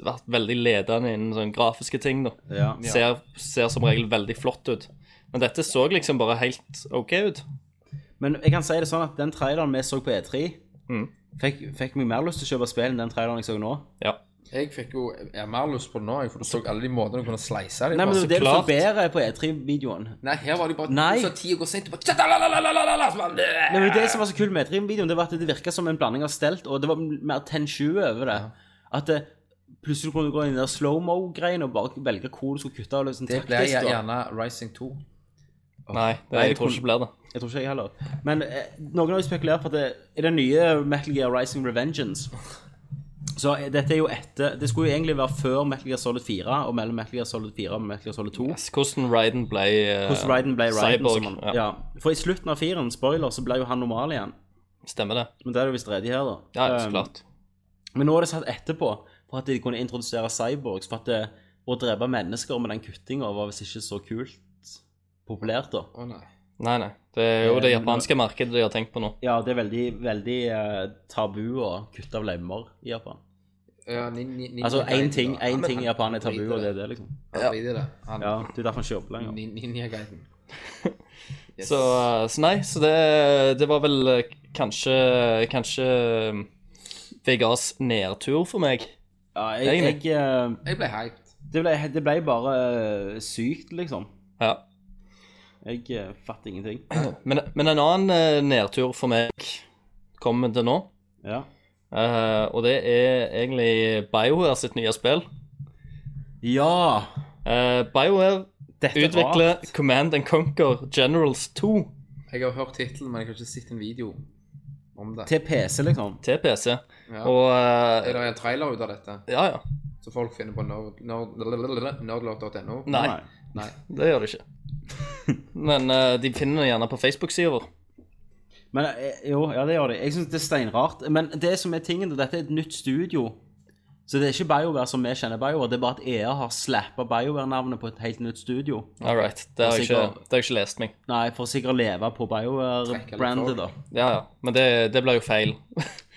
[SPEAKER 3] vært veldig ledende innen sånne grafiske ting, da.
[SPEAKER 4] ja.
[SPEAKER 3] Ser, ser som regel veldig flott ut. Men dette så liksom bare helt OK ut.
[SPEAKER 4] Men jeg kan si det sånn at den traileren vi så på E3,
[SPEAKER 3] Mm.
[SPEAKER 4] fikk, fikk meg mer lyst til å kjøpe spill enn den traileren jeg så nå.
[SPEAKER 3] Ja.
[SPEAKER 2] Jeg fikk jo jeg har mer lyst på det nå, jeg, for du så alle de måtene du kunne slice dem
[SPEAKER 4] Nei,
[SPEAKER 2] på.
[SPEAKER 4] men det var det du så
[SPEAKER 3] klart.
[SPEAKER 4] bedre på E3-videoen.
[SPEAKER 2] Nei, her var de bare
[SPEAKER 4] Nei.
[SPEAKER 2] så tida går sent, og bare tja-la-la-la-la-la-la, så bare,
[SPEAKER 4] Nei, men Det som var så kult med E3-videoen, det var at det virka som en blanding av stelt, og det var mer 10-20 over det. At det, plutselig kunne du gå inn i den slow-mo-greien og bare velge hvor du skulle kutte. Og liksom,
[SPEAKER 2] Det ble
[SPEAKER 4] taktisk, da.
[SPEAKER 2] gjerne Rising 2.
[SPEAKER 3] Nei, det,
[SPEAKER 4] Nei,
[SPEAKER 3] jeg tror
[SPEAKER 4] det
[SPEAKER 3] ikke det blir det.
[SPEAKER 4] Jeg tror ikke jeg heller. Men eh, noen har jo spekulert på at det er den nye Metal Gear Rising Revengeance. Så eh, dette er jo etter Det skulle jo egentlig være før Metal Gear Solid 4 og mellom Metal Gear Solid 4 og Metal Gear Solid 2.
[SPEAKER 3] Altså, Hvordan Raiden ble eh,
[SPEAKER 4] Hvordan Raiden ble Raiden.
[SPEAKER 3] Cyborg,
[SPEAKER 4] Som han,
[SPEAKER 3] ja.
[SPEAKER 4] ja. For i slutten av 4-en, spoiler, så ble jo han normal igjen.
[SPEAKER 3] Stemmer det?
[SPEAKER 4] Men det er det visst redig her, da.
[SPEAKER 3] Ja, så
[SPEAKER 4] Um,
[SPEAKER 3] klart.
[SPEAKER 4] Men nå er det satt etterpå for at de kunne introdusere cyborgs. For at det, å drepe mennesker med den kuttinga var visst ikke så kult populært, da.
[SPEAKER 2] Å nei.
[SPEAKER 3] Nei, nei. Det er
[SPEAKER 4] eh,
[SPEAKER 3] jo det japanske markedet de har tenkt på nå.
[SPEAKER 4] Ja, det er veldig, veldig eh, tabu å kutte av lemmer i Japan.
[SPEAKER 2] Ja, ni, ni, ni,
[SPEAKER 4] Altså,
[SPEAKER 2] Gaiden,
[SPEAKER 4] én ting,
[SPEAKER 2] da. Ja,
[SPEAKER 4] en
[SPEAKER 2] men
[SPEAKER 4] ting i
[SPEAKER 2] han-
[SPEAKER 4] Japan er
[SPEAKER 2] han
[SPEAKER 4] tabu,
[SPEAKER 2] driter
[SPEAKER 4] og
[SPEAKER 2] det.
[SPEAKER 4] det er det, liksom.
[SPEAKER 2] Han driter det. Han
[SPEAKER 4] Ja, Det er derfor han kjøper lenger.
[SPEAKER 2] Nin- Ninja-guiden. Yes.
[SPEAKER 3] Så, eh, så nei, så det, det var vel eh, kanskje Kanskje eh, VGAs nedtur for meg.
[SPEAKER 4] Ja, jeg, jeg, eh,
[SPEAKER 2] Jeg ble hyped.
[SPEAKER 4] det, ble, det ble bare eh, sykt, liksom.
[SPEAKER 3] Ja.
[SPEAKER 4] Jeg eh, fatter ingenting.
[SPEAKER 3] Men, men en annen eh, nedtur for meg kommer til nå.
[SPEAKER 4] Ja.
[SPEAKER 3] eh, og det er egentlig BioWare sitt nye spill.
[SPEAKER 4] ja.
[SPEAKER 3] Eh, BioWare
[SPEAKER 4] Dette er
[SPEAKER 3] utvikler
[SPEAKER 4] rart.
[SPEAKER 3] Command and Conquer Generals 2
[SPEAKER 2] Jeg har hørt tittelen, men jeg har ikke sett en video om det.
[SPEAKER 4] Til PC, liksom.
[SPEAKER 3] til PC.
[SPEAKER 2] Ja.
[SPEAKER 3] Og eh,
[SPEAKER 2] Er det en trailer ut av dette,
[SPEAKER 3] Ja, ja.
[SPEAKER 2] så folk finner på nerd- nerd- nerdlog.no?
[SPEAKER 3] Nei,
[SPEAKER 2] Nei.
[SPEAKER 3] det gjør det ikke. Men eh, de finner det gjerne på Facebook-sida vår.
[SPEAKER 4] Men eh, jo, ja, det gjør de. Jeg syns det er steinrart. Men det som er tingen, dette er et nytt studio. Så det er ikke BioWare som vi kjenner BioWare, det er bare at EA har slappa BioWare-navnet på et helt nytt studio.
[SPEAKER 3] All right. Det har jeg ikke,
[SPEAKER 4] Sikkert.
[SPEAKER 3] det har jeg ikke lest meg.
[SPEAKER 4] Nei, for å sikkert leve på
[SPEAKER 2] Trekke litt
[SPEAKER 4] BioWare-brandet, da.
[SPEAKER 2] folk.
[SPEAKER 3] Ja, ja. Men det, det blir jo feil.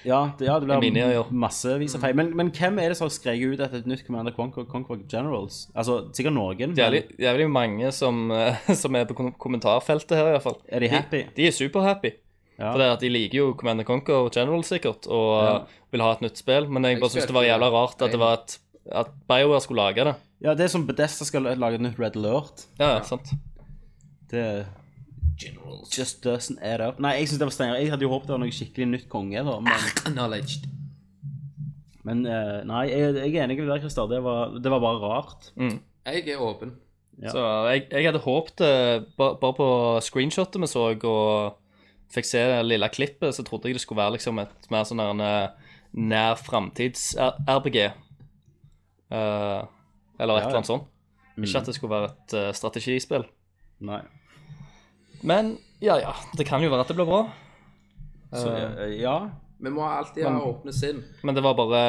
[SPEAKER 4] Ja, det, ja, det
[SPEAKER 3] I mine øyne.
[SPEAKER 4] blir massevis av feil. Men, men hvem er det som har skreket ut etter et nytt Commander Conquer, Conquer Generals? Altså, sikkert noen,
[SPEAKER 3] Det
[SPEAKER 4] men
[SPEAKER 3] er jævlig- jævlig mange som, eh, som er på kom- kommentarfeltet her, iallfall.
[SPEAKER 4] er de happy?
[SPEAKER 3] De er superhappy.
[SPEAKER 4] Ja.
[SPEAKER 3] For det er at de liker jo Commander Conquer og General sikkert, og eh, vil ha et nytt spill. Men jeg bare syns det var jævla rart at det var et at BioWare skulle lage det.
[SPEAKER 4] Ja, det er som Bedesta skal lage et nytt Red Alert.
[SPEAKER 3] Ja, ja, sant.
[SPEAKER 4] Det Just doesn't add up. Nei, jeg synes det var strengere. Jeg hadde jo håpet det var noe skikkelig nytt konge, da. Men,
[SPEAKER 2] Acknowledged.
[SPEAKER 4] men eh, nei, jeg, jeg er enig med deg, Christer. Det, var- det var bare rart.
[SPEAKER 2] Jeg er åpen.
[SPEAKER 4] Ja.
[SPEAKER 3] Så jeg, jeg hadde håpet eh, ba- Bare på screenshotet vi så, og fikk se det lille klippet, så trodde jeg det skulle være liksom et mer sånn der en, eh, nær framtids-RPG. Eh, eller et
[SPEAKER 4] ja. Mm.
[SPEAKER 3] eller annet sånt. Ikke at det skulle være et eh, strategispill.
[SPEAKER 4] Nei.
[SPEAKER 3] Men ja, ja. Det kan jo være at det blir bra.
[SPEAKER 4] Så, eh, ja.
[SPEAKER 2] Vi må alltid ha åpne sinn.
[SPEAKER 3] Men det var bare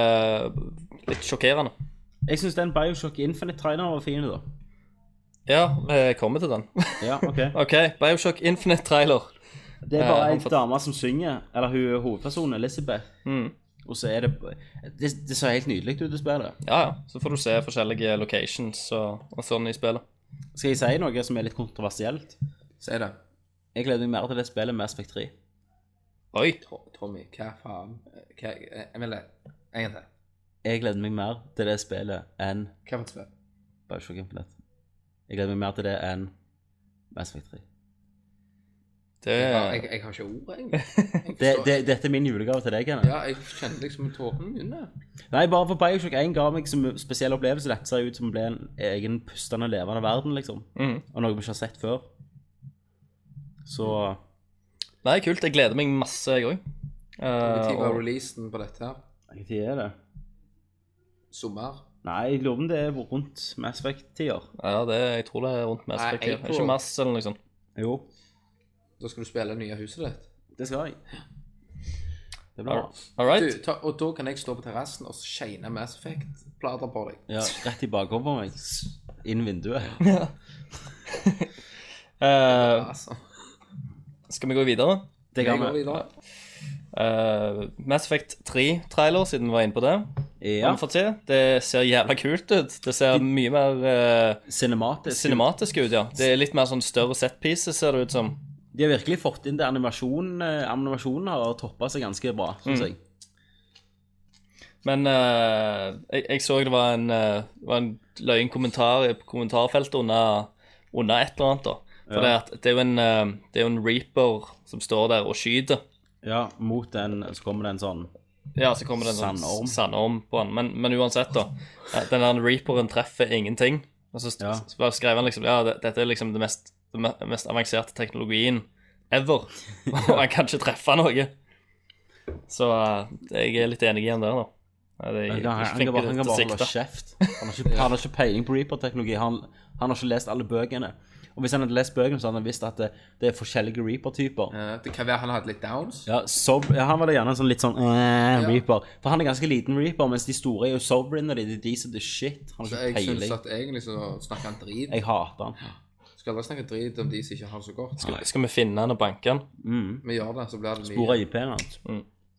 [SPEAKER 3] eh, litt sjokkerende.
[SPEAKER 4] Jeg synes den Bioshock Infinite-traileren var fin, da.
[SPEAKER 3] Ja, vi kommer til den. [laughs]
[SPEAKER 4] Ja, ok.
[SPEAKER 3] OK, Bioshock Infinite trailer.
[SPEAKER 4] [laughs] Det er bare
[SPEAKER 3] Eh,
[SPEAKER 4] ei
[SPEAKER 3] han fått-
[SPEAKER 4] dame som synger, eller hun er hovedpersonen, Elizabeth.
[SPEAKER 3] Mm.
[SPEAKER 4] Og så er det Det, det ser helt nydelig ut, det spillet.
[SPEAKER 3] Ja, ja. Så får du se forskjellige locations og, og sånn i spillet.
[SPEAKER 4] Skal jeg si noe som er litt kontroversielt?
[SPEAKER 2] Si det.
[SPEAKER 4] Jeg gleder meg mer til det spillet enn Mass Effect 3.
[SPEAKER 3] Oi.
[SPEAKER 2] Tro- Tommy, hva faen? Hva, jeg vil det. En gang til.
[SPEAKER 4] Jeg gleder meg mer til det spillet enn
[SPEAKER 2] Hva for et spill?
[SPEAKER 4] Bioshock Infinite. Jeg gleder meg mer til det enn Mass Effect 3.
[SPEAKER 3] Det,
[SPEAKER 2] Jeg, jeg har ikke ord,
[SPEAKER 4] [laughs]
[SPEAKER 2] egentlig. Jeg
[SPEAKER 4] Det,
[SPEAKER 2] forstår-
[SPEAKER 4] det, dette er min julegave til deg, Kenneth.
[SPEAKER 2] Ja, jeg kjente liksom tårene mine.
[SPEAKER 4] Nei, bare for Bioshock 1 ga meg som spesiell opplevelse. Dette ser ut som å bli en egen pustende, levende verden, liksom. Og noe vi ikke har sett før. Så
[SPEAKER 3] Nei, kult. Jeg gleder meg masse, jeg Eh, òg.
[SPEAKER 2] Når var releasen på dette her?
[SPEAKER 4] Hvilken tid er det?
[SPEAKER 2] Sommer?
[SPEAKER 4] Nei, jeg lurer på om det er rundt Mass Effect-tider.
[SPEAKER 3] ja, det, jeg tror det er rundt Mass
[SPEAKER 2] Nei,
[SPEAKER 3] Effect.
[SPEAKER 2] jeg
[SPEAKER 3] ja.
[SPEAKER 2] tror-
[SPEAKER 3] Ikke Mass eller noe sånt.
[SPEAKER 4] Jo,
[SPEAKER 2] Da skal du spille det nye huset ditt.
[SPEAKER 4] det skal jeg. Det blir bra.
[SPEAKER 3] All
[SPEAKER 2] Du,
[SPEAKER 3] right.
[SPEAKER 2] ta, og da kan jeg stå på terrassen og shine Mass Effect-plater på deg.
[SPEAKER 4] Ja, rett i bakhodet på meg. Inn [laughs] vinduet.
[SPEAKER 3] Eh,
[SPEAKER 2] Altså,
[SPEAKER 3] skal vi gå videre?
[SPEAKER 4] Det
[SPEAKER 2] jeg
[SPEAKER 4] kan
[SPEAKER 2] går
[SPEAKER 4] vi.
[SPEAKER 2] videre.
[SPEAKER 3] Eh, Mass Effect 3-trailer, siden vi var inne på det.
[SPEAKER 4] Ja.
[SPEAKER 3] Har vi fått se? Det ser jævla kult ut. Det ser mye mer eh,
[SPEAKER 4] Cinematisk.
[SPEAKER 3] cinematisk ut, ja. Det er litt mer sånn større set pieces, ser det ut som.
[SPEAKER 4] De har virkelig fått inn det animasjonen. eh, Animasjonen har toppa seg ganske bra, syns jeg.
[SPEAKER 3] Men eh, jeg, jeg så det var en, eh, det var en løyen kommentar eh, på kommentarfeltet under, under et eller annet. da. For det, er at, det, er jo en, eh, det er jo en reaper som står der og skyter.
[SPEAKER 4] Ja, mot den så kommer det en sånn
[SPEAKER 3] Ja, så kommer det en
[SPEAKER 4] Sandorm.
[SPEAKER 3] sånn sandorm på han. Men, men uansett, da. eh, Den der reaperen treffer ingenting. Og så st-
[SPEAKER 4] Ja.
[SPEAKER 3] så bare skrev han liksom ja, det- dette er liksom det mest, det me- mest avanserte teknologien
[SPEAKER 4] [laughs]
[SPEAKER 3] ever. [laughs] Og han kan ikke treffe noe. Så eh, jeg er litt enig igjen der, da. Eh, Det,
[SPEAKER 4] Han
[SPEAKER 3] jeg,
[SPEAKER 4] kan, han kan bare, han kan bare holde kjeft. Han har ikke, han har ikke peiling på Reaper-teknologi. Han, han har ikke lest alle bøkene. Og hvis han hadde lest bøkene, så hadde han visst at det, det er forskjellige Reaper-typer.
[SPEAKER 2] Eh, Det kan være han har hatt litt downs.
[SPEAKER 4] Ja, sob, ja, han var da gjerne en sånn litt sånn eh, Reaper. For han er ganske liten Reaper, mens de store er jo sovereign, og de, de, de som det er shit. Han
[SPEAKER 2] Så Altså,
[SPEAKER 4] har
[SPEAKER 2] jeg
[SPEAKER 4] ikke
[SPEAKER 2] syns
[SPEAKER 4] peiling.
[SPEAKER 2] at egentlig så snakker han drit.
[SPEAKER 4] Jeg hater han.
[SPEAKER 2] Skal aldri snakke drit om de som ikke har det så godt.
[SPEAKER 3] Skal, skal vi finne han og banke han?
[SPEAKER 2] Vi gjør det, så blir det
[SPEAKER 4] Mm. Hvor
[SPEAKER 2] mye.
[SPEAKER 4] er IP-en hans?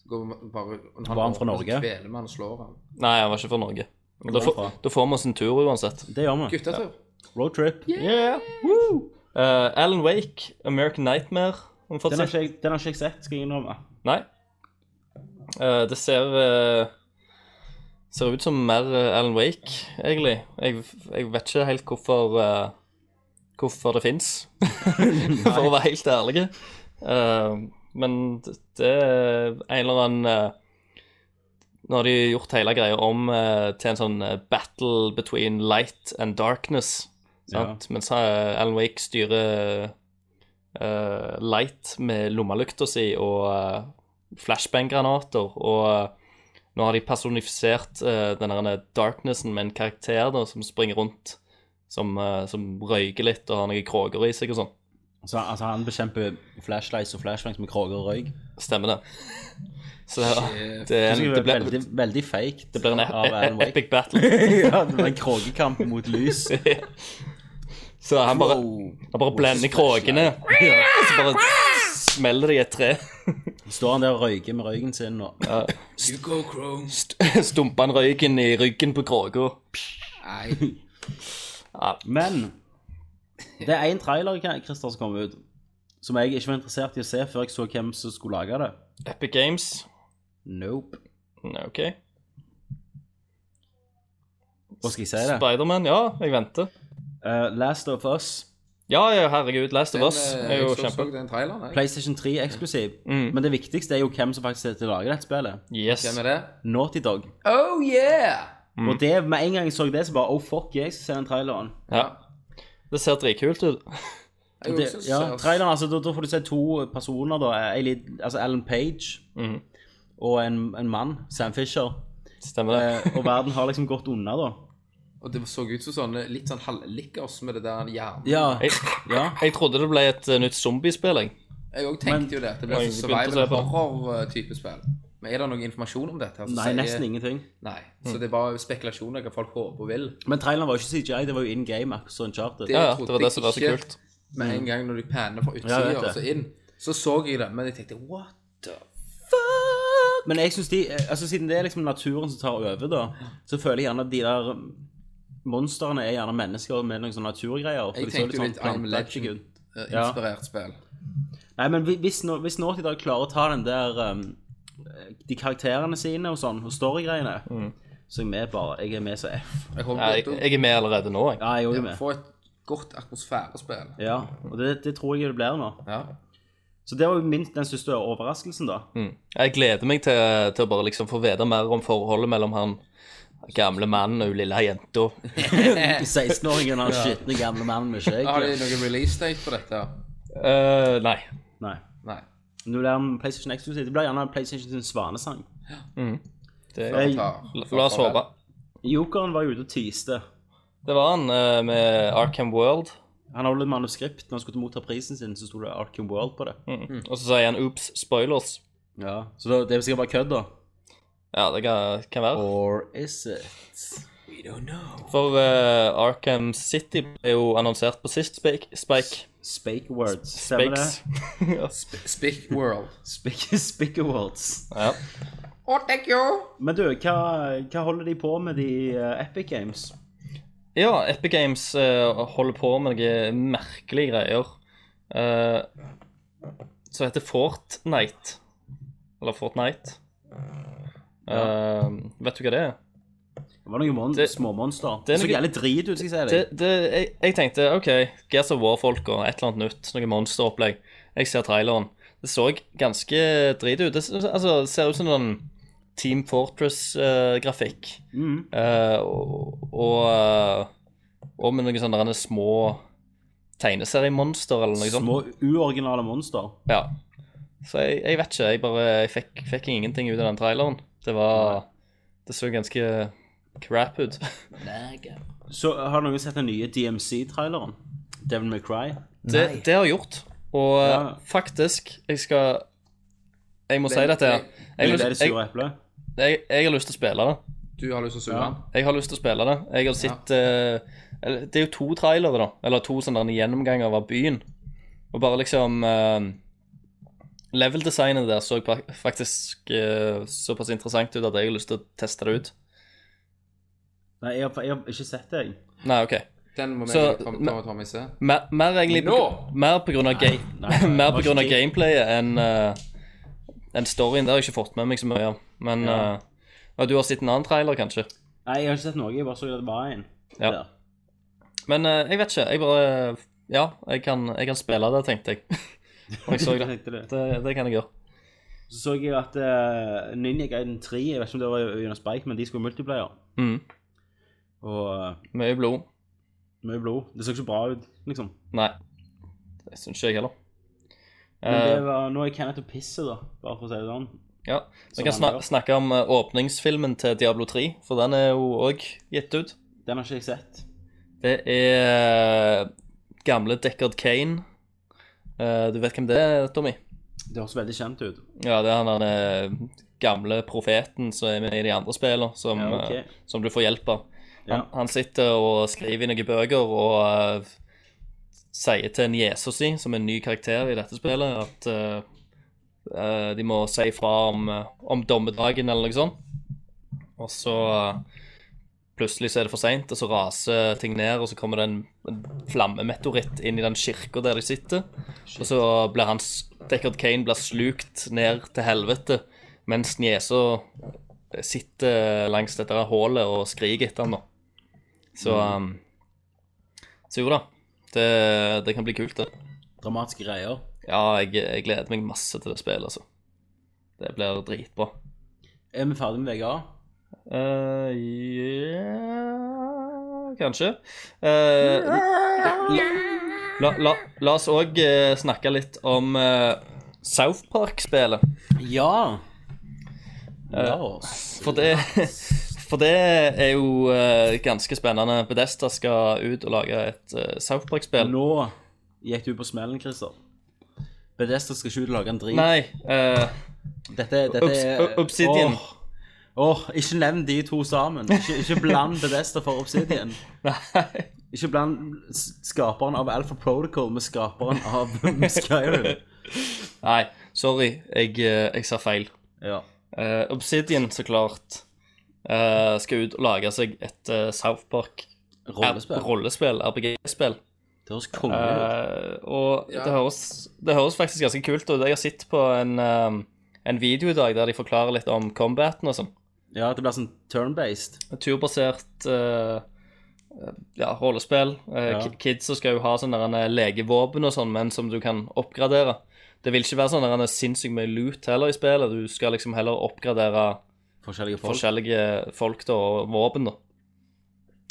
[SPEAKER 2] Så går vi bare, når
[SPEAKER 4] Var han
[SPEAKER 2] åpner,
[SPEAKER 4] fra
[SPEAKER 2] så
[SPEAKER 4] Norge?
[SPEAKER 2] Kveler man og slår han.
[SPEAKER 3] Nei, han var ikke fra Norge. Men da, får- da får vi oss en tur uansett.
[SPEAKER 4] Det gjør vi.
[SPEAKER 2] Guttetur.
[SPEAKER 4] Roadtrip.
[SPEAKER 3] Eh, Alan Wake, American Nightmare. Har vi fått
[SPEAKER 4] Den har
[SPEAKER 3] sett?
[SPEAKER 4] ikke jeg, den har ikke jeg sett, skal jeg innrømme.
[SPEAKER 3] Nei. Eh, det ser eh, Ser ut som mer eh, Alan Wake, egentlig. Jeg, jeg vet ikke helt hvorfor eh, Hvorfor det fins, for å være helt ærlig. Eh, men det det er en eller annen eh, Nå har de gjort hele greia om eh, til en sånn eh, battle between light and darkness. Sant? Mens eh, Alan Wake styrer eh, light med lommelykta si og eh, flashbang-granater. Og eh, nå har de personifisert eh, den der darknessen med en karakter da, som springer rundt. Som, eh, som røyker litt og har noen kroger i seg og sånn.
[SPEAKER 4] Så, altså, han bekjemper flashlights og flashlights med kroger og røyk.
[SPEAKER 3] Stemmer det. [laughs] Så
[SPEAKER 2] Shit.
[SPEAKER 3] det, er en,
[SPEAKER 4] Det, det
[SPEAKER 3] det, ble,
[SPEAKER 4] veldig, veldig fake.
[SPEAKER 3] det blir en
[SPEAKER 4] av
[SPEAKER 3] e-
[SPEAKER 4] Alan
[SPEAKER 3] e-
[SPEAKER 4] Wake.
[SPEAKER 3] epic battle. [laughs]
[SPEAKER 4] ja, det blir en krogekamp mot lys. Oh.
[SPEAKER 3] Så han [laughs] bare,
[SPEAKER 4] Wow.
[SPEAKER 3] han bare blender krogene, og så bare smeller det i et tre.
[SPEAKER 4] Står han der og røyker med røyken sin og
[SPEAKER 2] You go, Chrome.
[SPEAKER 3] St- [laughs] Stumper han røyken i ryggen på kroga.
[SPEAKER 2] Nei.
[SPEAKER 4] Men det er en trailer Christer, som kom ut, som jeg ikke var interessert i å se før jeg så hvem som skulle lage det.
[SPEAKER 3] Epic Mm, Games.
[SPEAKER 4] Nope.
[SPEAKER 3] Nei, OK.
[SPEAKER 4] Hva skal jeg si det?
[SPEAKER 3] Spiderman, ja, jeg venter.
[SPEAKER 4] Eh, Last of Us.
[SPEAKER 3] Ja, ja, herregud, Last of Us
[SPEAKER 2] eh,
[SPEAKER 3] er jo kjempe...
[SPEAKER 2] Den traileren, jeg.
[SPEAKER 4] PlayStation 3 er eksklusiv.
[SPEAKER 3] Mm.
[SPEAKER 4] Men det viktigste er jo hvem som faktisk er til å lage dette spillet.
[SPEAKER 3] Yes.
[SPEAKER 2] Hvem er det?
[SPEAKER 4] Naughty Dog.
[SPEAKER 2] Oh yeah!
[SPEAKER 3] Mm.
[SPEAKER 4] Og det, med en gang jeg så det, så bare Oh, fuck, jeg skal se den traileren.
[SPEAKER 3] Ja. Det ser dritkult ut.
[SPEAKER 2] Jeg
[SPEAKER 4] Det,
[SPEAKER 2] også
[SPEAKER 4] ja,
[SPEAKER 2] ser-
[SPEAKER 4] traileren, altså, da, da får du se to personer, da. En liten- altså Alan Page
[SPEAKER 2] Mhm.
[SPEAKER 4] og en, en mann, Sam Fisher.
[SPEAKER 3] Stemmer det.
[SPEAKER 4] Eh, og verden har liksom gått unna, da.
[SPEAKER 2] Og det så ut som sånne litt sånn halvlikkers med det der hjernen.
[SPEAKER 4] Ja.
[SPEAKER 3] Jeg,
[SPEAKER 4] ja.
[SPEAKER 3] jeg trodde det ble et eh, nytt zombiespilling.
[SPEAKER 2] Jeg òg tenkte jo det. at Det
[SPEAKER 3] Oi,
[SPEAKER 2] blir sånn
[SPEAKER 3] jeg begynte å se
[SPEAKER 2] survival
[SPEAKER 3] på det.
[SPEAKER 2] horror-type spill. Men er det noe informasjon om dette? her som
[SPEAKER 4] Nei,
[SPEAKER 2] sier-
[SPEAKER 4] nesten ingenting.
[SPEAKER 2] Nei,
[SPEAKER 3] Mm.
[SPEAKER 2] så det er bare spekulasjoner hva folk håper og vil.
[SPEAKER 4] Men traileren var jo ikke CGI, det var jo in game. akkurat som Uncharted.
[SPEAKER 2] Det
[SPEAKER 3] Ja, ja,
[SPEAKER 2] trodde
[SPEAKER 3] det var det som var så
[SPEAKER 2] jeg ikke.
[SPEAKER 3] kult.
[SPEAKER 2] Med en gang når de panner fra
[SPEAKER 4] Mm. Ja, jeg
[SPEAKER 2] utsida
[SPEAKER 4] vet
[SPEAKER 2] og så inn, så så jeg det, men jeg tenkte what the
[SPEAKER 4] Men jeg synes de, altså siden det er liksom naturen som tar over, da, så føler jeg gjerne at de der monstrene er gjerne mennesker med noen sånne naturgreier. for
[SPEAKER 2] Jeg
[SPEAKER 4] de så
[SPEAKER 2] tenkte jo litt
[SPEAKER 4] sånn
[SPEAKER 2] I'm
[SPEAKER 4] planteaktig ut. Ja.
[SPEAKER 2] Legend-inspirert spill.
[SPEAKER 4] Nei, men hvi- hvis, nå- hvis Naughty Dog klarer å ta den der um, de karakterene sine og sånn, og storygreiene, så er jeg med bare. Jeg er med så F.
[SPEAKER 2] Jeg håper
[SPEAKER 3] Nei, jeg, jeg er med allerede nå, jeg.
[SPEAKER 4] Ja, jeg er også
[SPEAKER 2] du
[SPEAKER 4] med.
[SPEAKER 2] får et godt atmosfærespill.
[SPEAKER 4] Ja, og det, det tror jeg det blir nå.
[SPEAKER 2] Ja.
[SPEAKER 4] Så det var jo minst den største overraskelsen, da. [laughs]
[SPEAKER 3] Jeg gleder meg til, til å bare liksom få vite mer om forholdet mellom han gamle mannen og hun lille jenta.
[SPEAKER 4] 16-åringen og den skitne gamle mannen med skjegg.
[SPEAKER 2] Har de noen release date på dette?
[SPEAKER 3] Eh, nei.
[SPEAKER 4] Nei.
[SPEAKER 2] Nei.
[SPEAKER 4] Nå blir han PlayStation eksklusiv. Det blir gjerne PlayStation sin svanesang. Mm.
[SPEAKER 3] Det,
[SPEAKER 4] Jeg-
[SPEAKER 2] Tar-
[SPEAKER 3] la, la oss håpe.
[SPEAKER 4] Jokeren var jo ute og teaste.
[SPEAKER 3] Det var han eh, med Arkham World.
[SPEAKER 4] Han hadde et manuskript når han skulle motta prisen sin, så sto det Arkham World på det.
[SPEAKER 3] Og så sier han 'oops, spoilers'.
[SPEAKER 4] Ja, Så da, det er sikkert bare kødd, da.
[SPEAKER 3] Ja, det kan, kan være.
[SPEAKER 4] Or is it?
[SPEAKER 3] For eh, Arkham City ble jo annonsert på sist Spike. Spike.
[SPEAKER 4] Spake Awards. Stemmer det?
[SPEAKER 3] Spikes. [laughs] ja.
[SPEAKER 2] Spick World.
[SPEAKER 4] Spake, [laughs] Spake Awards.
[SPEAKER 3] ja.
[SPEAKER 2] Å, thank you!
[SPEAKER 4] Men du, hva, hva holder de på med, de eh, Epic Games?
[SPEAKER 3] ja, Epic Games eh, holder på med noen merkelige greier. eh, som heter Fortnite. Eller Fortnite. Eh, vet du hva det er?
[SPEAKER 4] Det var noen mon
[SPEAKER 3] Det-
[SPEAKER 4] småmonster.
[SPEAKER 3] det
[SPEAKER 4] Det
[SPEAKER 3] er
[SPEAKER 4] så
[SPEAKER 3] noe-
[SPEAKER 4] jævlig drit ut, skal jeg si
[SPEAKER 3] det,
[SPEAKER 4] deg.
[SPEAKER 3] det, jeg, jeg tenkte OK, Gears of War-folka, et eller annet nytt. Noe monsteropplegg. Jeg ser traileren. Det så ganske drit ut. Det s- altså, det ser ut som noen Team Fortress-grafikk.
[SPEAKER 4] Mm.
[SPEAKER 3] Eh, og og, eh, og med noen sånne rene små tegneseriemonster eller noe sånt.
[SPEAKER 4] Små uoriginale monster.
[SPEAKER 3] Ja. Så jeg, jeg vet ikke. Jeg bare jeg fikk, fikk ingenting ut av den traileren. Det var Det så ganske crap ut. [laughs]
[SPEAKER 4] Så har noen sett den nye DMC-traileren? Devil May Cry?
[SPEAKER 3] Det, det har jeg gjort. Og
[SPEAKER 4] Ja.
[SPEAKER 3] eh, faktisk, jeg skal Jeg må si dette. her. Jeg,
[SPEAKER 4] Er
[SPEAKER 3] har
[SPEAKER 4] det det
[SPEAKER 3] lyst- jeg,
[SPEAKER 4] sure eplet?
[SPEAKER 3] jeg, jeg har lyst til å spille det.
[SPEAKER 2] Du har lyst til å suge den?
[SPEAKER 3] Jeg har lyst til å spille det. Jeg har sett eh, eller, Det er jo to trailere, da. Eller to sånne der gjennomganger av byen. Og bare liksom eh, Level-designet der så pa- faktisk eh, såpass interessant ut at jeg har lyst til å teste det ut.
[SPEAKER 4] Nei, jeg har, jeg har ikke sett det, jeg.
[SPEAKER 3] Nei, OK.
[SPEAKER 2] Den må vi
[SPEAKER 3] Så-
[SPEAKER 2] ta med Tommy se.
[SPEAKER 3] Mer, mer egentlig på,
[SPEAKER 2] Nå!
[SPEAKER 3] mer på grunn av, ga
[SPEAKER 4] nei,
[SPEAKER 3] Eh, [laughs] mer
[SPEAKER 4] det var
[SPEAKER 3] på grunn av
[SPEAKER 4] ikke det.
[SPEAKER 3] gameplayet enn eh, enn storyen. Det har jeg ikke fått med meg så mye av. Men eh, ja, du har sett en annen trailer, kanskje?
[SPEAKER 4] Nei, jeg har ikke sett noe, jeg bare så at det var en.
[SPEAKER 3] Ja.
[SPEAKER 4] Der.
[SPEAKER 3] Men eh, jeg vet ikke. Jeg bare Ja, jeg kan, jeg kan spille det, tenkte
[SPEAKER 4] [laughs]
[SPEAKER 3] jeg. Og jeg så det.
[SPEAKER 4] Tenkte det.
[SPEAKER 3] det. Det kan jeg gjøre.
[SPEAKER 4] Så så jeg at uh, Ninja Gaiden 3, jeg vet ikke om det var gjennom Spike, men de skulle multiplayer.
[SPEAKER 3] Mhm.
[SPEAKER 4] Og eh,
[SPEAKER 3] Mye blod.
[SPEAKER 4] mye blod. Det så ikke så bra ut, liksom.
[SPEAKER 3] Nei. Det syns ikke jeg heller.
[SPEAKER 4] Men
[SPEAKER 3] Eh,
[SPEAKER 4] det var, nå er Kenneth og pisser, da, bare for å si det sånn.
[SPEAKER 3] ja. Vi kan
[SPEAKER 4] han
[SPEAKER 3] snak
[SPEAKER 4] gjør.
[SPEAKER 3] snakke om eh, åpningsfilmen til Diablo 3, for den er jo òg gitt ut.
[SPEAKER 4] Den har ikke jeg sett.
[SPEAKER 3] Det er eh, gamle Deckard Kane. Eh, du vet hvem det er, Tommy?
[SPEAKER 4] Det høres veldig kjent ut.
[SPEAKER 3] Ja, det er han den eh, gamle profeten som er med i de andre spillene, som,
[SPEAKER 4] Ja, ok.
[SPEAKER 3] eh, som du får hjelp av.
[SPEAKER 4] Ja.
[SPEAKER 3] Han, han sitter og skriver i noen bøker og eh, sier til en Jesus i, som er en ny karakter i dette spillet, at eh, eh, de må si fra om, eh, om dommedagen eller noe sånt. Og så eh, plutselig så er det for seint, og så raser ting ned, og så kommer det en, en flammemeteoritt inn i den kirka der de sitter. Og så blir hans Deckard Kane blir slukt ned til helvete, eh, mens niesa sitter langs dette her hullet og skriker etter han da. Så, um, så jo da, det, det kan bli kult det.
[SPEAKER 4] Dramatiske greier.
[SPEAKER 3] Ja, jeg, jeg gleder meg masse til det spillet, altså. Det blir dritbra.
[SPEAKER 4] Er vi ferdig med VGA?
[SPEAKER 3] Eh, ja Kanskje. Eh, la, la, la oss òg snakke litt om eh, South Park-spelet.
[SPEAKER 4] Ja.
[SPEAKER 3] Eh.
[SPEAKER 4] La oss.
[SPEAKER 3] For det, [laughs] for det er jo eh, ganske spennende. Bedesta skal ut og lage et eh, South Park-spill.
[SPEAKER 4] Nå gikk du på smellen, Christer. Bedesta skal ikke ut og lage en drit.
[SPEAKER 3] Nei. eh,
[SPEAKER 4] Dette, dette
[SPEAKER 3] Obs-
[SPEAKER 4] er
[SPEAKER 3] O- Obsidian.
[SPEAKER 4] Åh, Åh, ikke nevn de to sammen. Ikke, ikke bland Bedesta for Obsidian.
[SPEAKER 3] [laughs] nei.
[SPEAKER 4] Ikke bland s- skaperen av Alpha Protocol med skaperen av [laughs] Skyrim.
[SPEAKER 3] nei. Sorry, jeg, eh, jeg sa feil.
[SPEAKER 4] Ja.
[SPEAKER 3] Eh, Obsidian, så klart, eh, skal ut og lage seg et eh, South Park
[SPEAKER 4] Rollespill.
[SPEAKER 3] rollespill RPG-spill.
[SPEAKER 4] Det høres konge ut.
[SPEAKER 3] Eh, og det, høres, det høres faktisk ganske kult ut. Jeg har sett på en, ehm, en video i dag der de forklarer litt om combaten og sånn.
[SPEAKER 4] Ja, det blir sånn turn-based.
[SPEAKER 3] Turbasert eh, ja, rollespill. Eh,
[SPEAKER 4] Ja.
[SPEAKER 3] ki- Kids som skal jo ha sånne der, eh, legevåpen og sånn, men som du kan oppgradere. Det vil ikke være sånn der, eh, sinnssykt mye loot heller i spillet. Du skal liksom heller oppgradere
[SPEAKER 4] Forskjellige folk.
[SPEAKER 3] forskjellige folk da, og våpen. da.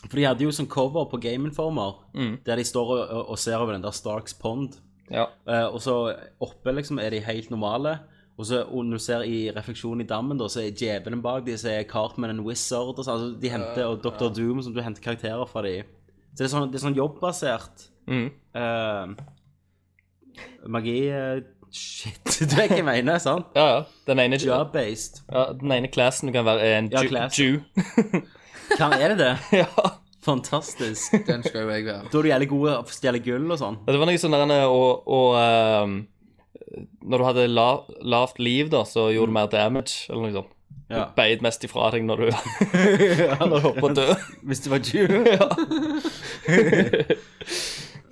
[SPEAKER 4] For de hadde jo sånn cover på Game Informer,
[SPEAKER 3] Mm.
[SPEAKER 4] der de står og, og- og ser over den der Starks Pond.
[SPEAKER 3] Ja.
[SPEAKER 4] Eh, og så oppe liksom er de helt normale. Og så og når du ser i refleksjonen i dammen, da, så er djevelen bak de, så er Cartman and Wizard og sånn. Altså, de henter, og Dr. Doom, som du henter karakterer fra de. Så det er sånn, det er sånn jobbbasert
[SPEAKER 3] Mhm.
[SPEAKER 4] eh, magi eh, Shit, [laughs] du vet hva jeg mener, sant?
[SPEAKER 3] Ja, ja. Den ene, ja.
[SPEAKER 4] Job-based.
[SPEAKER 3] den ene classen du kan være, er en
[SPEAKER 4] Ja,
[SPEAKER 3] ju- [laughs]
[SPEAKER 4] classen.
[SPEAKER 3] Jew.
[SPEAKER 4] Hva er det det?
[SPEAKER 3] ja.
[SPEAKER 4] Fantastisk.
[SPEAKER 2] Den skal jo jeg være.
[SPEAKER 4] Da er du jævlig god til å stjele gull og sånn.
[SPEAKER 3] Ja, Det var noe sånn der og, og ehm, Når du hadde la, lavt liv, da, så gjorde du mer damage, eller noe sånt. Du [laughs]
[SPEAKER 4] Mm. Ja.
[SPEAKER 3] beit mest ifra deg når du, [laughs] når du hoppet død.
[SPEAKER 4] Hvis du var Jew.
[SPEAKER 3] [laughs]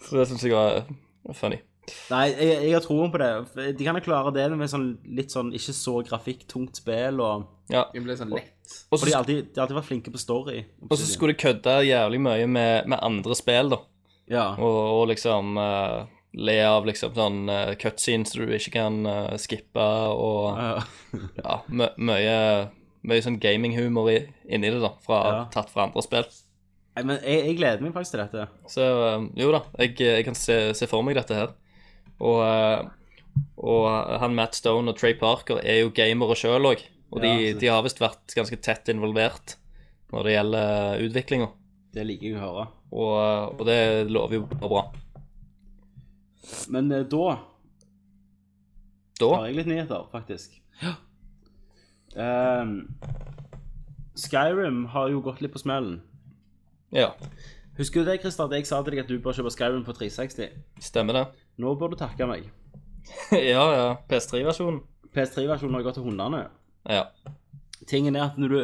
[SPEAKER 3] Så det syns jeg var funny.
[SPEAKER 4] Nei, jeg, jeg har troen på det. De kan jo klare det med sånn, litt sånn ikke så grafikktungt spill. Og,
[SPEAKER 3] Ja.
[SPEAKER 2] Den ble sånn lett.
[SPEAKER 3] Og
[SPEAKER 4] og de,
[SPEAKER 3] så
[SPEAKER 4] har alltid, de har alltid vært flinke på story.
[SPEAKER 3] og så skulle det kødde jævlig mye med, med andre spill, da.
[SPEAKER 4] Ja.
[SPEAKER 3] Og, og liksom eh, le av liksom sånn eh, cutscenes du ikke kan eh, skippe, og
[SPEAKER 4] Ja.
[SPEAKER 3] ja, mø- mye mye sånn gaminghumor i- inni det, da, fra,
[SPEAKER 4] Ja.
[SPEAKER 3] tatt fra andre spill.
[SPEAKER 4] Nei, Men jeg, jeg gleder meg faktisk til dette.
[SPEAKER 3] Så eh, jo da, jeg, jeg kan se, se for meg dette her. Og, eh, og han Matt Stone og Trey Parker er jo gamere sjøl òg. Og de,
[SPEAKER 4] Ja, så-
[SPEAKER 3] de har visst vært ganske tett involvert når det gjelder utviklinga.
[SPEAKER 4] Det liker jeg å høre.
[SPEAKER 3] Og, eh, og det lover jo bare bra.
[SPEAKER 4] Men eh, da
[SPEAKER 3] Da
[SPEAKER 4] har jeg litt nyheter, faktisk. Ehm, Skyrim har jo gått litt på smellen.
[SPEAKER 3] Ja,
[SPEAKER 4] Husker du det, Christer, at jeg sa til deg at du bør kjøpe Skyrim på 360?
[SPEAKER 3] stemmer det. [laughs]
[SPEAKER 4] Nå bør du takke meg.
[SPEAKER 3] ja, ja. PS3-versjonen.
[SPEAKER 4] PS3-versjonen har gått til hundene.
[SPEAKER 3] Ja.
[SPEAKER 4] Tingen er at når du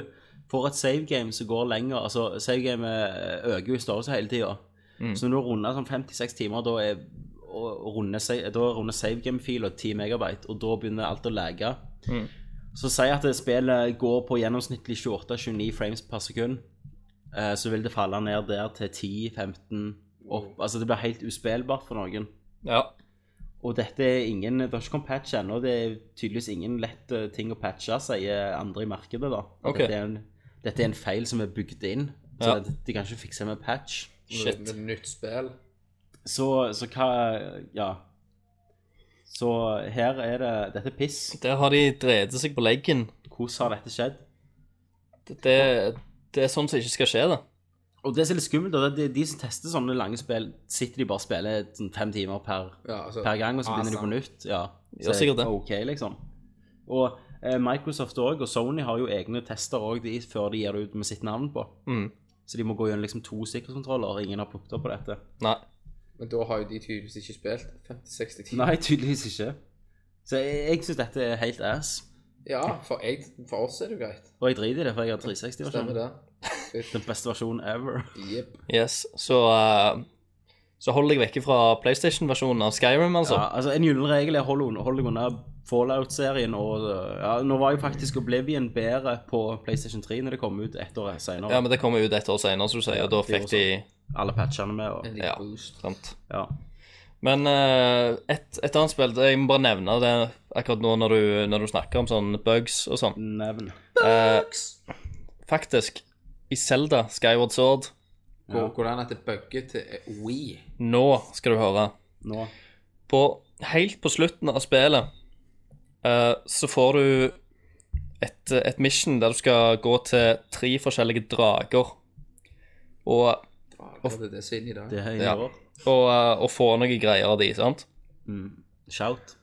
[SPEAKER 4] får et save game som går lenger Altså, save game eh, øker jo i størrelse hele tida.
[SPEAKER 3] Mm.
[SPEAKER 4] Så når du runder sånn 56 timer, da er og runder sa- da runder save game-fila 10 megabyte, og da begynner alt å lage.
[SPEAKER 3] Mm.
[SPEAKER 4] Så si at det spillet går på gjennomsnittlig 28-29 frames per sekund, eh, så vil det falle ned der til 10-15 opp. Altså det blir helt uspillbart for noen.
[SPEAKER 3] ja.
[SPEAKER 4] Og dette er ingen Det har ikke kommet patch ennå. Det er tydeligvis ingen lett eh, ting å patche, sier andre i markedet, da. At
[SPEAKER 3] Ok.
[SPEAKER 4] Dette, er en, dette er en feil som er bygd inn. Så
[SPEAKER 3] Ja.
[SPEAKER 4] det, de kan ikke fikse med patch.
[SPEAKER 3] Shit.
[SPEAKER 2] Med nytt spill.
[SPEAKER 4] Så, så hva Ja. Så her er det Dette er piss.
[SPEAKER 3] Der har de drevet seg på leggen.
[SPEAKER 4] Hvordan har dette skjedd?
[SPEAKER 3] Det, det, det er sånt som ikke skal skje, da.
[SPEAKER 4] Og det som er litt skummelt, da, det er de, de som tester sånne lange spill, sitter de bare og spiller sånn fem timer per,
[SPEAKER 2] Ja, altså,
[SPEAKER 4] per gang, og så
[SPEAKER 2] ah,
[SPEAKER 4] begynner de på
[SPEAKER 2] sant.
[SPEAKER 4] nytt. Ja,
[SPEAKER 3] Ja, sikkert det.
[SPEAKER 4] OK, liksom. Og eh, Microsoft òg, og Sony har jo egne tester òg før de gir det ut med sitt navn på.
[SPEAKER 3] Mm.
[SPEAKER 4] Så de må gå gjennom liksom to sikkerhetskontroller, og ingen har plukket opp på dette. [laughs]
[SPEAKER 3] Nei.
[SPEAKER 2] Men da har jo de tydeligvis ikke spilt 50-60 timer.
[SPEAKER 4] Nei, tydeligvis ikke. Så jeg, jeg syns dette er helt ass.
[SPEAKER 2] Ja, for, jeg, for oss er det jo greit.
[SPEAKER 4] Og jeg driter i det, for jeg har
[SPEAKER 2] Stemmer
[SPEAKER 3] sånn.
[SPEAKER 4] 360-versjonen.
[SPEAKER 2] det.
[SPEAKER 3] [laughs]
[SPEAKER 4] Den beste versjonen ever.
[SPEAKER 2] Jepp.
[SPEAKER 3] Yes, så eh, Så hold deg vekke fra PlayStation-versjonen av Skyrim, altså.
[SPEAKER 4] Ja, altså En gyllen regel er hold, hold deg unna Fallout-serien. og ja, Nå var jo faktisk Oblivion bedre på PlayStation 3 når det kom ut ett år
[SPEAKER 3] Ja,
[SPEAKER 4] senere.
[SPEAKER 3] men det kommer ut ett år senere, som du sier, og da fikk de
[SPEAKER 4] Alle patchene med. og
[SPEAKER 3] Ja,
[SPEAKER 2] Boost.
[SPEAKER 3] sant.
[SPEAKER 4] ja.
[SPEAKER 3] Men eh, et, et annet spill Jeg må bare nevne det akkurat nå når du, når du snakker om sånne bugs og sånn. Eh,
[SPEAKER 4] Nevn.
[SPEAKER 3] Faktisk, i Zelda Skyward Sword
[SPEAKER 2] Hvor, Hvordan at det bugger til We.
[SPEAKER 3] Nå skal du høre.
[SPEAKER 4] Nå.
[SPEAKER 3] På, helt på slutten av spillet eh, så får du et, eh, et mission der du skal gå til tre forskjellige drager. Og,
[SPEAKER 2] Det er det som er inne i dag.
[SPEAKER 4] Det er i
[SPEAKER 3] Ja.
[SPEAKER 4] år.
[SPEAKER 3] og, eh, og få noen greier av de, sant?
[SPEAKER 4] Shout.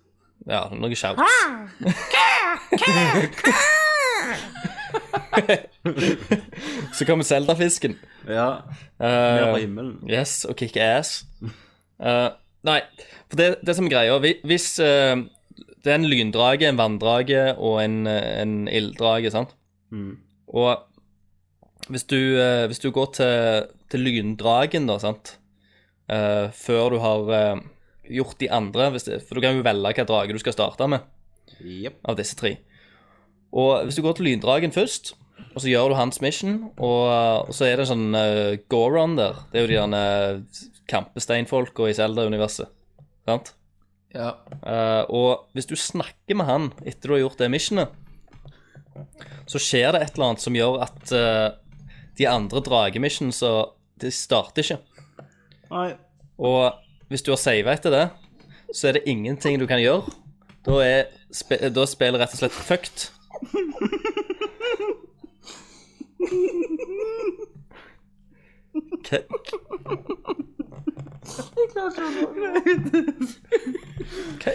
[SPEAKER 3] Ja, noe shout. [laughs] så kommer Zelda-fisken.
[SPEAKER 4] Ja. Ned
[SPEAKER 3] Eh,
[SPEAKER 4] fra himmelen.
[SPEAKER 3] Yes, og kick ass. Eh, nei, for det, det som er greia hvi- Hvis eh, det er en lyndrage, en vanndrage og en, eh, en ilddrage, sant Og hvis du, eh, hvis du går til, til lyndragen, da, sant eh, Før du har eh, gjort de andre hvis det, For du kan jo velge hvilken drage du skal starte med
[SPEAKER 4] Jep.
[SPEAKER 3] av disse tre. Og hvis du går til lyndragen først, og så gjør du hans mission, og, og så er det en sånn eh, Goron der. Det er jo de derne kampesteinfolka i Zelda-universet. Sant?
[SPEAKER 2] Ja.
[SPEAKER 3] Eh, og hvis du snakker med han etter du har gjort det missionet, så skjer det et eller annet som gjør at eh, de andre dragemissionsa De starter ikke.
[SPEAKER 4] Nei.
[SPEAKER 3] Og hvis du har sava etter det, så er det ingenting du kan gjøre. Da er, spe da er spillet rett og slett fucked. Hva? Hva,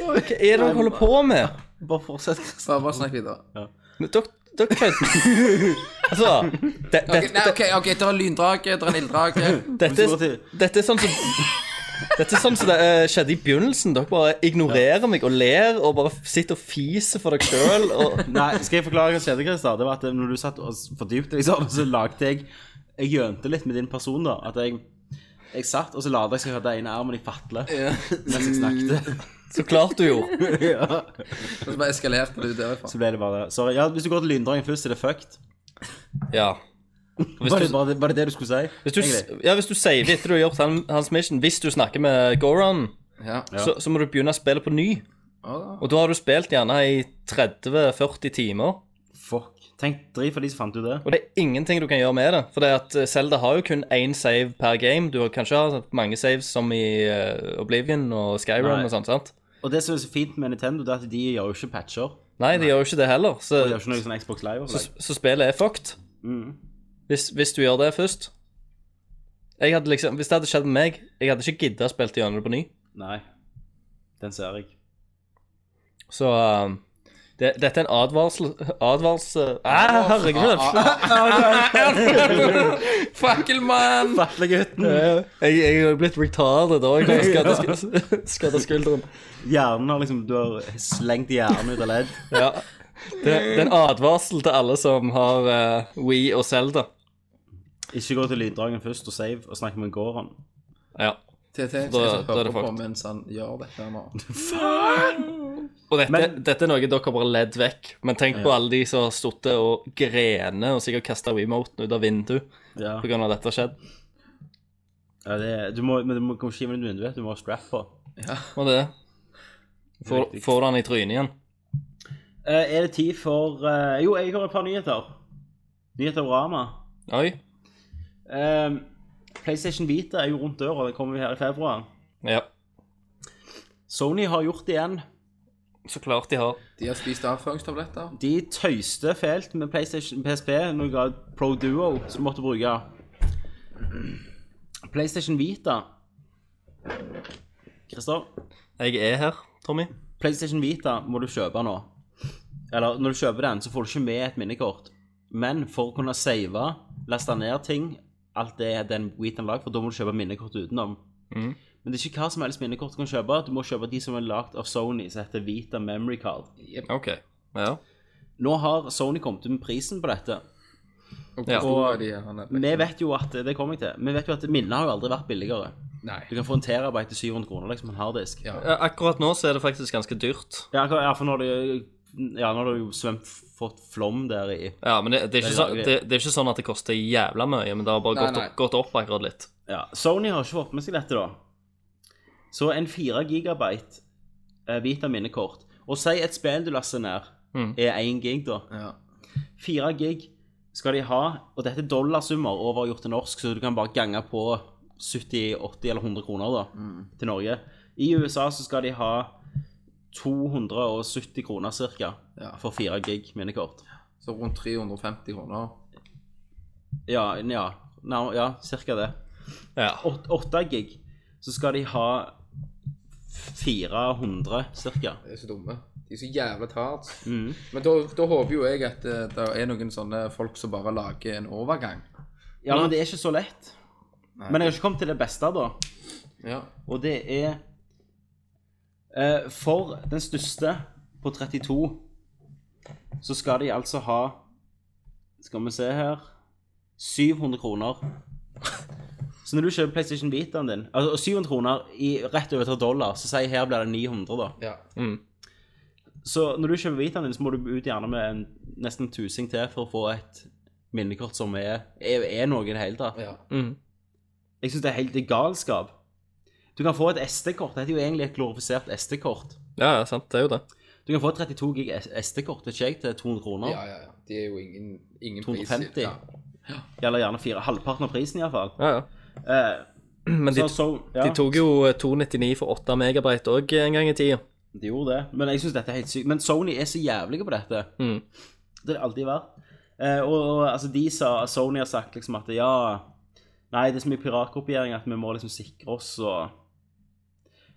[SPEAKER 3] hva er det dere holder på med?
[SPEAKER 4] Bare fortsett, Kristian.
[SPEAKER 2] Bare, bare snakk videre.
[SPEAKER 3] Dere dere kødder. Altså det, det,
[SPEAKER 2] Ok, nei, ok, ok, det er lyndrage, det er en
[SPEAKER 3] [laughs]
[SPEAKER 2] ilddrage.
[SPEAKER 3] Dette,
[SPEAKER 4] Hvis du går
[SPEAKER 3] dette er sånn som Dette er sånn som det eh, skjedde i begynnelsen. Dere bare ignorerer meg og ler og bare sitter og fiser for dere sjøl. Og...
[SPEAKER 4] Nei, skal jeg forklare hva som skjedde, Christer? Det var at eh, når du satt og fordypte deg sånn, så lagde jeg Jeg gjønte litt med din person, da. At jeg jeg satt, og så lada jeg som jeg hadde ene armen i fatle mens jeg snakket.
[SPEAKER 3] Så klart du gjorde.
[SPEAKER 2] Og så bare eskalerte du derifra.
[SPEAKER 4] Så ble det bare det. Sorry. Ja, hvis du går til lyndragen først, er det fucked.
[SPEAKER 3] Ja. Hvis
[SPEAKER 4] Var det,
[SPEAKER 3] du-
[SPEAKER 4] var det, var det det du skulle si?
[SPEAKER 3] Hvis du,
[SPEAKER 4] Egentlig.
[SPEAKER 3] ja, hvis du saver etter du har gjort han, hans mission, hvis du snakker med Goron,
[SPEAKER 2] Ja.
[SPEAKER 3] så, så må du begynne å spille på ny.
[SPEAKER 2] Ja,
[SPEAKER 3] Og da har du spilt gjerne i 30-40 timer.
[SPEAKER 4] Fuck. Tenk drit for de som fant ut det.
[SPEAKER 3] Og det er ingenting du kan gjøre med det. For det at eh, Zelda har jo kun én save per game. Du har kanskje har mange saves som i eh, Oblivion og Skyrim
[SPEAKER 4] Nei.
[SPEAKER 3] og sånt. sant?
[SPEAKER 4] Og det som er så fint med Nintendo, det er at de gjør jo ikke patcher.
[SPEAKER 3] Nei, de gjør jo ikke det heller. Så,
[SPEAKER 4] De gjør ikke noe sånn Mm. Xbox Live-opplegg.
[SPEAKER 3] så spillet er fucked. Hvis, hvis du gjør det først. Jeg hadde liksom, Hvis det hadde skjedd med meg, jeg hadde ikke gidda å spille gjennom det på ny.
[SPEAKER 4] Nei. Den ser jeg.
[SPEAKER 3] Så um, det, dette er en advarsel Advarsel ah, Herregud!
[SPEAKER 2] Fakkelmann!
[SPEAKER 4] Fatlegutten!
[SPEAKER 3] [laughs] Jeg, jeg er jo blitt retarded òg. [laughs] Skadet skulderen.
[SPEAKER 4] Hjernen har liksom Du har slengt hjernen ut av ledd.
[SPEAKER 3] Ja. Det, det er en advarsel til alle som har uh, We og Zelda.
[SPEAKER 4] Ikke gå til lyddragen først og save og snakke med Goran.
[SPEAKER 3] Ja.
[SPEAKER 2] TT
[SPEAKER 3] Da-
[SPEAKER 2] skal
[SPEAKER 3] da er det
[SPEAKER 2] høre på
[SPEAKER 3] fucked.
[SPEAKER 2] mens han gjør sånn- dette nå.
[SPEAKER 3] Og dette,
[SPEAKER 4] Men-
[SPEAKER 3] dette er noe dere har bare ledd vekk. Men tenk på alle de som har sittet og grene og sikkert kasta remoten ut av vinduet
[SPEAKER 4] Ja.
[SPEAKER 3] pga. at dette har skjedd.
[SPEAKER 4] ja det, du må, men du må komme skive inn vinduet. Du må ha strap på.
[SPEAKER 3] Og det Får, får du han i trynet igjen?
[SPEAKER 4] Eh, er det tid for eh, Jo, jeg har et par nyheter. Nyheter om Rama.
[SPEAKER 3] Oi.
[SPEAKER 4] Eh, PlayStation Vita er jo rundt døra. Det kommer vi her i februar.
[SPEAKER 3] Ja.
[SPEAKER 4] Sony har gjort det igjen.
[SPEAKER 3] Så klart de har.
[SPEAKER 2] De har spist avføringstabletter.
[SPEAKER 4] De tøyste fælt med PlayStation PSP når de ga Pro Duo, som måtte bruke PlayStation Vita. Christer?
[SPEAKER 3] Jeg er her, Tommy.
[SPEAKER 4] PlayStation Vita må du kjøpe nå. Eller når du kjøper den, så får du ikke med et minnekort. Men for å kunne save, laste ned ting, alt det den Vitaen er lagd for, da må du kjøpe minnekort utenom. Men det er ikke hva som helst minnekort du kan kjøpe. Du må kjøpe de som er lagd av Sony, som heter Vita Memory Card.
[SPEAKER 3] OK. Ja.
[SPEAKER 4] Nå har Sony kommet ut med prisen på dette.
[SPEAKER 2] Og hvor
[SPEAKER 3] Ja.
[SPEAKER 2] store er de her?
[SPEAKER 4] Vi vet jo at Det kommer jeg til. Vi vet jo at minner har jo aldri vært billigere.
[SPEAKER 2] Nei.
[SPEAKER 4] Du kan få en terabyte til 700 kroner, liksom, en harddisk.
[SPEAKER 2] Ja.
[SPEAKER 3] Ja, Akkurat nå så er det faktisk ganske dyrt.
[SPEAKER 4] Ja, akkurat- ja, for nå har du ja, nå har du jo svømt, fått flom der i
[SPEAKER 3] Ja, men det, det, er
[SPEAKER 4] Det
[SPEAKER 3] ikke
[SPEAKER 4] er
[SPEAKER 3] sånn,
[SPEAKER 4] lagret.
[SPEAKER 3] det, det er ikke sånn at det koster jævla mye, men det har bare
[SPEAKER 2] Nei,
[SPEAKER 3] gått,
[SPEAKER 2] nei.
[SPEAKER 3] Opp, gått opp akkurat litt.
[SPEAKER 4] Ja, Sony har ikke fått med seg dette, da. Så en 4 gigabyte eh, Vita minnekort Og si et spill du laster ned, er 1 gig, da.
[SPEAKER 2] Ja.
[SPEAKER 4] 4 gig skal de ha, og dette er dollarsummer overgjort til norsk, så du kan bare gange på 70, 80 eller 100 kroner da, til Norge. I USA så skal de ha 270 kroner cirka
[SPEAKER 2] Ja.
[SPEAKER 4] for 4 gig minnekort.
[SPEAKER 2] Så rundt 350 kroner.
[SPEAKER 4] Ja, ja, nær- ja cirka det.
[SPEAKER 3] Ja.
[SPEAKER 4] 8 gig, så skal de ha 400 cirka. Mm.
[SPEAKER 2] De er så dumme. De er så jævla hardt. Men da, da håper jo jeg at eh, det er noen sånne folk som bare lager en overgang.
[SPEAKER 4] Ja, men det er ikke så lett. Men jeg har ikke kommet til det beste da.
[SPEAKER 2] Ja.
[SPEAKER 4] Og det er eh, For den største på 32 så skal de altså ha Skal vi se her 700 kroner. Så når du kjøper PlayStation Vitaen din altså og 700 kroner i rett over til dollar, så sier jeg her blir det 900, da.
[SPEAKER 2] ja.
[SPEAKER 4] Så når du kjøper Vitaen din, så må du ut gjerne med en, nesten en tusing til for å få et minnekort som er, er, er noe i det hele tatt.
[SPEAKER 2] ja.
[SPEAKER 3] Mm.
[SPEAKER 4] Jeg syns det er helt det er galskap. Du kan få et SD-kort. Dette er jo egentlig et glorifisert SD-kort.
[SPEAKER 3] ja, ja, sant. Det er jo det.
[SPEAKER 4] Du kan få et 32 gig SD-kort vet ikke jeg, til 200 kroner.
[SPEAKER 2] Ja, ja, ja. De er jo ingen, ingen pris.
[SPEAKER 4] 250.
[SPEAKER 2] Ja.
[SPEAKER 4] Eller gjerne fire, halvparten av prisen, iallfall.
[SPEAKER 3] Ja, ja.
[SPEAKER 4] Eh,
[SPEAKER 3] Men de,
[SPEAKER 4] så, så, ja,
[SPEAKER 3] de tok jo 299 for 8 megabyte òg en gang i tida.
[SPEAKER 4] de gjorde det. Men jeg syns dette er helt sykt. Men Sony er så jævlige på dette.
[SPEAKER 3] Mm.
[SPEAKER 4] Det har de alltid vært. Eh, og, og altså, de sa, Sony har sagt liksom at ja Nei, det er så mye piratkopiering at vi må liksom sikre oss og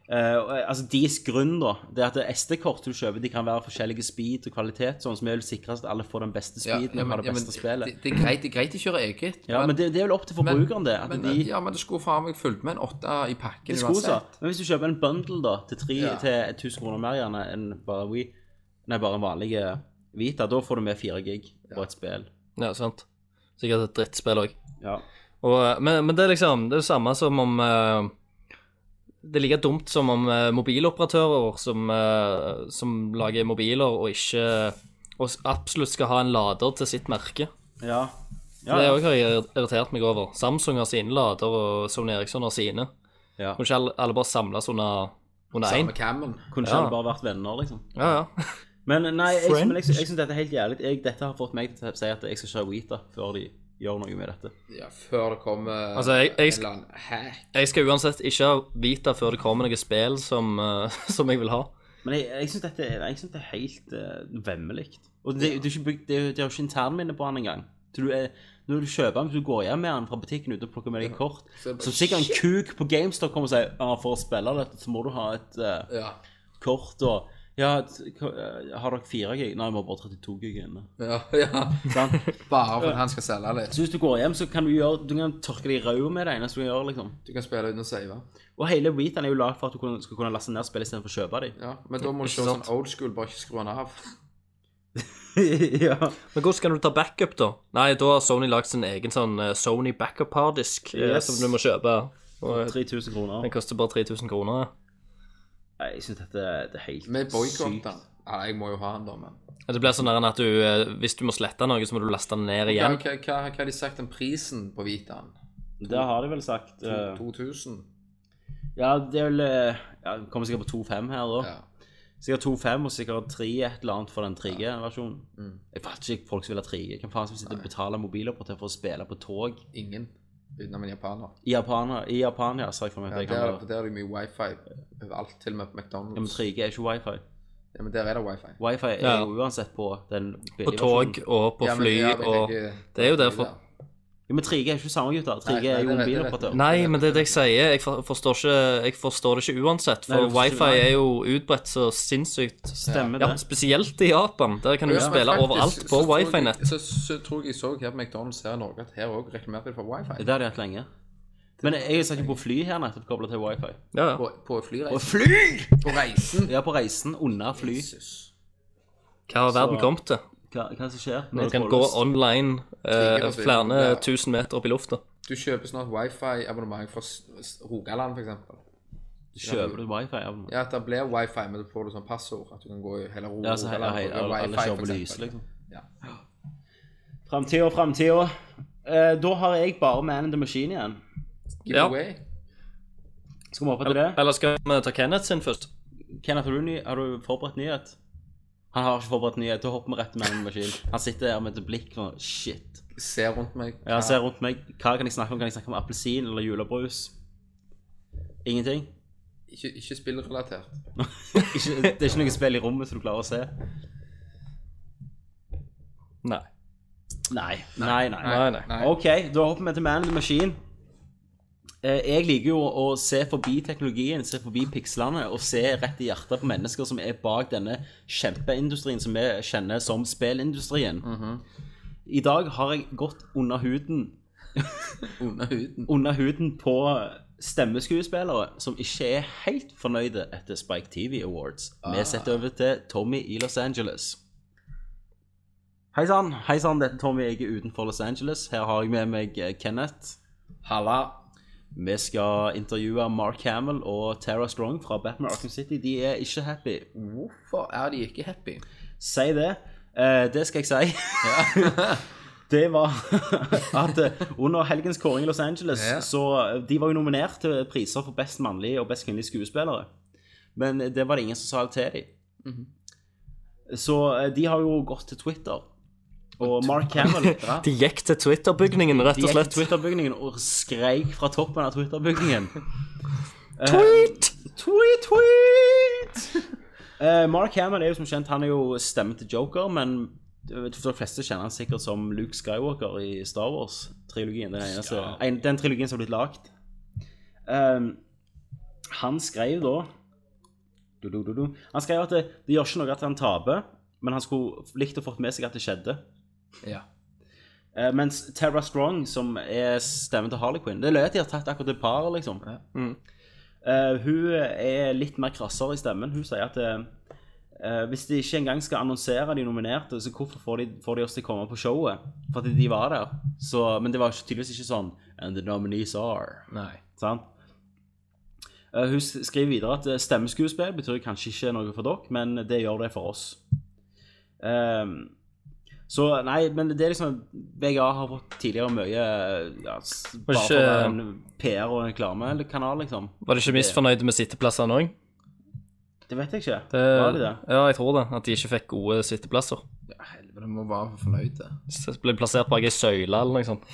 [SPEAKER 4] Eh, og, eh, altså Deres grunn da, det er at SD-kort du kjøper, de kan være forskjellige speed og kvalitet, sånn som vi vil sikre oss at alle får den beste
[SPEAKER 2] Ja,
[SPEAKER 4] speeden
[SPEAKER 2] ja,
[SPEAKER 4] og
[SPEAKER 2] men-
[SPEAKER 4] har det
[SPEAKER 2] ja, men
[SPEAKER 4] beste spillet.
[SPEAKER 2] det, det, er greit, det er greit de kjører eget.
[SPEAKER 4] Ja, men det, det er vel opp til
[SPEAKER 2] men-
[SPEAKER 4] forbrukeren, det. At
[SPEAKER 2] men,
[SPEAKER 4] de,
[SPEAKER 2] Ja, men det skulle faen meg fulgt med en åtte i pakken
[SPEAKER 4] det skulle så. Men hvis du kjøper en bundle da, til, tre,
[SPEAKER 2] Ja.
[SPEAKER 4] til 1000 kroner mer gjerne enn bare Wii, nei, bare en vanlig eh, Vita, da får du med 4 gig på et spill.
[SPEAKER 3] Ja, sant. Sikkert et drittspill òg.
[SPEAKER 4] Ja.
[SPEAKER 3] Men, men det er liksom det er det samme som om eh, Det er like dumt som om eh, mobiloperatører som, eh, som lager mobiler og ikke Og s- absolutt skal ha en lader til sitt merke.
[SPEAKER 4] Ja. Ja,
[SPEAKER 3] Det
[SPEAKER 4] ja.
[SPEAKER 3] òg har jeg irri- irritert meg over. Samsung har sine lader, og Sony Eriksson har sine.
[SPEAKER 4] Ja.
[SPEAKER 3] Kunne ikke alle, alle bare samles under under én?
[SPEAKER 2] Samme cammen.
[SPEAKER 4] Kunne ikke
[SPEAKER 3] Ja.
[SPEAKER 4] alle bare vært venner, liksom.
[SPEAKER 3] Ja, ja.
[SPEAKER 4] Men nei, jeg, men jeg, jeg syns dette er helt jævlig. Jeg, dette har fått meg til å si at jeg skal kjøre Vita før de gjør noe med dette.
[SPEAKER 2] Ja, før det kommer
[SPEAKER 3] Altså, jeg- jeg
[SPEAKER 2] en eller annen hack.
[SPEAKER 3] Jeg skal uansett ikke ha Vita før det kommer noe spill som, eh, [laughs] som jeg vil ha.
[SPEAKER 4] Men jeg, jeg syns dette er- jeg synes det er helt uh, vemmelig. Og det, det er ikke bygd, det, er- det er jo ikke internminne på den engang. Så du er, når du kjøper den, hvis du går hjem med den fra butikken uten å plukke med deg kort,
[SPEAKER 2] Så er det bare,
[SPEAKER 4] så sikkert en kuk på GameStop kommer og sier ja, for å spille dette, så må du ha et eh,
[SPEAKER 2] Ja.
[SPEAKER 4] kort og ja, t- k- eh, har dere 4 gig? Nei, vi har bare 32 gig inne.
[SPEAKER 2] ja, ja.
[SPEAKER 4] Sant?
[SPEAKER 2] Bare for at han skal selge litt.
[SPEAKER 4] Så hvis du går hjem, så kan du gjøre, du kan tørke deg i røya med det eneste du kan gjøre, liksom.
[SPEAKER 2] Du kan spille uten å save.
[SPEAKER 4] Og hele Weetan er jo lagd for at du kunne- skal kunne laste ned spill istedenfor å kjøpe
[SPEAKER 3] [laughs]
[SPEAKER 4] dem.
[SPEAKER 2] Ja, men da må du
[SPEAKER 3] Ikke
[SPEAKER 2] se sånn
[SPEAKER 3] sant?
[SPEAKER 2] old school, bare ikke skru den av.
[SPEAKER 4] ja.
[SPEAKER 3] Men hvordan kan du ta backup, da? Nei, da har Sony lagd sin egen sånn eh, Sony backup harddisk eh,
[SPEAKER 4] Yes.
[SPEAKER 3] som du må kjøpe. Og, eh,
[SPEAKER 4] 3000 kroner.
[SPEAKER 3] den koster bare 3000 kroner.
[SPEAKER 4] Nei, jeg syns dette det er helt
[SPEAKER 2] Vi boikotter
[SPEAKER 4] sykt.
[SPEAKER 2] den. Ja, jeg må jo ha den, da, men
[SPEAKER 3] Ja, Det blir sånn der at du, eh, hvis du må slette noe, så må du laste den ned
[SPEAKER 2] ja,
[SPEAKER 3] igjen.
[SPEAKER 2] hva, hva, hva har de sagt om prisen på Vitaen?
[SPEAKER 4] Det har de vel sagt. eh,
[SPEAKER 2] 2000?
[SPEAKER 4] ja, det er vel eh, ja, det Kommer sikkert på 2,5 her, da.
[SPEAKER 2] Ja.
[SPEAKER 4] Sikkert 2,5 og sikkert 3 et eller annet for den 3G-versjonen.
[SPEAKER 2] Mm.
[SPEAKER 4] Jeg fatter ikke folk som vil ha 3G. Hvem faen som sitter og betaler mobiloperatør for å spille på tog?
[SPEAKER 2] Ingen. Utenom en japaner.
[SPEAKER 4] I Japan, I Japan ja, sa jeg for meg.
[SPEAKER 2] Ja,
[SPEAKER 4] at jeg
[SPEAKER 2] der,
[SPEAKER 4] kan være.
[SPEAKER 2] der er det mye wifi overalt, til og med på
[SPEAKER 4] Ja, men
[SPEAKER 2] McDonald's.
[SPEAKER 4] 3G er ikke wifi.
[SPEAKER 2] Ja, men der er det wifi.
[SPEAKER 4] Wifi er
[SPEAKER 3] Ja.
[SPEAKER 4] jo uansett på den
[SPEAKER 3] På tog og på
[SPEAKER 2] Ja, men-
[SPEAKER 3] fly
[SPEAKER 2] ja, men jeg
[SPEAKER 3] og
[SPEAKER 2] tenker-
[SPEAKER 3] Det er jo derfor.
[SPEAKER 4] Ja, men 3G er ikke samme, gutter. 3G
[SPEAKER 2] Nei,
[SPEAKER 4] er jo
[SPEAKER 2] nei, det er- det er-
[SPEAKER 4] mobiloperatør.
[SPEAKER 3] Nei, men det er det jeg sier. Jeg for- forstår, ikke, jeg forstår det ikke uansett.
[SPEAKER 4] Nei,
[SPEAKER 3] For
[SPEAKER 4] du forstår-
[SPEAKER 3] wifi er jo utbredt så sinnssykt.
[SPEAKER 4] Stemmer
[SPEAKER 3] Ja,
[SPEAKER 4] det.
[SPEAKER 3] Spesielt i Japan. Der kan du
[SPEAKER 2] Ja, men
[SPEAKER 3] spille
[SPEAKER 2] faktisk,
[SPEAKER 3] overalt på
[SPEAKER 2] så tror jeg-
[SPEAKER 3] wifi-nett.
[SPEAKER 2] Så, så tror jeg jeg så her på McDonald's her i Norge at her òg reklamerte de for wifi.
[SPEAKER 4] Det har de hatt lenge. Men jeg satt jo på fly her nettopp kobla til wifi.
[SPEAKER 3] Ja, ja.
[SPEAKER 2] På, på
[SPEAKER 4] På
[SPEAKER 2] flyreisen.
[SPEAKER 4] fly?!
[SPEAKER 2] På reisen.
[SPEAKER 4] Ja, på reisen under [laughs] fly.
[SPEAKER 2] Jesus.
[SPEAKER 3] Hva har verden kommet til?
[SPEAKER 4] Hva, hva som skjer?
[SPEAKER 3] Du kan gå online eh,
[SPEAKER 2] Kriger og så
[SPEAKER 3] flere
[SPEAKER 2] videre.
[SPEAKER 3] tusen meter opp i lufta.
[SPEAKER 2] Du kjøper snart wifi-abonnement fra S- S- Rogaland, for eksempel.
[SPEAKER 4] Kjøper du wifi? Ja,
[SPEAKER 2] Ja, at det blir wifi, men da får du sånn passord. At du kan gå i hele Rogaland
[SPEAKER 4] ja så hele,
[SPEAKER 2] og bruke
[SPEAKER 4] hele, alle
[SPEAKER 2] wifi,
[SPEAKER 4] kjører
[SPEAKER 2] for
[SPEAKER 4] på
[SPEAKER 2] eksempel.
[SPEAKER 4] lys, liksom.
[SPEAKER 2] Ja.
[SPEAKER 4] Framtida, framtida. Eh, da har jeg bare Man in the Machine igjen.
[SPEAKER 2] Give
[SPEAKER 3] Ja.
[SPEAKER 2] away.
[SPEAKER 4] Skal vi hoppe til det?
[SPEAKER 3] Eller skal vi ta Kenneth sin først?
[SPEAKER 4] Kenneth, har du, ny, har du forberedt nyhet? Han har ikke forberedt nyhet. Da hopper vi rett til Man in the Machine. Han sitter der med et blikk sånn Shit.
[SPEAKER 2] Se rundt meg.
[SPEAKER 4] Ja, han ser rundt meg. Hva kan jeg snakke om? Kan jeg snakke om appelsin eller julebrus? Ingenting?
[SPEAKER 2] Ikke, ikke spillrelatert.
[SPEAKER 4] Ikke, det er ikke noe spill i rommet som du klarer å se?
[SPEAKER 3] Nei.
[SPEAKER 4] Nei. Nei, nei.
[SPEAKER 3] Nei, nei.
[SPEAKER 2] Nei.
[SPEAKER 4] Ok, da hopper vi til Man in the Machine. Eh, Jeg liker jo å se forbi teknologien, se forbi pikslene og se rett i hjertet på mennesker som er bak denne kjempeindustrien som vi kjenner som spillindustrien. I dag har jeg gått under huden
[SPEAKER 2] Under huden.
[SPEAKER 4] under huden på stemmeskuespillere som ikke er helt fornøyde etter Spike TV Awards. Vi setter over til Tommy i Los Angeles. Hei sann, hei sann, dette er Tommy. Jeg er utenfor Los Angeles. Her har jeg med meg eh, Kenneth.
[SPEAKER 2] Halla.
[SPEAKER 4] Vi skal intervjue Mark Hamill og Tara Strong fra Batman Arkham City. De er ikke happy.
[SPEAKER 2] Hvorfor er de ikke happy?
[SPEAKER 4] Si det. Eh, det skal jeg si. [laughs] det var at eh, under helgens kåring i Los Angeles,
[SPEAKER 2] Ja.
[SPEAKER 4] så eh, de var jo nominert til priser for best mannlige og best kvinnelige skuespillere. Men eh, det var det ingen som sa til dem. Så eh, de har jo gått til Twitter. Og Mark Hamill ja,
[SPEAKER 3] De gikk til Twitter-bygningen, rett og
[SPEAKER 4] de gikk til
[SPEAKER 3] slett.
[SPEAKER 4] Twitter-bygningen og skreik fra toppen av Twitter-bygningen.
[SPEAKER 3] Eh, Tweet!
[SPEAKER 4] Tweet, tweet! [laughs] Eh, Mark Hamill er jo som kjent Han er jo stemmen til Joker, men jeg tror de fleste kjenner han sikkert som Luke Skywalker i Star Wars-trilogien. Den, eneste, en, den trilogien som har blitt lagd. Ehm, han skrev da du, du, du, du. Han skrev at det, det gjør ikke noe at han taper, men han skulle likt å fått med seg at det skjedde.
[SPEAKER 2] Ja.
[SPEAKER 4] Eh, mens Tara Strong, som er stemmen til Harley Quinn Det er løye at de har tatt akkurat et par, liksom. Eh, hun er litt mer krassere i stemmen. Hun sier at eh, hvis de ikke engang skal annonsere de nominerte, så hvorfor får de, får de oss til å komme på showet? For at de var der. Så, men det var ikke- tydeligvis ikke sånn And the nominees are.
[SPEAKER 2] Nei.
[SPEAKER 4] Sant? Eh, hun s- skriver videre at eh, stemmeskuespill betyr kanskje ikke noe for dere, men det gjør det for oss. Ehm, så nei, men det er liksom VGA har fått tidligere mye ja, s- Bare for å være en PR- og reklamekanal, liksom.
[SPEAKER 3] Var de ikke misfornøyde med sitteplassene òg?
[SPEAKER 4] Det vet jeg ikke.
[SPEAKER 3] Det...
[SPEAKER 4] Var det det?
[SPEAKER 3] Ja, jeg tror det. At de ikke fikk gode sitteplasser.
[SPEAKER 2] Ja, helvete, de må være fornøyde.
[SPEAKER 3] Så Ble plassert bak ei søyle eller noe sånt.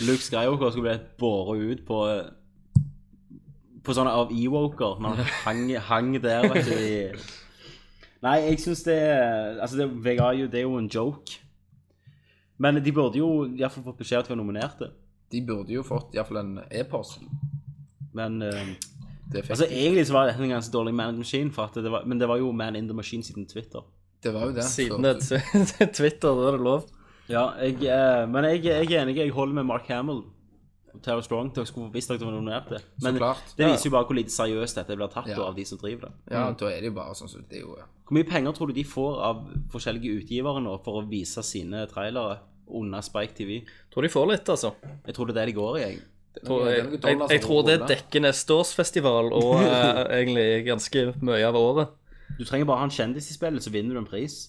[SPEAKER 4] Luke Skywalker skulle bli båret ut på eh, På sånne av Ewoker når [laughs] han hang, hang der, vet du. I... Nei, jeg syns det Altså, det, VGA, er jo- det er jo en joke. Men de burde jo iallfall fått beskjed om at de var nominerte.
[SPEAKER 2] De burde jo fått iallfall en e-post.
[SPEAKER 4] Men eh,
[SPEAKER 2] Det, fikk
[SPEAKER 4] altså,
[SPEAKER 2] de.
[SPEAKER 4] egentlig så var dette en ganske dårlig Man in the Machine, for at det var, men det var jo Man in the Machine siden Twitter.
[SPEAKER 2] det var jo det.
[SPEAKER 3] Siden
[SPEAKER 2] Så-
[SPEAKER 3] [laughs] det er Twitter, da er det lov.
[SPEAKER 4] Ja, jeg, eh, men jeg, jeg er enig. Jeg holder med Mark Hamill og Tara Strong. Dere skulle visst dere var nominerte. Men
[SPEAKER 2] klart.
[SPEAKER 4] det viser jo bare hvor lite seriøst dette blir tatt
[SPEAKER 2] Ja.
[SPEAKER 4] da av de som driver det.
[SPEAKER 2] Ja, da er det jo bare sånn som det er jo
[SPEAKER 4] Hvor mye penger tror du de får av forskjellige utgivere nå for å vise sine trailere under Spike TV?
[SPEAKER 3] Tror de får litt, altså.
[SPEAKER 4] Jeg tror det er det de går i, jeg.
[SPEAKER 3] Tror,
[SPEAKER 2] Det er
[SPEAKER 3] jeg,
[SPEAKER 2] noen
[SPEAKER 3] jeg,
[SPEAKER 2] dollar
[SPEAKER 4] altså,
[SPEAKER 3] jeg
[SPEAKER 2] som
[SPEAKER 3] tror det
[SPEAKER 2] ruller.
[SPEAKER 3] dekker neste års festival, og
[SPEAKER 4] [laughs]
[SPEAKER 3] eh, egentlig ganske mye av året.
[SPEAKER 4] Du trenger bare ha en kjendis i spillet, så vinner du en pris.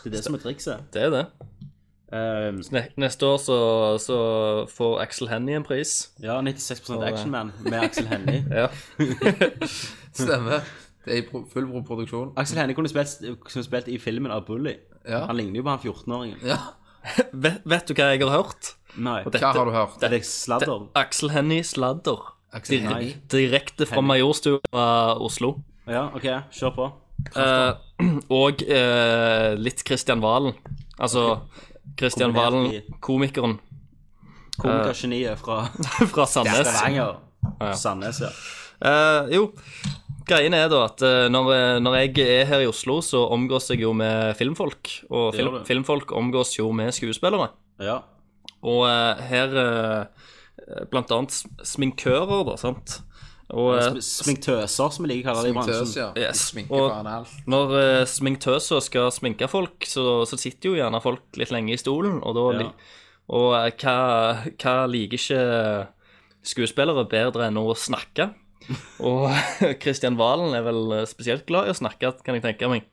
[SPEAKER 4] Det er det som er trikset.
[SPEAKER 3] Det er det.
[SPEAKER 4] Eh,
[SPEAKER 3] Ne neste år så, så får Axel Hennie en pris.
[SPEAKER 4] ja, 96 Actionman med Axel Hennie.
[SPEAKER 3] Ja.
[SPEAKER 2] Stemmer. Det er i pro full pro- produksjon.
[SPEAKER 4] Axel Hennie kunne spilt, kunne spilt i filmen av Bully.
[SPEAKER 2] Ja.
[SPEAKER 4] Han ligner jo på han 14-åringen.
[SPEAKER 2] ja.
[SPEAKER 3] Vet, vet du hva jeg har hørt?
[SPEAKER 4] Nei,
[SPEAKER 2] Hva har du hørt?
[SPEAKER 4] det er sladder.
[SPEAKER 3] Axel Hennie sladder.
[SPEAKER 2] Aksel
[SPEAKER 3] Dir-
[SPEAKER 2] Hennie.
[SPEAKER 3] Direkte fra Majorstua fra Oslo.
[SPEAKER 4] Ja, OK, kjør på.
[SPEAKER 3] Eh, og eh, litt Kristian Valen. Altså Kristian
[SPEAKER 4] Kombinert
[SPEAKER 3] Valen,
[SPEAKER 4] i-
[SPEAKER 3] komikeren [laughs]
[SPEAKER 4] Komikergeniet fra
[SPEAKER 3] fra Sandnes.
[SPEAKER 4] Stavanger.
[SPEAKER 3] ja.
[SPEAKER 4] Sandnes, ja.
[SPEAKER 3] Eh, jo, greien er da at eh, når, eh, når jeg er her i Oslo, så omgås jeg jo med filmfolk. Og
[SPEAKER 4] Det
[SPEAKER 3] film,
[SPEAKER 4] gjør du.
[SPEAKER 3] filmfolk omgås jo med skuespillere.
[SPEAKER 4] ja.
[SPEAKER 3] Og eh, her eh, blant annet sminkører, da, sant. Og eh,
[SPEAKER 4] Sminktøser, som vi liker å kalle det i
[SPEAKER 2] Sminktøs,
[SPEAKER 4] bransjen.
[SPEAKER 2] ja.
[SPEAKER 3] Yes.
[SPEAKER 2] Sminke
[SPEAKER 3] Og-
[SPEAKER 2] faen alt.
[SPEAKER 3] Når eh, sminktøser skal sminke folk, så, så sitter jo gjerne folk litt lenge i stolen, og da li-
[SPEAKER 4] Ja.
[SPEAKER 3] Og eh, hva, hva liker ikke skuespillere bedre enn å snakke? Og Kristian Valen er vel eh, spesielt glad i å snakke, kan jeg tenke meg.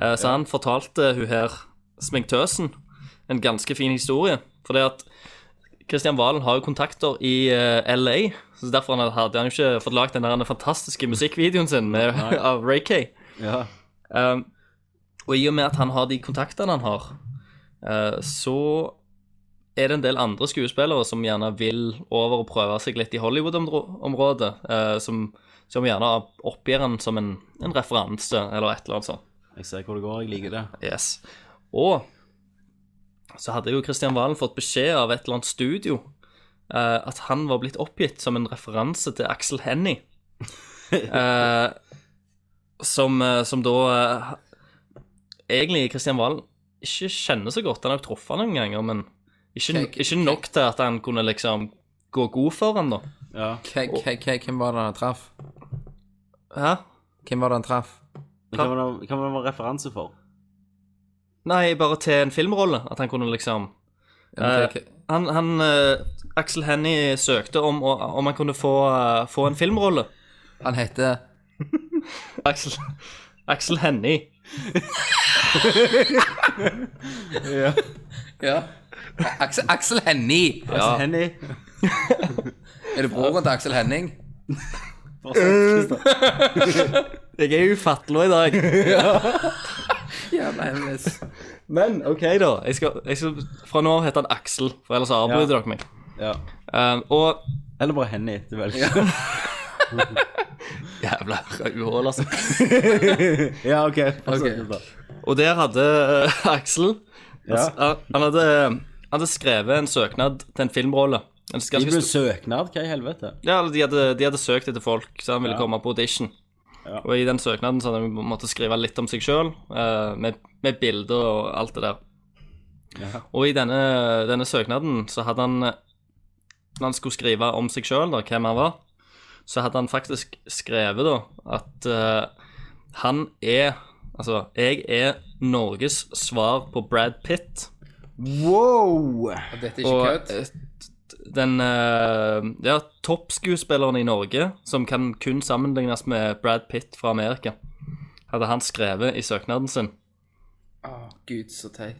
[SPEAKER 3] Eh, Så han fortalte hun her, sminktøsen, en ganske fin historie. For det at Kristian Valen har jo kontakter i eh, LA, så derfor han hadde han jo ikke fått lagd den der fantastiske musikkvideoen sin med, [laughs] av Ray Kay.
[SPEAKER 4] Ja.
[SPEAKER 3] Um, og i og med at han har de kontaktene han har, eh, så er det en del andre skuespillere som gjerne vil over og prøve seg litt i Hollywood-området, eh, som, som gjerne oppgir han som en, en referanse eller et eller annet sånt.
[SPEAKER 4] Jeg ser hvor det går, jeg liker det.
[SPEAKER 3] Yes. Og så hadde jo Kristian Valen fått beskjed av et eller annet studio eh, at han var blitt oppgitt som en referanse til Axel Hennie. Eh, som, eh, som da eh, Egentlig Kristian Valen ikke kjenner så godt. Han har jo truffet han noen ganger, men ikke,
[SPEAKER 2] Kek-
[SPEAKER 3] ikke nok til at han kunne liksom gå god for han, da.
[SPEAKER 4] Ja.
[SPEAKER 2] K- k- k- Hvem var det han traff?
[SPEAKER 3] Hæ?
[SPEAKER 2] Hvem var det han traff?
[SPEAKER 4] Men Hva var det- hva var det en referanse for?
[SPEAKER 3] Nei, bare til en filmrolle. At han kunne liksom
[SPEAKER 2] Ja,
[SPEAKER 3] Eh,
[SPEAKER 2] ok, ok.
[SPEAKER 3] Han, han eh, Axel Hennie søkte om, å- om han kunne få, eh, få en filmrolle.
[SPEAKER 2] Han heter
[SPEAKER 3] Axel, Axel Hennie.
[SPEAKER 2] Ja. Aksel, Aksel Hennie.
[SPEAKER 4] Altså, Henny.
[SPEAKER 2] Er det broren til Aksel Henning?
[SPEAKER 3] Jeg er ufattelig i
[SPEAKER 4] [laughs]
[SPEAKER 3] dag.
[SPEAKER 2] Jævla Hennes.
[SPEAKER 3] Men OK, da. Jeg skal, jeg skal, fra nå av heter han Axel, for ellers avbryter dere meg.
[SPEAKER 4] Ja.
[SPEAKER 3] Eh, og
[SPEAKER 4] Eller bare Henny, du velger.
[SPEAKER 3] Jævla rødhål, altså.
[SPEAKER 4] [laughs] Ja, ok.
[SPEAKER 2] Ok.
[SPEAKER 3] Og der hadde eh, Axel altså,
[SPEAKER 4] Ja.
[SPEAKER 3] han, han, hadde, han hadde skrevet en søknad til en filmrolle. En ganske
[SPEAKER 4] Skriv en
[SPEAKER 3] stor-
[SPEAKER 4] søknad, hva i helvete?
[SPEAKER 3] Ja, eller de hadde, de hadde søkt etter folk, så han ville komme på audition.
[SPEAKER 4] Ja.
[SPEAKER 3] Og i den søknaden så hadde han måttet skrive litt om seg sjøl, med, med bilder og alt det der. Og i denne, denne søknaden så hadde han eh, Når han skulle skrive om seg sjøl, hvem han var, så hadde han faktisk skrevet da at eh, han er Altså, jeg er Norges svar på Brad Pitt.
[SPEAKER 4] Wow!
[SPEAKER 2] Og dette er
[SPEAKER 3] Og
[SPEAKER 2] ikke kødd?
[SPEAKER 3] eh, t- den eh, ja, toppskuespilleren i Norge, som kan kun sammenlignes med Brad Pitt fra Amerika, hadde han skrevet i søknaden sin.
[SPEAKER 2] Å, gud, så teit.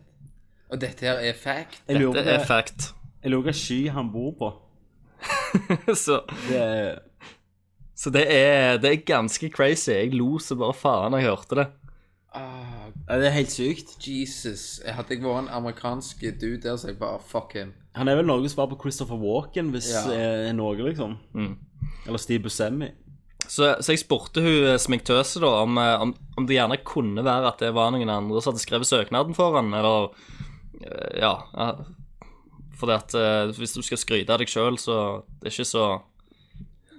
[SPEAKER 2] Og dette her er fact?
[SPEAKER 4] Jeg
[SPEAKER 3] Det er
[SPEAKER 4] lurer på
[SPEAKER 3] fact. [laughs]
[SPEAKER 4] jeg lurer hva sky han bor på.
[SPEAKER 3] så,
[SPEAKER 4] Det er
[SPEAKER 3] så det er, det er ganske crazy. Jeg lo så bare faen da jeg hørte det.
[SPEAKER 2] Å,
[SPEAKER 4] Ja, det er helt sykt.
[SPEAKER 2] Jesus. Hadde jeg vært en amerikansk dude der, så jeg bare fuck him.
[SPEAKER 4] Han er vel Norges svar på Christopher Walken, hvis
[SPEAKER 2] Ja.
[SPEAKER 4] eh, er Norge, liksom. Eller Steve Buscemi.
[SPEAKER 3] Så, så jeg spurte hun eh, sminktøse da om, eh, om, om det gjerne kunne være at det var noen andre som hadde skrevet søknaden for han, eller eh, Ja. ja, Fordi at eh, hvis du skal skryte av deg sjøl, så det er ikke så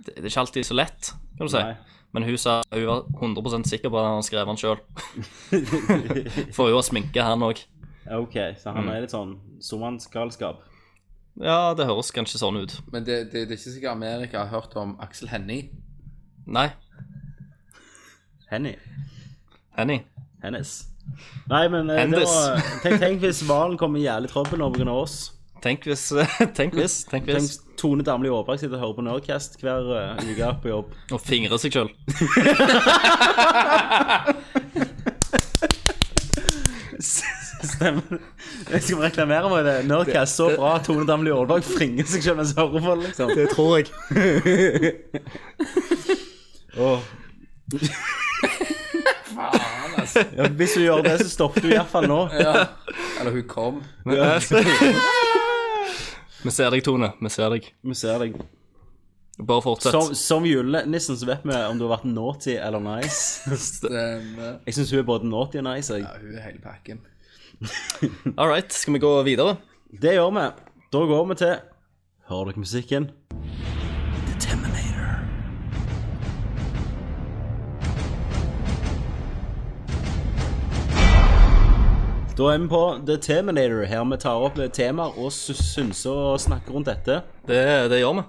[SPEAKER 3] Det, det er ikke alltid så lett, kan du si.
[SPEAKER 4] Nei.
[SPEAKER 3] Men hun sa hun var 100 sikker på at han skrev den sjøl.
[SPEAKER 4] [laughs]
[SPEAKER 3] for hun har sminke, han òg.
[SPEAKER 4] Ok, så han er litt sånn stormannsgalskap.
[SPEAKER 3] Ja, det høres kanskje sånn ut.
[SPEAKER 2] Men det, det, det er ikke sikkert Amerika har hørt om Aksel Hennie.
[SPEAKER 3] Nei,
[SPEAKER 4] Henny.
[SPEAKER 3] Henny.
[SPEAKER 4] Hennes. Nei, men eh, det
[SPEAKER 3] Hendis.
[SPEAKER 4] var, tenk, tenk hvis Valen kommer i jævlig trøbbel nå pga. oss.
[SPEAKER 3] Tenk hvis [laughs] Tenk hvis. Tenk
[SPEAKER 4] Tenk
[SPEAKER 3] hvis.
[SPEAKER 4] Tone Damli Aabak sitter og hører på Nerdcast hver eh, uke på jobb.
[SPEAKER 3] Og fingre seg sjøl.
[SPEAKER 4] Stemmer. Jeg skal reklamere meg det. Nerdcast, så bra. Tone Damli Aabak fringer seg selv mens hun hører på det, liksom. Det tror [laughs] jeg.
[SPEAKER 2] Faen, altså.
[SPEAKER 4] Ja, hvis du gjør det, så stopper du i hvert fall nå.
[SPEAKER 2] Ja. Eller hun kom.
[SPEAKER 3] Vi ser deg, Tone. Vi ser deg.
[SPEAKER 4] Vi ser deg.
[SPEAKER 3] Bare fortsett.
[SPEAKER 4] Som, som julenissen så vet vi om du har vært naughty eller nice.
[SPEAKER 2] Den, eh,
[SPEAKER 4] Jeg syns hun er både naughty og nice. Jeg.
[SPEAKER 2] ja, hun er hele pakken.
[SPEAKER 3] All right, skal vi gå videre?
[SPEAKER 4] Det gjør vi. Da går vi til Hører dere musikken? The Terminator. Da er vi på The Terminator, her vi tar opp temaer og sy- synser og snakker rundt dette.
[SPEAKER 3] Det, det gjør vi.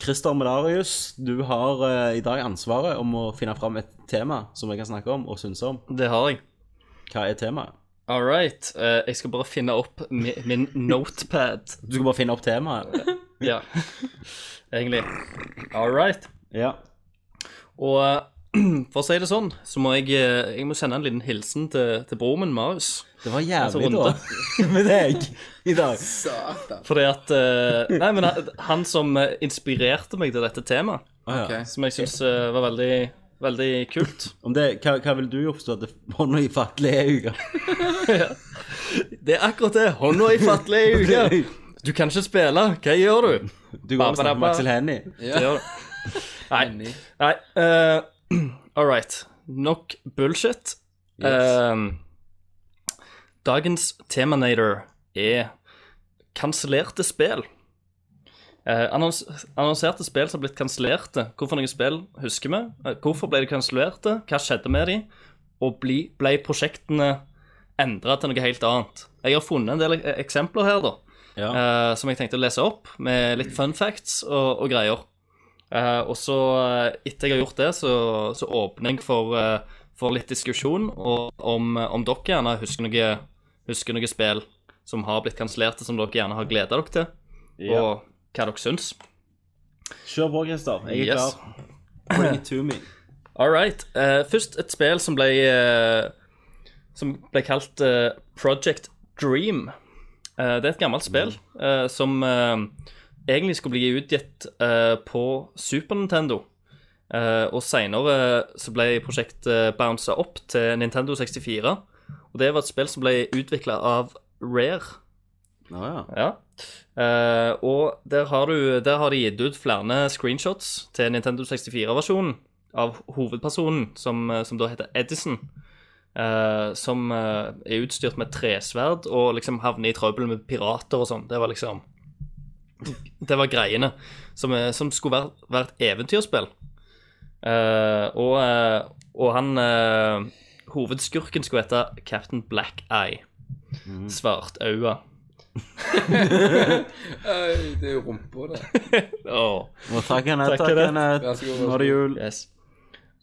[SPEAKER 4] Christer Medarius, du har eh, i dag ansvaret om å finne fram et tema som vi kan snakke om og synse om.
[SPEAKER 3] Det har jeg.
[SPEAKER 4] Hva er temaet?
[SPEAKER 3] All right. eh, jeg skal bare finne opp mi, min notepad.
[SPEAKER 4] Du skal bare finne opp temaet.
[SPEAKER 3] Ja, [laughs] egentlig. All right.
[SPEAKER 4] Ja.
[SPEAKER 3] Og eh, [clears throat] for å si det sånn, så må jeg, eh, jeg må sende en liten hilsen til, til broren min, Marius.
[SPEAKER 4] Det var
[SPEAKER 3] Altså,
[SPEAKER 4] jævlig,
[SPEAKER 3] runde.
[SPEAKER 4] da, [laughs] med deg i dag.
[SPEAKER 2] Satan.
[SPEAKER 3] Fordi at eh, Nei, men han- han som eh, inspirerte meg til dette temaet,
[SPEAKER 4] Ah, ja.
[SPEAKER 2] Ok.
[SPEAKER 3] som jeg syns var veldig, veldig kult
[SPEAKER 4] Om det, hva, hva vil du gjort hvis du hadde hånda i fatlige uka?
[SPEAKER 3] Det er akkurat det! Hånda i fatlige
[SPEAKER 4] [laughs]
[SPEAKER 3] uker! Du kan ikke spille. Hva gjør du?
[SPEAKER 4] Du går og snakker med Aksel Hennie.
[SPEAKER 3] Det gjør du. Nei. nei eh, [clears throat] all right. Nok bullshit. Eh, dagens Teminator er kansellerte spill. Eh, annons annonserte spill som har blitt kansellerte. Hvorfor noen spill husker vi? Eh, Hvorfor ble de kansellerte? Hva skjedde med de? Og bli, ble prosjektene endra til noe helt annet? Jeg har funnet en del eh, eksempler her, da.
[SPEAKER 4] Ja.
[SPEAKER 3] Eh, som jeg tenkte å lese opp, med litt fun facts og, og greier. Eh, og så, eh, etter jeg har gjort det, så, så åpner jeg for, eh, for litt diskusjon og, om, om dere gjerne husker noe, husker noe spill som har blitt kansellerte, som dere gjerne har gleda dere til,
[SPEAKER 4] Ja.
[SPEAKER 3] og hva dere syns.
[SPEAKER 4] Kjør på, Christer. Jeg er
[SPEAKER 3] Yes.
[SPEAKER 4] klar. Bring it to me.
[SPEAKER 3] All right. Eh, først et spill som ble, eh, som ble kalt eh, Project Dream. Eh, det er et gammelt spill eh, som eh, egentlig skulle bli utgitt eh, på Super Nintendo. Eh, og seinere så ble prosjektet bounsa opp til Nintendo 64. Og det var et spill som ble utvikla av Rare.
[SPEAKER 4] Nå, ja.
[SPEAKER 3] Ja. Eh, og der har, du, der har de gitt ut flere screenshots til Nintendo 64-versjonen av hovedpersonen, som, eh, som da heter Edison. eh, som eh, er utstyrt med tresverd og liksom havner i trøbbel med pirater og sånn. Det var liksom Det var greiene som, eh, som skulle være, være et eventyrspill. Eh, og, eh, og han eh, Hovedskurken skulle hete Captain Black Eye. Svartøye.
[SPEAKER 2] Øy, det er jo rumpa, det.
[SPEAKER 3] Åh
[SPEAKER 4] Nå, takk, Kenneth.
[SPEAKER 3] Takk,
[SPEAKER 4] Takk,
[SPEAKER 3] Kenneth.
[SPEAKER 4] Kenneth.
[SPEAKER 2] Vær så god, vær så
[SPEAKER 4] Nå er det jul.
[SPEAKER 3] Yes.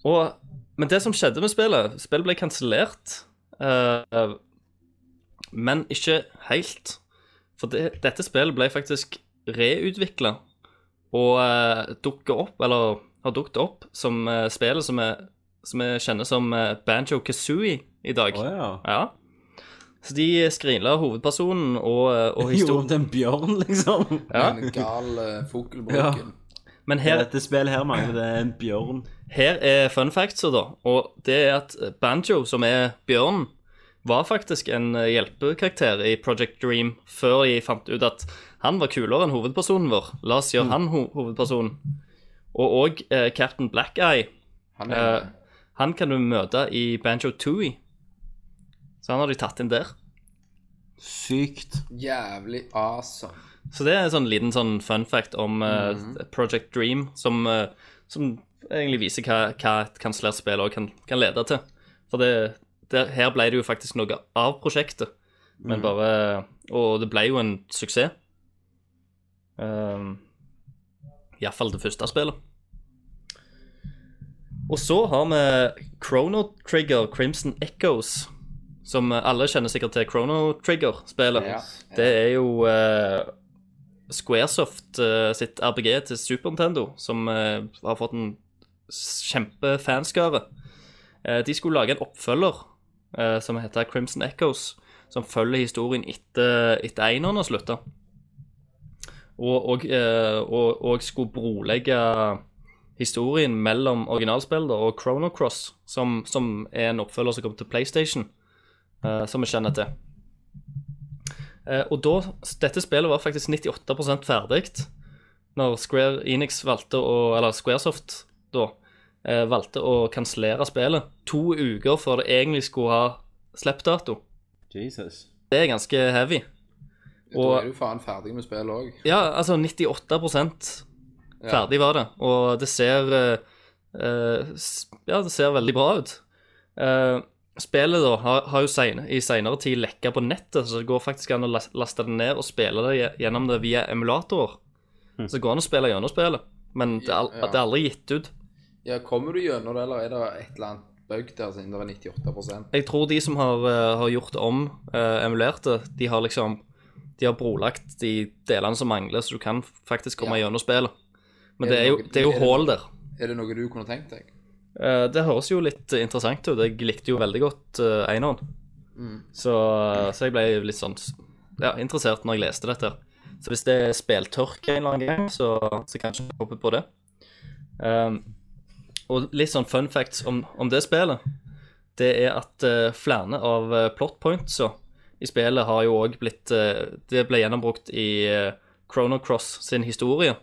[SPEAKER 3] Og, men det som skjedde med spillet Spillet ble kansellert. eh, men ikke helt. For det, dette spillet ble faktisk reutvikla og uh, dukket opp, eller har dukket opp, som eh, spillet som vi som vi kjenner som eh, Banjo Kazooie i dag.
[SPEAKER 4] Å ja.
[SPEAKER 3] Ja. Så de skrinla hovedpersonen og, eh,
[SPEAKER 4] [laughs]
[SPEAKER 3] og
[SPEAKER 4] Gjorde
[SPEAKER 3] historien.
[SPEAKER 4] om til en bjørn, liksom.
[SPEAKER 3] Ja.
[SPEAKER 2] Den gale fokelbroken.
[SPEAKER 3] Men her
[SPEAKER 4] Dette spillet her mangler det en bjørn.
[SPEAKER 3] Her er fun facts, da. Og det er at Banjo, som er bjørnen, var faktisk en eh, hjelpekarakter i Project Dream før de fant ut at han var kulere enn hovedpersonen vår. La oss gjøre han ho hovedpersonen. Og òg eh, Captain Blackeye.
[SPEAKER 2] Han
[SPEAKER 3] Eh,
[SPEAKER 2] er
[SPEAKER 3] han kan du møte i Banjo Tooie. Så han har de tatt inn der.
[SPEAKER 4] Sykt.
[SPEAKER 2] jævlig awesome.
[SPEAKER 3] Så det er en sånn liten sånn fun fact om eh, Project Dream, som, eh, som egentlig viser hva, hva et kansellert spill også kan, kan lede til. For det, det, her ble det jo faktisk noe av prosjektet, men bare Og det ble jo en suksess. Um, Iallfall det første spillet. Og så har vi Chrono Trigger Crimson Echoes, som alle kjenner sikkert til Chrono Trigger-spillet.
[SPEAKER 2] Ja.
[SPEAKER 3] Det er jo eh, Squaresoft eh, sitt RPG til Super Nintendo, som eh, har fått en s- kjempefanskare. Eh, de skulle lage en oppfølger eh, som heter Crimson Echoes, som følger historien etter, etter eineren har slutta. Og, og, eh, og, og skulle brolegge historien mellom originalspillet og Chrono Cross, som, som er en oppfølger som kom til PlayStation, eh, som vi kjenner til. Eh, og da, dette spillet var faktisk 98 ferdig når Square Enix valgte å, eller Squaresoft da, eh, valgte å kansellere spillet to uker før det egentlig skulle ha slippdato.
[SPEAKER 4] Jesus.
[SPEAKER 3] Det er ganske heavy.
[SPEAKER 2] Da
[SPEAKER 3] Og
[SPEAKER 2] er du faen ferdig med spillet òg.
[SPEAKER 3] ja, altså 98 ferdig var det, og det ser eh, eh, s- Ja, det ser veldig bra ut. Eh, spillet da har, har jo sen, i seinere tid lekka på nettet, så det går faktisk an å las- laste det ned og spille det gje- gjennom det via emulatorer. Så det går an å spille gjennom spillet, men det er, al
[SPEAKER 2] Hm. Ja.
[SPEAKER 3] det er aldri gitt ut.
[SPEAKER 2] Ja, Kommer du gjennom det, eller er det et eller annet bug der siden det var 98
[SPEAKER 3] Jeg tror de som har, eh, har gjort om eh, emulerte, de har liksom De har brolagt de delene som mangler, så du kan faktisk komme
[SPEAKER 2] Ja.
[SPEAKER 3] gjennom spillet. Men
[SPEAKER 2] Er
[SPEAKER 3] det
[SPEAKER 2] det
[SPEAKER 3] er jo,
[SPEAKER 2] noe-
[SPEAKER 3] det er jo
[SPEAKER 2] er det-
[SPEAKER 3] hull der.
[SPEAKER 2] Er det noe du kunne tenkt deg?
[SPEAKER 3] Eh, Det høres jo litt interessant ut. Jeg likte jo veldig godt uh, Einhorn. Så, så jeg ble litt sånn ja, interessert når jeg leste dette. her. Så hvis det er speltørke en eller annen gang, så, så kanskje jeg hopper på det. Um, og litt sånn fun facts om, om det spillet, det er at eh, flere av eh, plot pointsa i spillet har jo òg blitt eh, Det ble gjennombrukt i eh, Chrono Cross sin historie.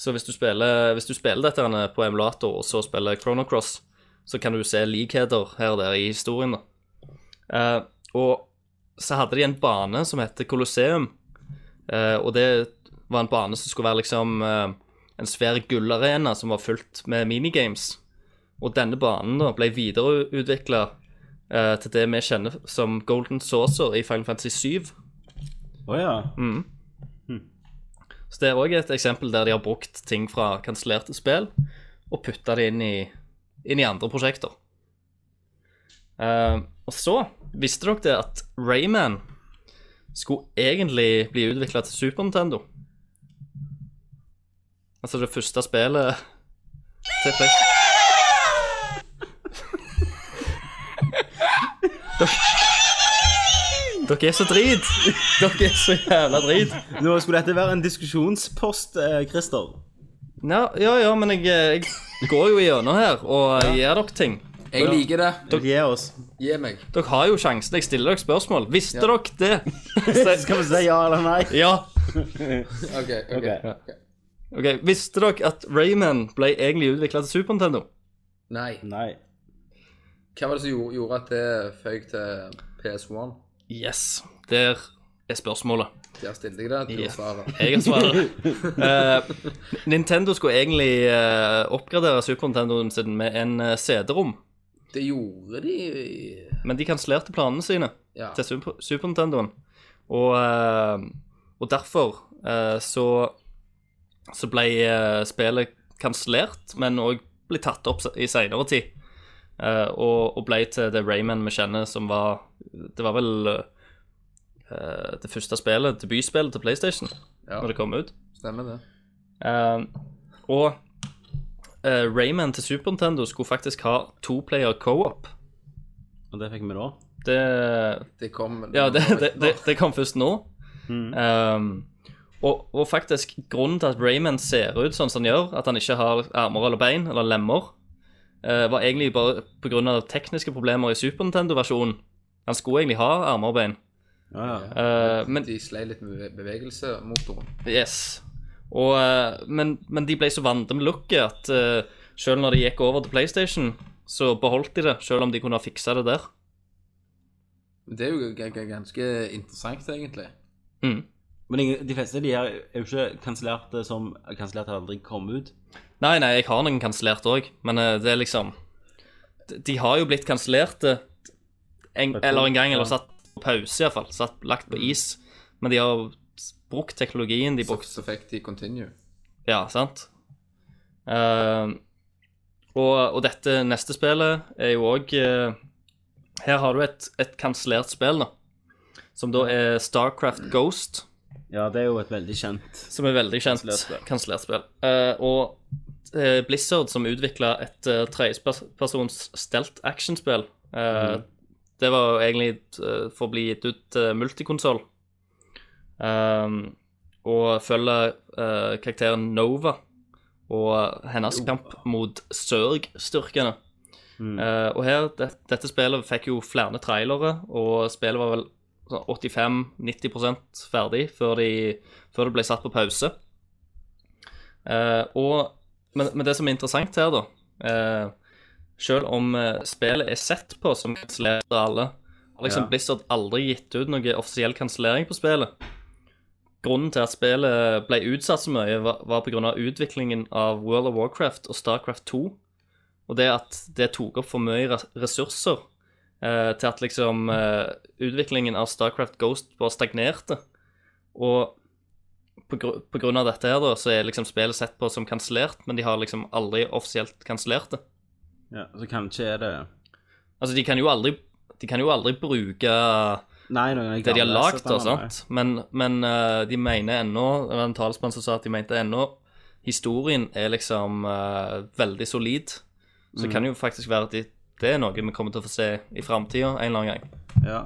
[SPEAKER 3] Så hvis du spiller, hvis du spiller dette her på emulator, og så spiller Chrono Cross, så kan du se likheter her og der i historien. da. Eh, og så hadde de en bane som heter Colosseum, eh, og det var en bane som skulle være liksom eh, en svær gullarena som var fylt med minigames. Og denne banen da ble videreutvikla eh, til det vi kjenner som Golden Saucer i Final Fantasy 7.
[SPEAKER 4] Å ja.
[SPEAKER 3] Så det er òg et eksempel der de har brukt ting fra kansellerte spill og putta det inn i, inn i andre prosjekter. Eh, og så visste dere det at Rayman skulle egentlig bli utvikla til Super Nintendo. Altså det første spillet til Play... Dere- Dere er så drit! Dere er så jævla drit.
[SPEAKER 4] Nå skulle dette være en diskusjonspost, eh, Christer.
[SPEAKER 3] Ja, ja, ja, men jeg, eh, jeg går jo gjennom her og gir dere ting.
[SPEAKER 2] Jeg liker det.
[SPEAKER 4] Gi oss.
[SPEAKER 2] Gi meg.
[SPEAKER 3] Dere har jo sjansen. Jeg stiller dere spørsmål. Visste dere det? Så-
[SPEAKER 4] Skal vi si ja eller nei?
[SPEAKER 3] ja.
[SPEAKER 2] OK. ok,
[SPEAKER 4] Ok.
[SPEAKER 2] ok.
[SPEAKER 3] Ok, Visste dere at Rayman ble egentlig utvikla til Super Nintendo?
[SPEAKER 2] Nei.
[SPEAKER 4] Nei.
[SPEAKER 2] Hva var det som gjorde- gjorde at det føyk til PS1?
[SPEAKER 3] Yes. Der er spørsmålet.
[SPEAKER 2] Der stilte jeg det. Du
[SPEAKER 3] Ja.
[SPEAKER 2] yeah. svarer.
[SPEAKER 3] Jeg har svaret. Eh, Nintendo skulle egentlig eh, oppgradere Super Nintendoen sin med en eh, CD-rom,
[SPEAKER 2] Det gjorde de
[SPEAKER 3] men de kansellerte planene sine.
[SPEAKER 2] Ja.
[SPEAKER 3] til Super, Super Nintendoen. Og, eh, og derfor eh, så, så ble eh, spillet kansellert, men òg ble tatt opp se- i seinere tid. Eh, og, og ble til The Rayman vi kjenner, som var Det var vel eh, det første spillet, debutspillet til PlayStation,
[SPEAKER 2] Ja.
[SPEAKER 3] når det kom ut.
[SPEAKER 2] Stemmer det.
[SPEAKER 3] Eh, og eh, Rayman til Super Nintendo skulle faktisk ha toplayer co-op.
[SPEAKER 4] Og det fikk vi da.
[SPEAKER 3] Det,
[SPEAKER 2] Det kom
[SPEAKER 3] Ja, det, det, det, det kom først nå. Ehm, og, og faktisk, grunnen til at Rayman ser ut sånn som han gjør, at han ikke har armer eller bein eller lemmer, eh, var egentlig bare pga. tekniske problemer i Super Nintendo-versjonen. Han skulle egentlig ha armer og bein.
[SPEAKER 4] Ja, ja.
[SPEAKER 3] Eh, men
[SPEAKER 2] De slei litt med bevegelse, motoren.
[SPEAKER 3] Yes. Og, eh, men, men de ble så vant med looket at eh, selv når de gikk over til PlayStation, så beholdt de det, selv om de kunne ha fiksa det der.
[SPEAKER 2] Det er jo g- g- ganske interessant, egentlig.
[SPEAKER 3] Mm.
[SPEAKER 4] Men ingen- de fleste de her er jo ikke kansellert eh, som kansellert har aldri kommet ut.
[SPEAKER 3] Nei, nei, jeg har noen kansellert òg, men eh, det er liksom De de har jo blitt kansellerte en, eller en gang, eller satt på pause iallfall. Satt lagt på is. Men de har brukt teknologien de
[SPEAKER 2] Så,
[SPEAKER 3] brukte.
[SPEAKER 2] så fikk de Continue.
[SPEAKER 3] Ja, sant? Eh, og, og dette neste spillet er jo òg Her har du et, et kansellert spill, da. Som da er Starcraft Ghost.
[SPEAKER 4] Ja, det er jo et veldig kjent
[SPEAKER 3] Som er veldig kjent
[SPEAKER 4] Kansellert spill.
[SPEAKER 3] kansellert spill. Eh, og eh, Blizzard, som utvikla et uh, tredjepersons stelt actionspill eh, Det var jo egentlig eh, for å bli gitt ut uh, multikonsoll. Ehm, og følger eh, karakteren Nova og hennes kamp mot Sørg-styrkene. Eh, og her, det, dette spillet fikk jo flere trailere, og spillet var vel sånn 85-90 ferdig før, de, før det ble satt på pause. Eh, og, men, men det som er interessant her, da eh, Selv om eh, spillet er sett på som kansellert av alle, har liksom
[SPEAKER 4] Ja.
[SPEAKER 3] Blizzard aldri gitt ut noe offisiell kansellering på spillet. Grunnen til at spillet ble utsatt så mye, var, var pga. utviklingen av World of Warcraft og Starcraft 2. Og det at det tok opp for mye res- ressurser eh, til at liksom eh, utviklingen av Starcraft Ghost bare stagnerte. Og på, gru- på grunn av dette her, da, så er liksom spillet sett på som kansellert, men de har liksom aldri offisielt kansellert det.
[SPEAKER 4] Ja, så kanskje er det
[SPEAKER 3] Altså, de kan jo aldri, de kan jo aldri bruke
[SPEAKER 4] Nei, noen av
[SPEAKER 3] det de har
[SPEAKER 4] gamle
[SPEAKER 3] lagd, altså. da,
[SPEAKER 4] setene, nei.
[SPEAKER 3] sant? Men, men eh, de mener ennå Det var en talsmann som sa at de mente ennå historien er liksom eh, veldig solid. Så det kan jo faktisk være at de, det er noe vi kommer til å få se i framtida en eller annen gang.
[SPEAKER 4] Ja.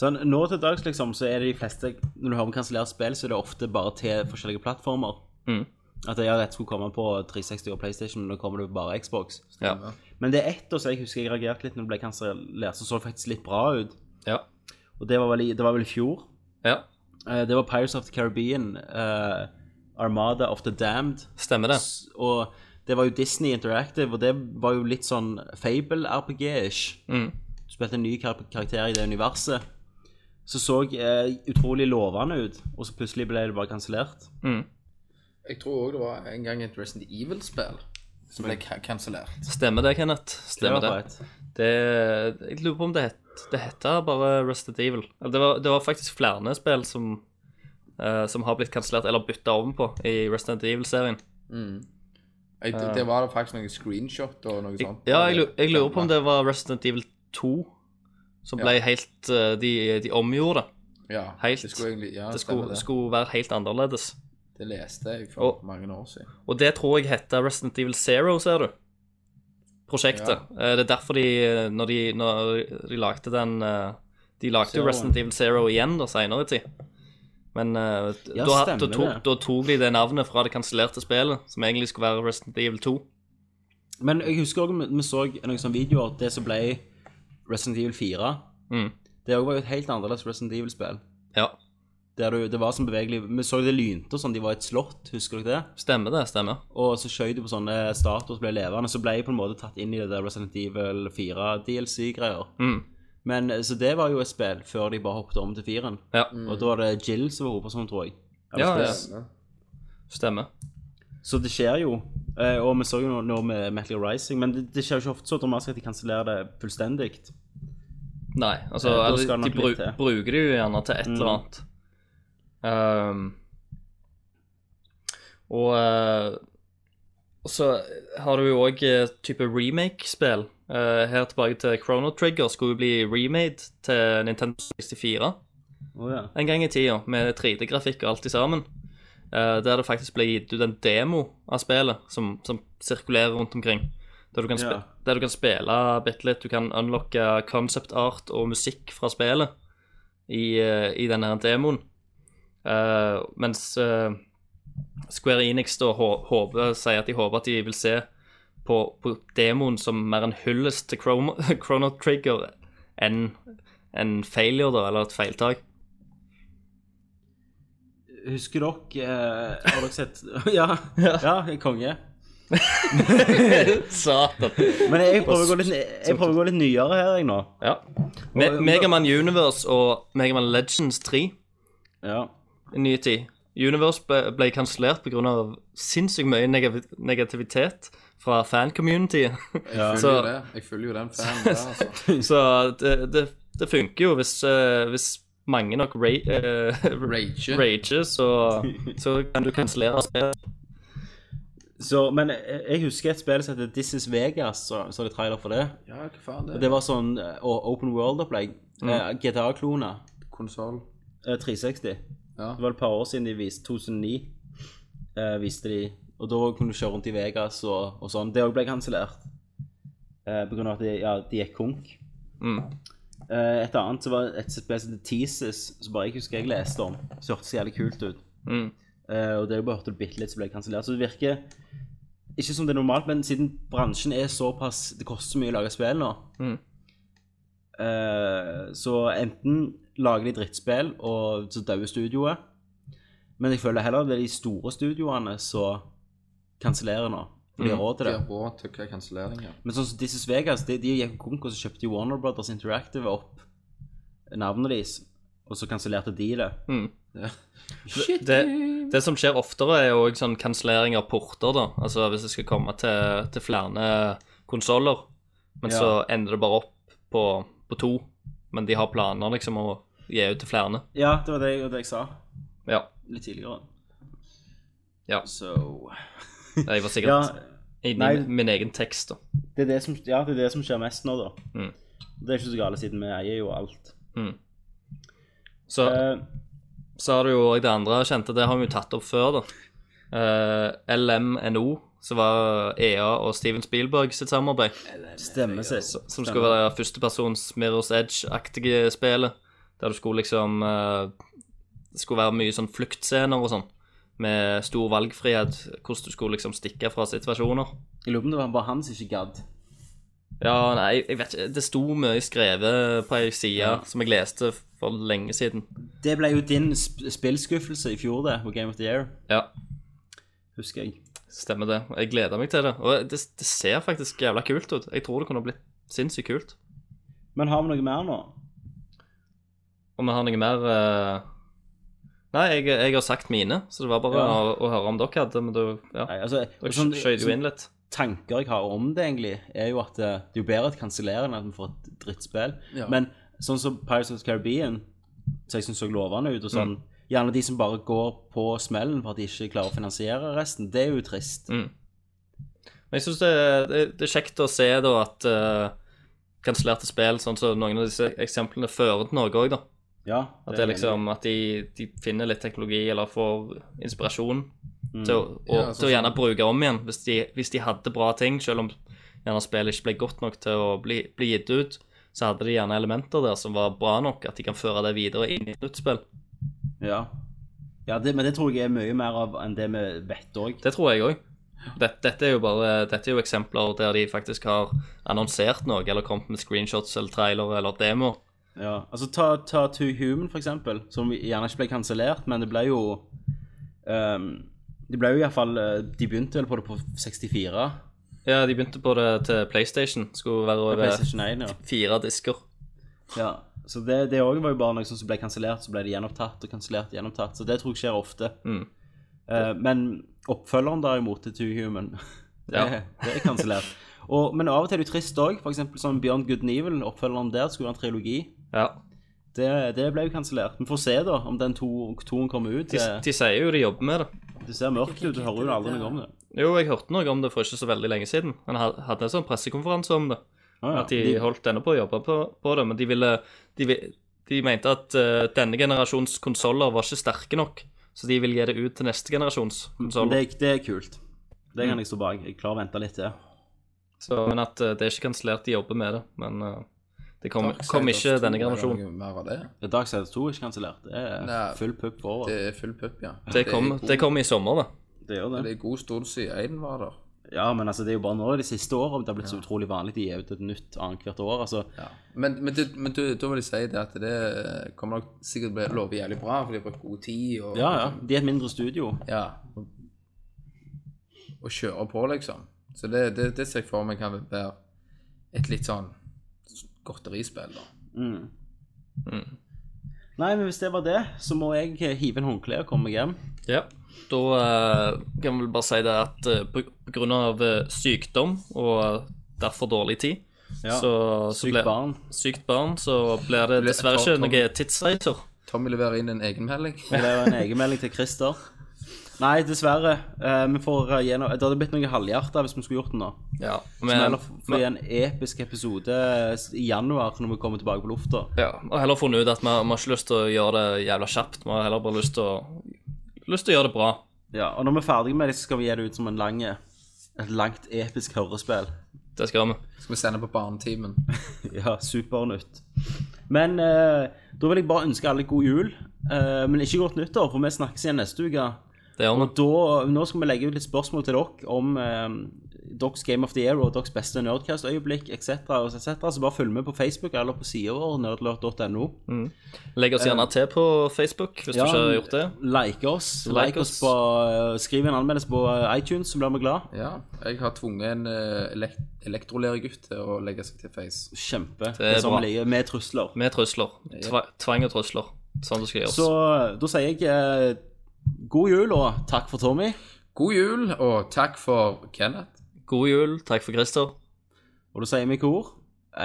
[SPEAKER 4] Sånn, nå til dags liksom, så er det de fleste Når du hører om kansellert spill, så er det ofte bare til forskjellige plattformer.
[SPEAKER 3] Mhm.
[SPEAKER 4] At ja, dette skulle komme på 360 og PlayStation, men nå kommer det bare Xbox.
[SPEAKER 3] Ja.
[SPEAKER 4] Men det er ett år så jeg husker jeg reagerte litt når det ble kansellert, som så faktisk litt bra ut.
[SPEAKER 3] Ja.
[SPEAKER 4] Og det var vel i, det var vel i fjor.
[SPEAKER 3] ja.
[SPEAKER 4] Eh, det var Pirates of the Caribbean, eh, Armada of the Damned.
[SPEAKER 3] Stemmer det.
[SPEAKER 4] S- Og det var jo Disney Interactive, og det var jo litt sånn Fable-RPG-ish.
[SPEAKER 3] Mm.
[SPEAKER 4] Du spilte en ny kar karakter i det universet. Så så eh, utrolig lovende ut, og så plutselig ble det bare kansellert.
[SPEAKER 2] Jeg tror òg det var en gang et Resident Evil-spill som ble ka- kansellert.
[SPEAKER 3] Stemmer det, Kenneth. Stemmer det.
[SPEAKER 4] Right.
[SPEAKER 3] det jeg lurer på om det het det heter bare Rusted Evil. Eller Det var, det var faktisk flere spill som, eh, som har blitt kansellert eller bytta om på i Resident Evil-serien.
[SPEAKER 2] Jeg, det var da faktisk noen screenshot og noe sånt.
[SPEAKER 3] Ja, jeg, lu- jeg lurer på om det var Resident Evil 2 som ble helt eh, de, de omgjorde det.
[SPEAKER 2] ja,
[SPEAKER 3] helt-
[SPEAKER 2] Det skulle, egentlig, ja,
[SPEAKER 3] Det
[SPEAKER 2] stemmer
[SPEAKER 3] skulle, skulle være helt annerledes.
[SPEAKER 2] det. det leste jeg for
[SPEAKER 3] Og-
[SPEAKER 2] mange år siden.
[SPEAKER 3] Og det tror jeg heter Resident Evil Zero, ser du. Prosjektet. Eh, Det er derfor de, eh, når de, når de lagde den eh, De lagde jo
[SPEAKER 4] Zeroen.
[SPEAKER 3] Resident Evil Zero igjen da senere i tid. Men eh,
[SPEAKER 4] Ja,
[SPEAKER 3] da, da,
[SPEAKER 4] stemmer
[SPEAKER 3] tok,
[SPEAKER 4] det.
[SPEAKER 3] da tok de det navnet fra det kansellerte spillet, som egentlig skulle være Resident Evil 2.
[SPEAKER 4] Men jeg husker også vi, vi så noen sånne videoer at det som ble Resident Evil 4,
[SPEAKER 3] Mm.
[SPEAKER 4] det også var jo et helt annerledes Resident Evil-spill.
[SPEAKER 3] Ja,
[SPEAKER 4] Der du, det var sånn bevegelig Vi så det lynte og sånn, de var i et slott, husker dere det?
[SPEAKER 3] stemmer det. Stemmer.
[SPEAKER 4] Og så skjøt du på sånne statuer som ble levende, så ble jeg på en måte tatt inn i det der Resident Evil 4-DLC-greier.
[SPEAKER 3] Mm.
[SPEAKER 4] Men eh, Så det var jo et spill før de bare hoppet om til firen.
[SPEAKER 3] Ja,
[SPEAKER 4] Og da var det Jill som var hovedpersonen, tror jeg.
[SPEAKER 3] ja, ja.
[SPEAKER 2] Stemmer.
[SPEAKER 3] stemmer.
[SPEAKER 4] Så det skjer jo. Eh, Og vi så jo nå- nå med Metal Gear Rising, men det, det skjer jo ikke ofte så dramatisk at de kansellerer det fullstendig.
[SPEAKER 3] Nei, altså
[SPEAKER 4] Eh, da
[SPEAKER 3] eller,
[SPEAKER 4] skal
[SPEAKER 3] de
[SPEAKER 4] det nok litt
[SPEAKER 3] bru-
[SPEAKER 4] til. Mm.
[SPEAKER 3] bruker det jo gjerne til et eller annet. Ehm, og eh, og så har du jo òg type remake-spill. Eh, her tilbake til Chrono Trigger skulle jo bli remade til Nintendo 64
[SPEAKER 4] Oh, ja.
[SPEAKER 3] en gang i tida, med 3D-grafikk og alt i sammen. Eh, der det faktisk ble gitt ut en demo av spillet som, som sirkulerer rundt omkring. Der du, kan spe
[SPEAKER 4] Ja.
[SPEAKER 3] der du kan spille bitte litt, du kan unlocke concept art og musikk fra spillet i, eh, i denne her demoen. Eh, mens eh, Square Enix da hå- håper, sier at de håper at de vil se på, på demoen som mer en hyllest til Chrono, [laughs] Chrono Trigger enn en failure, da, eller et feiltak.
[SPEAKER 4] Husker dere eh, Har dere sett [laughs] Ja, ja, konge.
[SPEAKER 3] [laughs] Satan.
[SPEAKER 4] Men jeg prøver å gå litt, jeg prøver å gå litt nyere her, jeg nå.
[SPEAKER 3] Ja. Me
[SPEAKER 4] Og-
[SPEAKER 3] Megaman Universe og Megaman Legends 3
[SPEAKER 4] Ja.
[SPEAKER 3] i ny tid. Universe ble, ble kansellert pga. sinnssykt mye negav negativitet fra fan-communityet.
[SPEAKER 2] Jeg følger
[SPEAKER 3] Så-
[SPEAKER 2] jo det. Jeg følger jo den fanen der, altså.
[SPEAKER 3] [laughs] Så det, det, det funker jo hvis, eh, hvis mange nok ra eh, [laughs]
[SPEAKER 2] Rage.
[SPEAKER 3] rager, så, så kan du kansellere spillet.
[SPEAKER 4] Så, men jeg jeg husker et spill som heter This is Vegas, så, så det er trailer for det.
[SPEAKER 2] Ja, hva faen
[SPEAKER 4] Og
[SPEAKER 2] det
[SPEAKER 4] Det
[SPEAKER 2] er?
[SPEAKER 4] var sånn eh, og open world-opplegg. Eh, GTA-kloner.
[SPEAKER 2] Konsoll.
[SPEAKER 4] eh, 360.
[SPEAKER 2] Ja.
[SPEAKER 4] Det var et par år siden de viste 2009. eh, viste de, og da kunne du kjøre rundt i Vegas og, og sånn. Det òg ble kansellert. Eh, på grunn av at de, ja, de gikk konk.
[SPEAKER 3] Mm.
[SPEAKER 4] Eh, et annet så var et spill som het Teases, som bare jeg husker jeg leste om. Som hørtes jævlig kult ut.
[SPEAKER 3] Mm.
[SPEAKER 4] Eh, og det er jo bare hørte du bitte litt som ble kansellert. Så det virker ikke som det er normalt, men siden bransjen er såpass Det koster så mye å lage spill nå.
[SPEAKER 3] Mm.
[SPEAKER 4] eh, så enten lager de drittspill, og så dauer studioet. Men jeg føler heller det er de store studioene som kansellerer nå. For de har råd til
[SPEAKER 2] De
[SPEAKER 4] det.
[SPEAKER 2] har råd til hva kansellering her.
[SPEAKER 4] Men sånn som This is Vegas, de, de gikk konk, og så kjøpte de Warner Brothers Interactive opp navnet deres. Og så kansellerte de det.
[SPEAKER 3] Det, det som skjer oftere, er jo også sånn kansellering av porter, da. Altså hvis det skal komme til, til flere konsoller, men
[SPEAKER 4] Ja.
[SPEAKER 3] så ender det bare opp på, på to. Men de har planer liksom å gi ut til flere.
[SPEAKER 4] Ja, det var det jeg, det jeg sa
[SPEAKER 3] Ja.
[SPEAKER 4] litt tidligere.
[SPEAKER 3] Ja.
[SPEAKER 4] So
[SPEAKER 3] Jeg var
[SPEAKER 4] Ja,
[SPEAKER 3] sikkert i
[SPEAKER 4] nei.
[SPEAKER 3] min, min egen tekst, da.
[SPEAKER 4] det er det som, ja, det er det som skjer mest nå, da.
[SPEAKER 3] Mm.
[SPEAKER 4] Det er ikke så gale, siden vi eier jo alt.
[SPEAKER 3] Så,
[SPEAKER 4] Eh,
[SPEAKER 3] så har du jo òg det andre jeg kjente, det har vi jo tatt opp før, da. Eh, LMNO, som var EA og Steven Spielberg sitt samarbeid,
[SPEAKER 4] stemmer sist.
[SPEAKER 3] som skulle være førstepersons Mirrors Edge-aktige spillet, der du skulle liksom eh, Det skulle være mye sånn fluktscener og sånn, med stor valgfrihet, hvordan du skulle liksom stikke fra situasjoner.
[SPEAKER 4] Jeg lurer på om det var bare han som ikke gadd.
[SPEAKER 3] Ja, nei, jeg vet ikke. Det sto mye skrevet på ei side som jeg leste for lenge siden.
[SPEAKER 4] Det ble jo din sp spillskuffelse i fjor, det, på Game of the Year,
[SPEAKER 3] Ja,
[SPEAKER 4] husker jeg.
[SPEAKER 3] stemmer det. Jeg gleder meg til det. Og det, det ser faktisk jævla kult ut. Jeg tror det kunne blitt sinnssykt kult.
[SPEAKER 4] Men har vi noe mer nå?
[SPEAKER 3] Om vi har noe mer eh, Nei, jeg, jeg har sagt mine, så det var bare å,
[SPEAKER 4] Ja.
[SPEAKER 3] å høre om dere hadde Men da ja.
[SPEAKER 4] Nei, altså,
[SPEAKER 3] Dere
[SPEAKER 4] sånn-
[SPEAKER 3] skjøt jo inn litt.
[SPEAKER 4] tanker jeg har om det, egentlig, er jo at eh, det er jo bedre å kansellere enn at vi får et drittspill.
[SPEAKER 2] Ja.
[SPEAKER 4] Men sånn som Pirates of the Caribbean, som jeg syns så lovende ut, og
[SPEAKER 3] Mm.
[SPEAKER 4] sånn Gjerne de som bare går på smellen for at de ikke klarer å finansiere resten. Det er jo trist.
[SPEAKER 3] Mm. Men jeg syns det, det, det er kjekt å se da at eh, kansellerte spill, sånn som noen av disse eksemplene, fører til noe òg, da.
[SPEAKER 4] Ja,
[SPEAKER 3] At det er liksom at de, de finner litt teknologi eller får inspirasjon
[SPEAKER 4] mm.
[SPEAKER 3] til, å, og,
[SPEAKER 2] Ja,
[SPEAKER 3] til å
[SPEAKER 2] sånn.
[SPEAKER 3] gjerne bruke om igjen hvis de, hvis de hadde bra ting, selv om gjerne spillet ikke ble godt nok til å bli, bli gitt ut, så hadde de gjerne elementer der som var bra nok, at de kan føre det videre inn i et nytt spill.
[SPEAKER 4] Ja, ja det, men det tror jeg er mye mer av enn det vi vet òg.
[SPEAKER 3] Det tror jeg òg. Dette, dette er jo bare Dette er jo eksempler der de faktisk har annonsert noe, eller kommet med screenshots eller trailere eller demoer.
[SPEAKER 4] Ja. Altså, ta, ta Two Human, for eksempel, som gjerne ikke ble kansellert, men det ble jo ehm, Det ble jo iallfall eh, De begynte vel på det på 64,
[SPEAKER 3] Ja, de begynte på det til PlayStation. Skulle være over
[SPEAKER 4] PlayStation 1, ja.
[SPEAKER 3] fire disker.
[SPEAKER 4] Ja, så det, det også var jo bare noe sånt som ble kansellert, så ble det gjenopptatt og kansellert og gjenopptatt. Så det tror jeg skjer ofte.
[SPEAKER 3] Mm.
[SPEAKER 4] Eh, men oppfølgeren derimot til Two Human, [laughs] det,
[SPEAKER 3] Ja.
[SPEAKER 4] det er kansellert. Og- Men av og til er det jo trist òg, f.eks. som Beyond Good and Evil, oppfølgeren der skulle være en trilogi.
[SPEAKER 3] Ja.
[SPEAKER 4] Det, det ble jo kansellert. Vi får se da om den to- toen kommer ut.
[SPEAKER 3] De,
[SPEAKER 4] Det,
[SPEAKER 3] de sier jo de jobber med det.
[SPEAKER 4] det ser mørkt ut, du hører jo aldri noe om det.
[SPEAKER 3] Jo, jeg hørte noe om det for ikke så veldig lenge siden. Han had- hadde en sånn pressekonferanse om det.
[SPEAKER 4] Å ja,
[SPEAKER 3] At de,
[SPEAKER 4] de-
[SPEAKER 3] holdt ennå på å jobbe på, på det, men de ville De, vi- de mente at eh, denne generasjons konsoller var ikke sterke nok, så de vil gi det ut til neste generasjons
[SPEAKER 4] Men
[SPEAKER 3] konsoller.
[SPEAKER 4] det, det er kult. Det
[SPEAKER 3] Mm.
[SPEAKER 4] kan jeg stå bak. Jeg klarer å vente litt til.
[SPEAKER 3] Så- Men at eh, det er ikke kansellert, de jobber med det. Men eh, det kom,
[SPEAKER 2] Darksiders
[SPEAKER 3] kom ikke
[SPEAKER 2] 2
[SPEAKER 3] denne
[SPEAKER 2] eller
[SPEAKER 3] generasjonen.
[SPEAKER 2] noe Mer av det.
[SPEAKER 4] Ja, Darksiders 2 er ikke kansellert. Det
[SPEAKER 2] Nei.
[SPEAKER 4] er full pupp forover.
[SPEAKER 2] det
[SPEAKER 4] Det,
[SPEAKER 2] er full pupp, ja.
[SPEAKER 3] Det kom,
[SPEAKER 2] er god-
[SPEAKER 3] det kom i sommer, da.
[SPEAKER 4] gjør det.
[SPEAKER 2] det er god stund siden én var der.
[SPEAKER 4] Ja, men altså, det er jo bare nå de siste årene det har blitt så utrolig vanlig. De er ut et nytt annethvert år. altså.
[SPEAKER 2] Men, men, du, men du, da vil jeg si det at det kommer nok sikkert bli love jævlig bra, for de har brukt god tid og,
[SPEAKER 4] Ja, ja. De er et mindre studio.
[SPEAKER 2] ja, og, og kjører på, liksom. Så det, det, det ser jeg for meg kan være et litt sånn godterispill, da.
[SPEAKER 4] Mm. Nei, men hvis det var det, så må jeg eh, hive inn håndkleet og komme meg hjem.
[SPEAKER 3] Ja. Da eh, kan vi vel bare si det at eh, på på grunn av eh, sykdom og eh, derfor dårlig tid,
[SPEAKER 4] Ja.
[SPEAKER 3] så, så
[SPEAKER 4] Sykt
[SPEAKER 3] ble-
[SPEAKER 4] barn.
[SPEAKER 3] sykt barn, så blir det dessverre ikke
[SPEAKER 2] Tom- Tom-
[SPEAKER 3] noe tidsreiser.
[SPEAKER 2] Tommy leverer inn en egenmelding.
[SPEAKER 4] Og det er jo en egenmelding til Christer. Nei, dessverre. Eh, vi får eh, gjennom Det hadde blitt noe halvhjerta hvis vi skulle gjort det nå.
[SPEAKER 3] Ja,
[SPEAKER 4] Men
[SPEAKER 3] men,
[SPEAKER 4] heller f- få en episk episode i januar når vi kommer tilbake på lufta.
[SPEAKER 3] ja, og heller funnet ut at vi, vi har ikke lyst til å gjøre det jævla kjapt. Vi har heller bare lyst til å, lyst til å gjøre det bra.
[SPEAKER 4] Ja, og når vi er ferdige med det, så skal vi gi det ut som en lang, et langt, episk hørespill.
[SPEAKER 3] Det skal vi.
[SPEAKER 2] Skal vi sende på Barnetimen.
[SPEAKER 4] Ja, supernytt. Men eh, da vil jeg bare ønske alle god jul, eh, men ikke godt nyttår, for vi snakkes igjen neste uke.
[SPEAKER 3] Det gjør vi.
[SPEAKER 4] Og da, nå skal vi legge ut litt spørsmål til dere om eh, deres Game of the Year og deres beste Nerdcast-øyeblikk etc. Og så etc. Så bare følg med på Facebook eller på sida vår, nerdlert.no.
[SPEAKER 3] Legg oss gjerne til på Facebook hvis du ikke har gjort det.
[SPEAKER 4] Like oss.
[SPEAKER 3] Like
[SPEAKER 4] Like oss
[SPEAKER 3] oss.
[SPEAKER 4] på, eh, skriv en anmeldelse på eh, iTunes, så blir vi glad.
[SPEAKER 2] Ja. Jeg har tvunget en eh, elek elektrolergutt til å legge seg til face.
[SPEAKER 4] Kjempe. Det
[SPEAKER 3] er
[SPEAKER 4] er sånn
[SPEAKER 3] bra.
[SPEAKER 4] vi liker. Med trusler.
[SPEAKER 3] Med trusler. Tva, tvang og trusler. Sånn det skal gjøres.
[SPEAKER 4] Så da sier jeg eh, god jul, og takk for Tommy.
[SPEAKER 2] God jul, og takk for Kenneth.
[SPEAKER 3] God jul. Takk for Christer.
[SPEAKER 4] Og da sier vi i kor.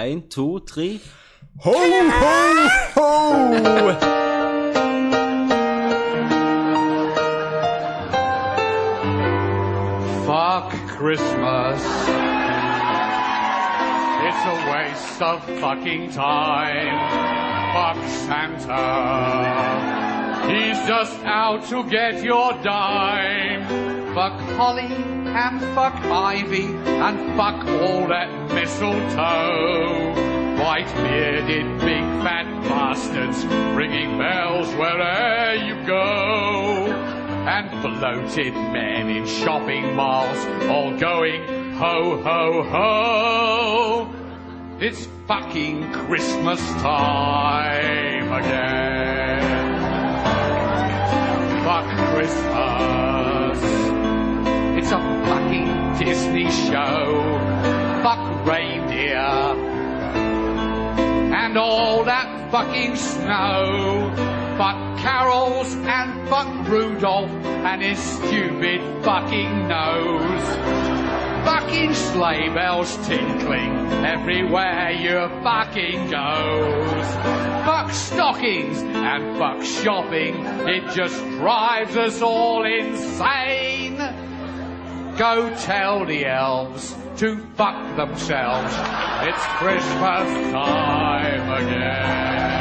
[SPEAKER 4] Én, to, tre.
[SPEAKER 6] Fuck Christmas. It's a waste of fucking time. Fuck Santa. He's just out to get your dime. Fuck Holly and fuck Ivy and fuck all that mistletoe. White bearded big fat bastards ringing bells wherever you go and bloated men in shopping malls all going ho ho ho. It's fucking Christmas time again. Fuck Christmas. It's a fucking Disney show. Fuck reindeer and all that fucking snow. But carols and fuck Rudolph and his stupid fucking nose. Fucking sleigh bells tinkling everywhere you fucking goes. Fuck stockings and fuck shopping, it just drives us all insane. Go tell the elves to fuck themselves. It's Christmas time again.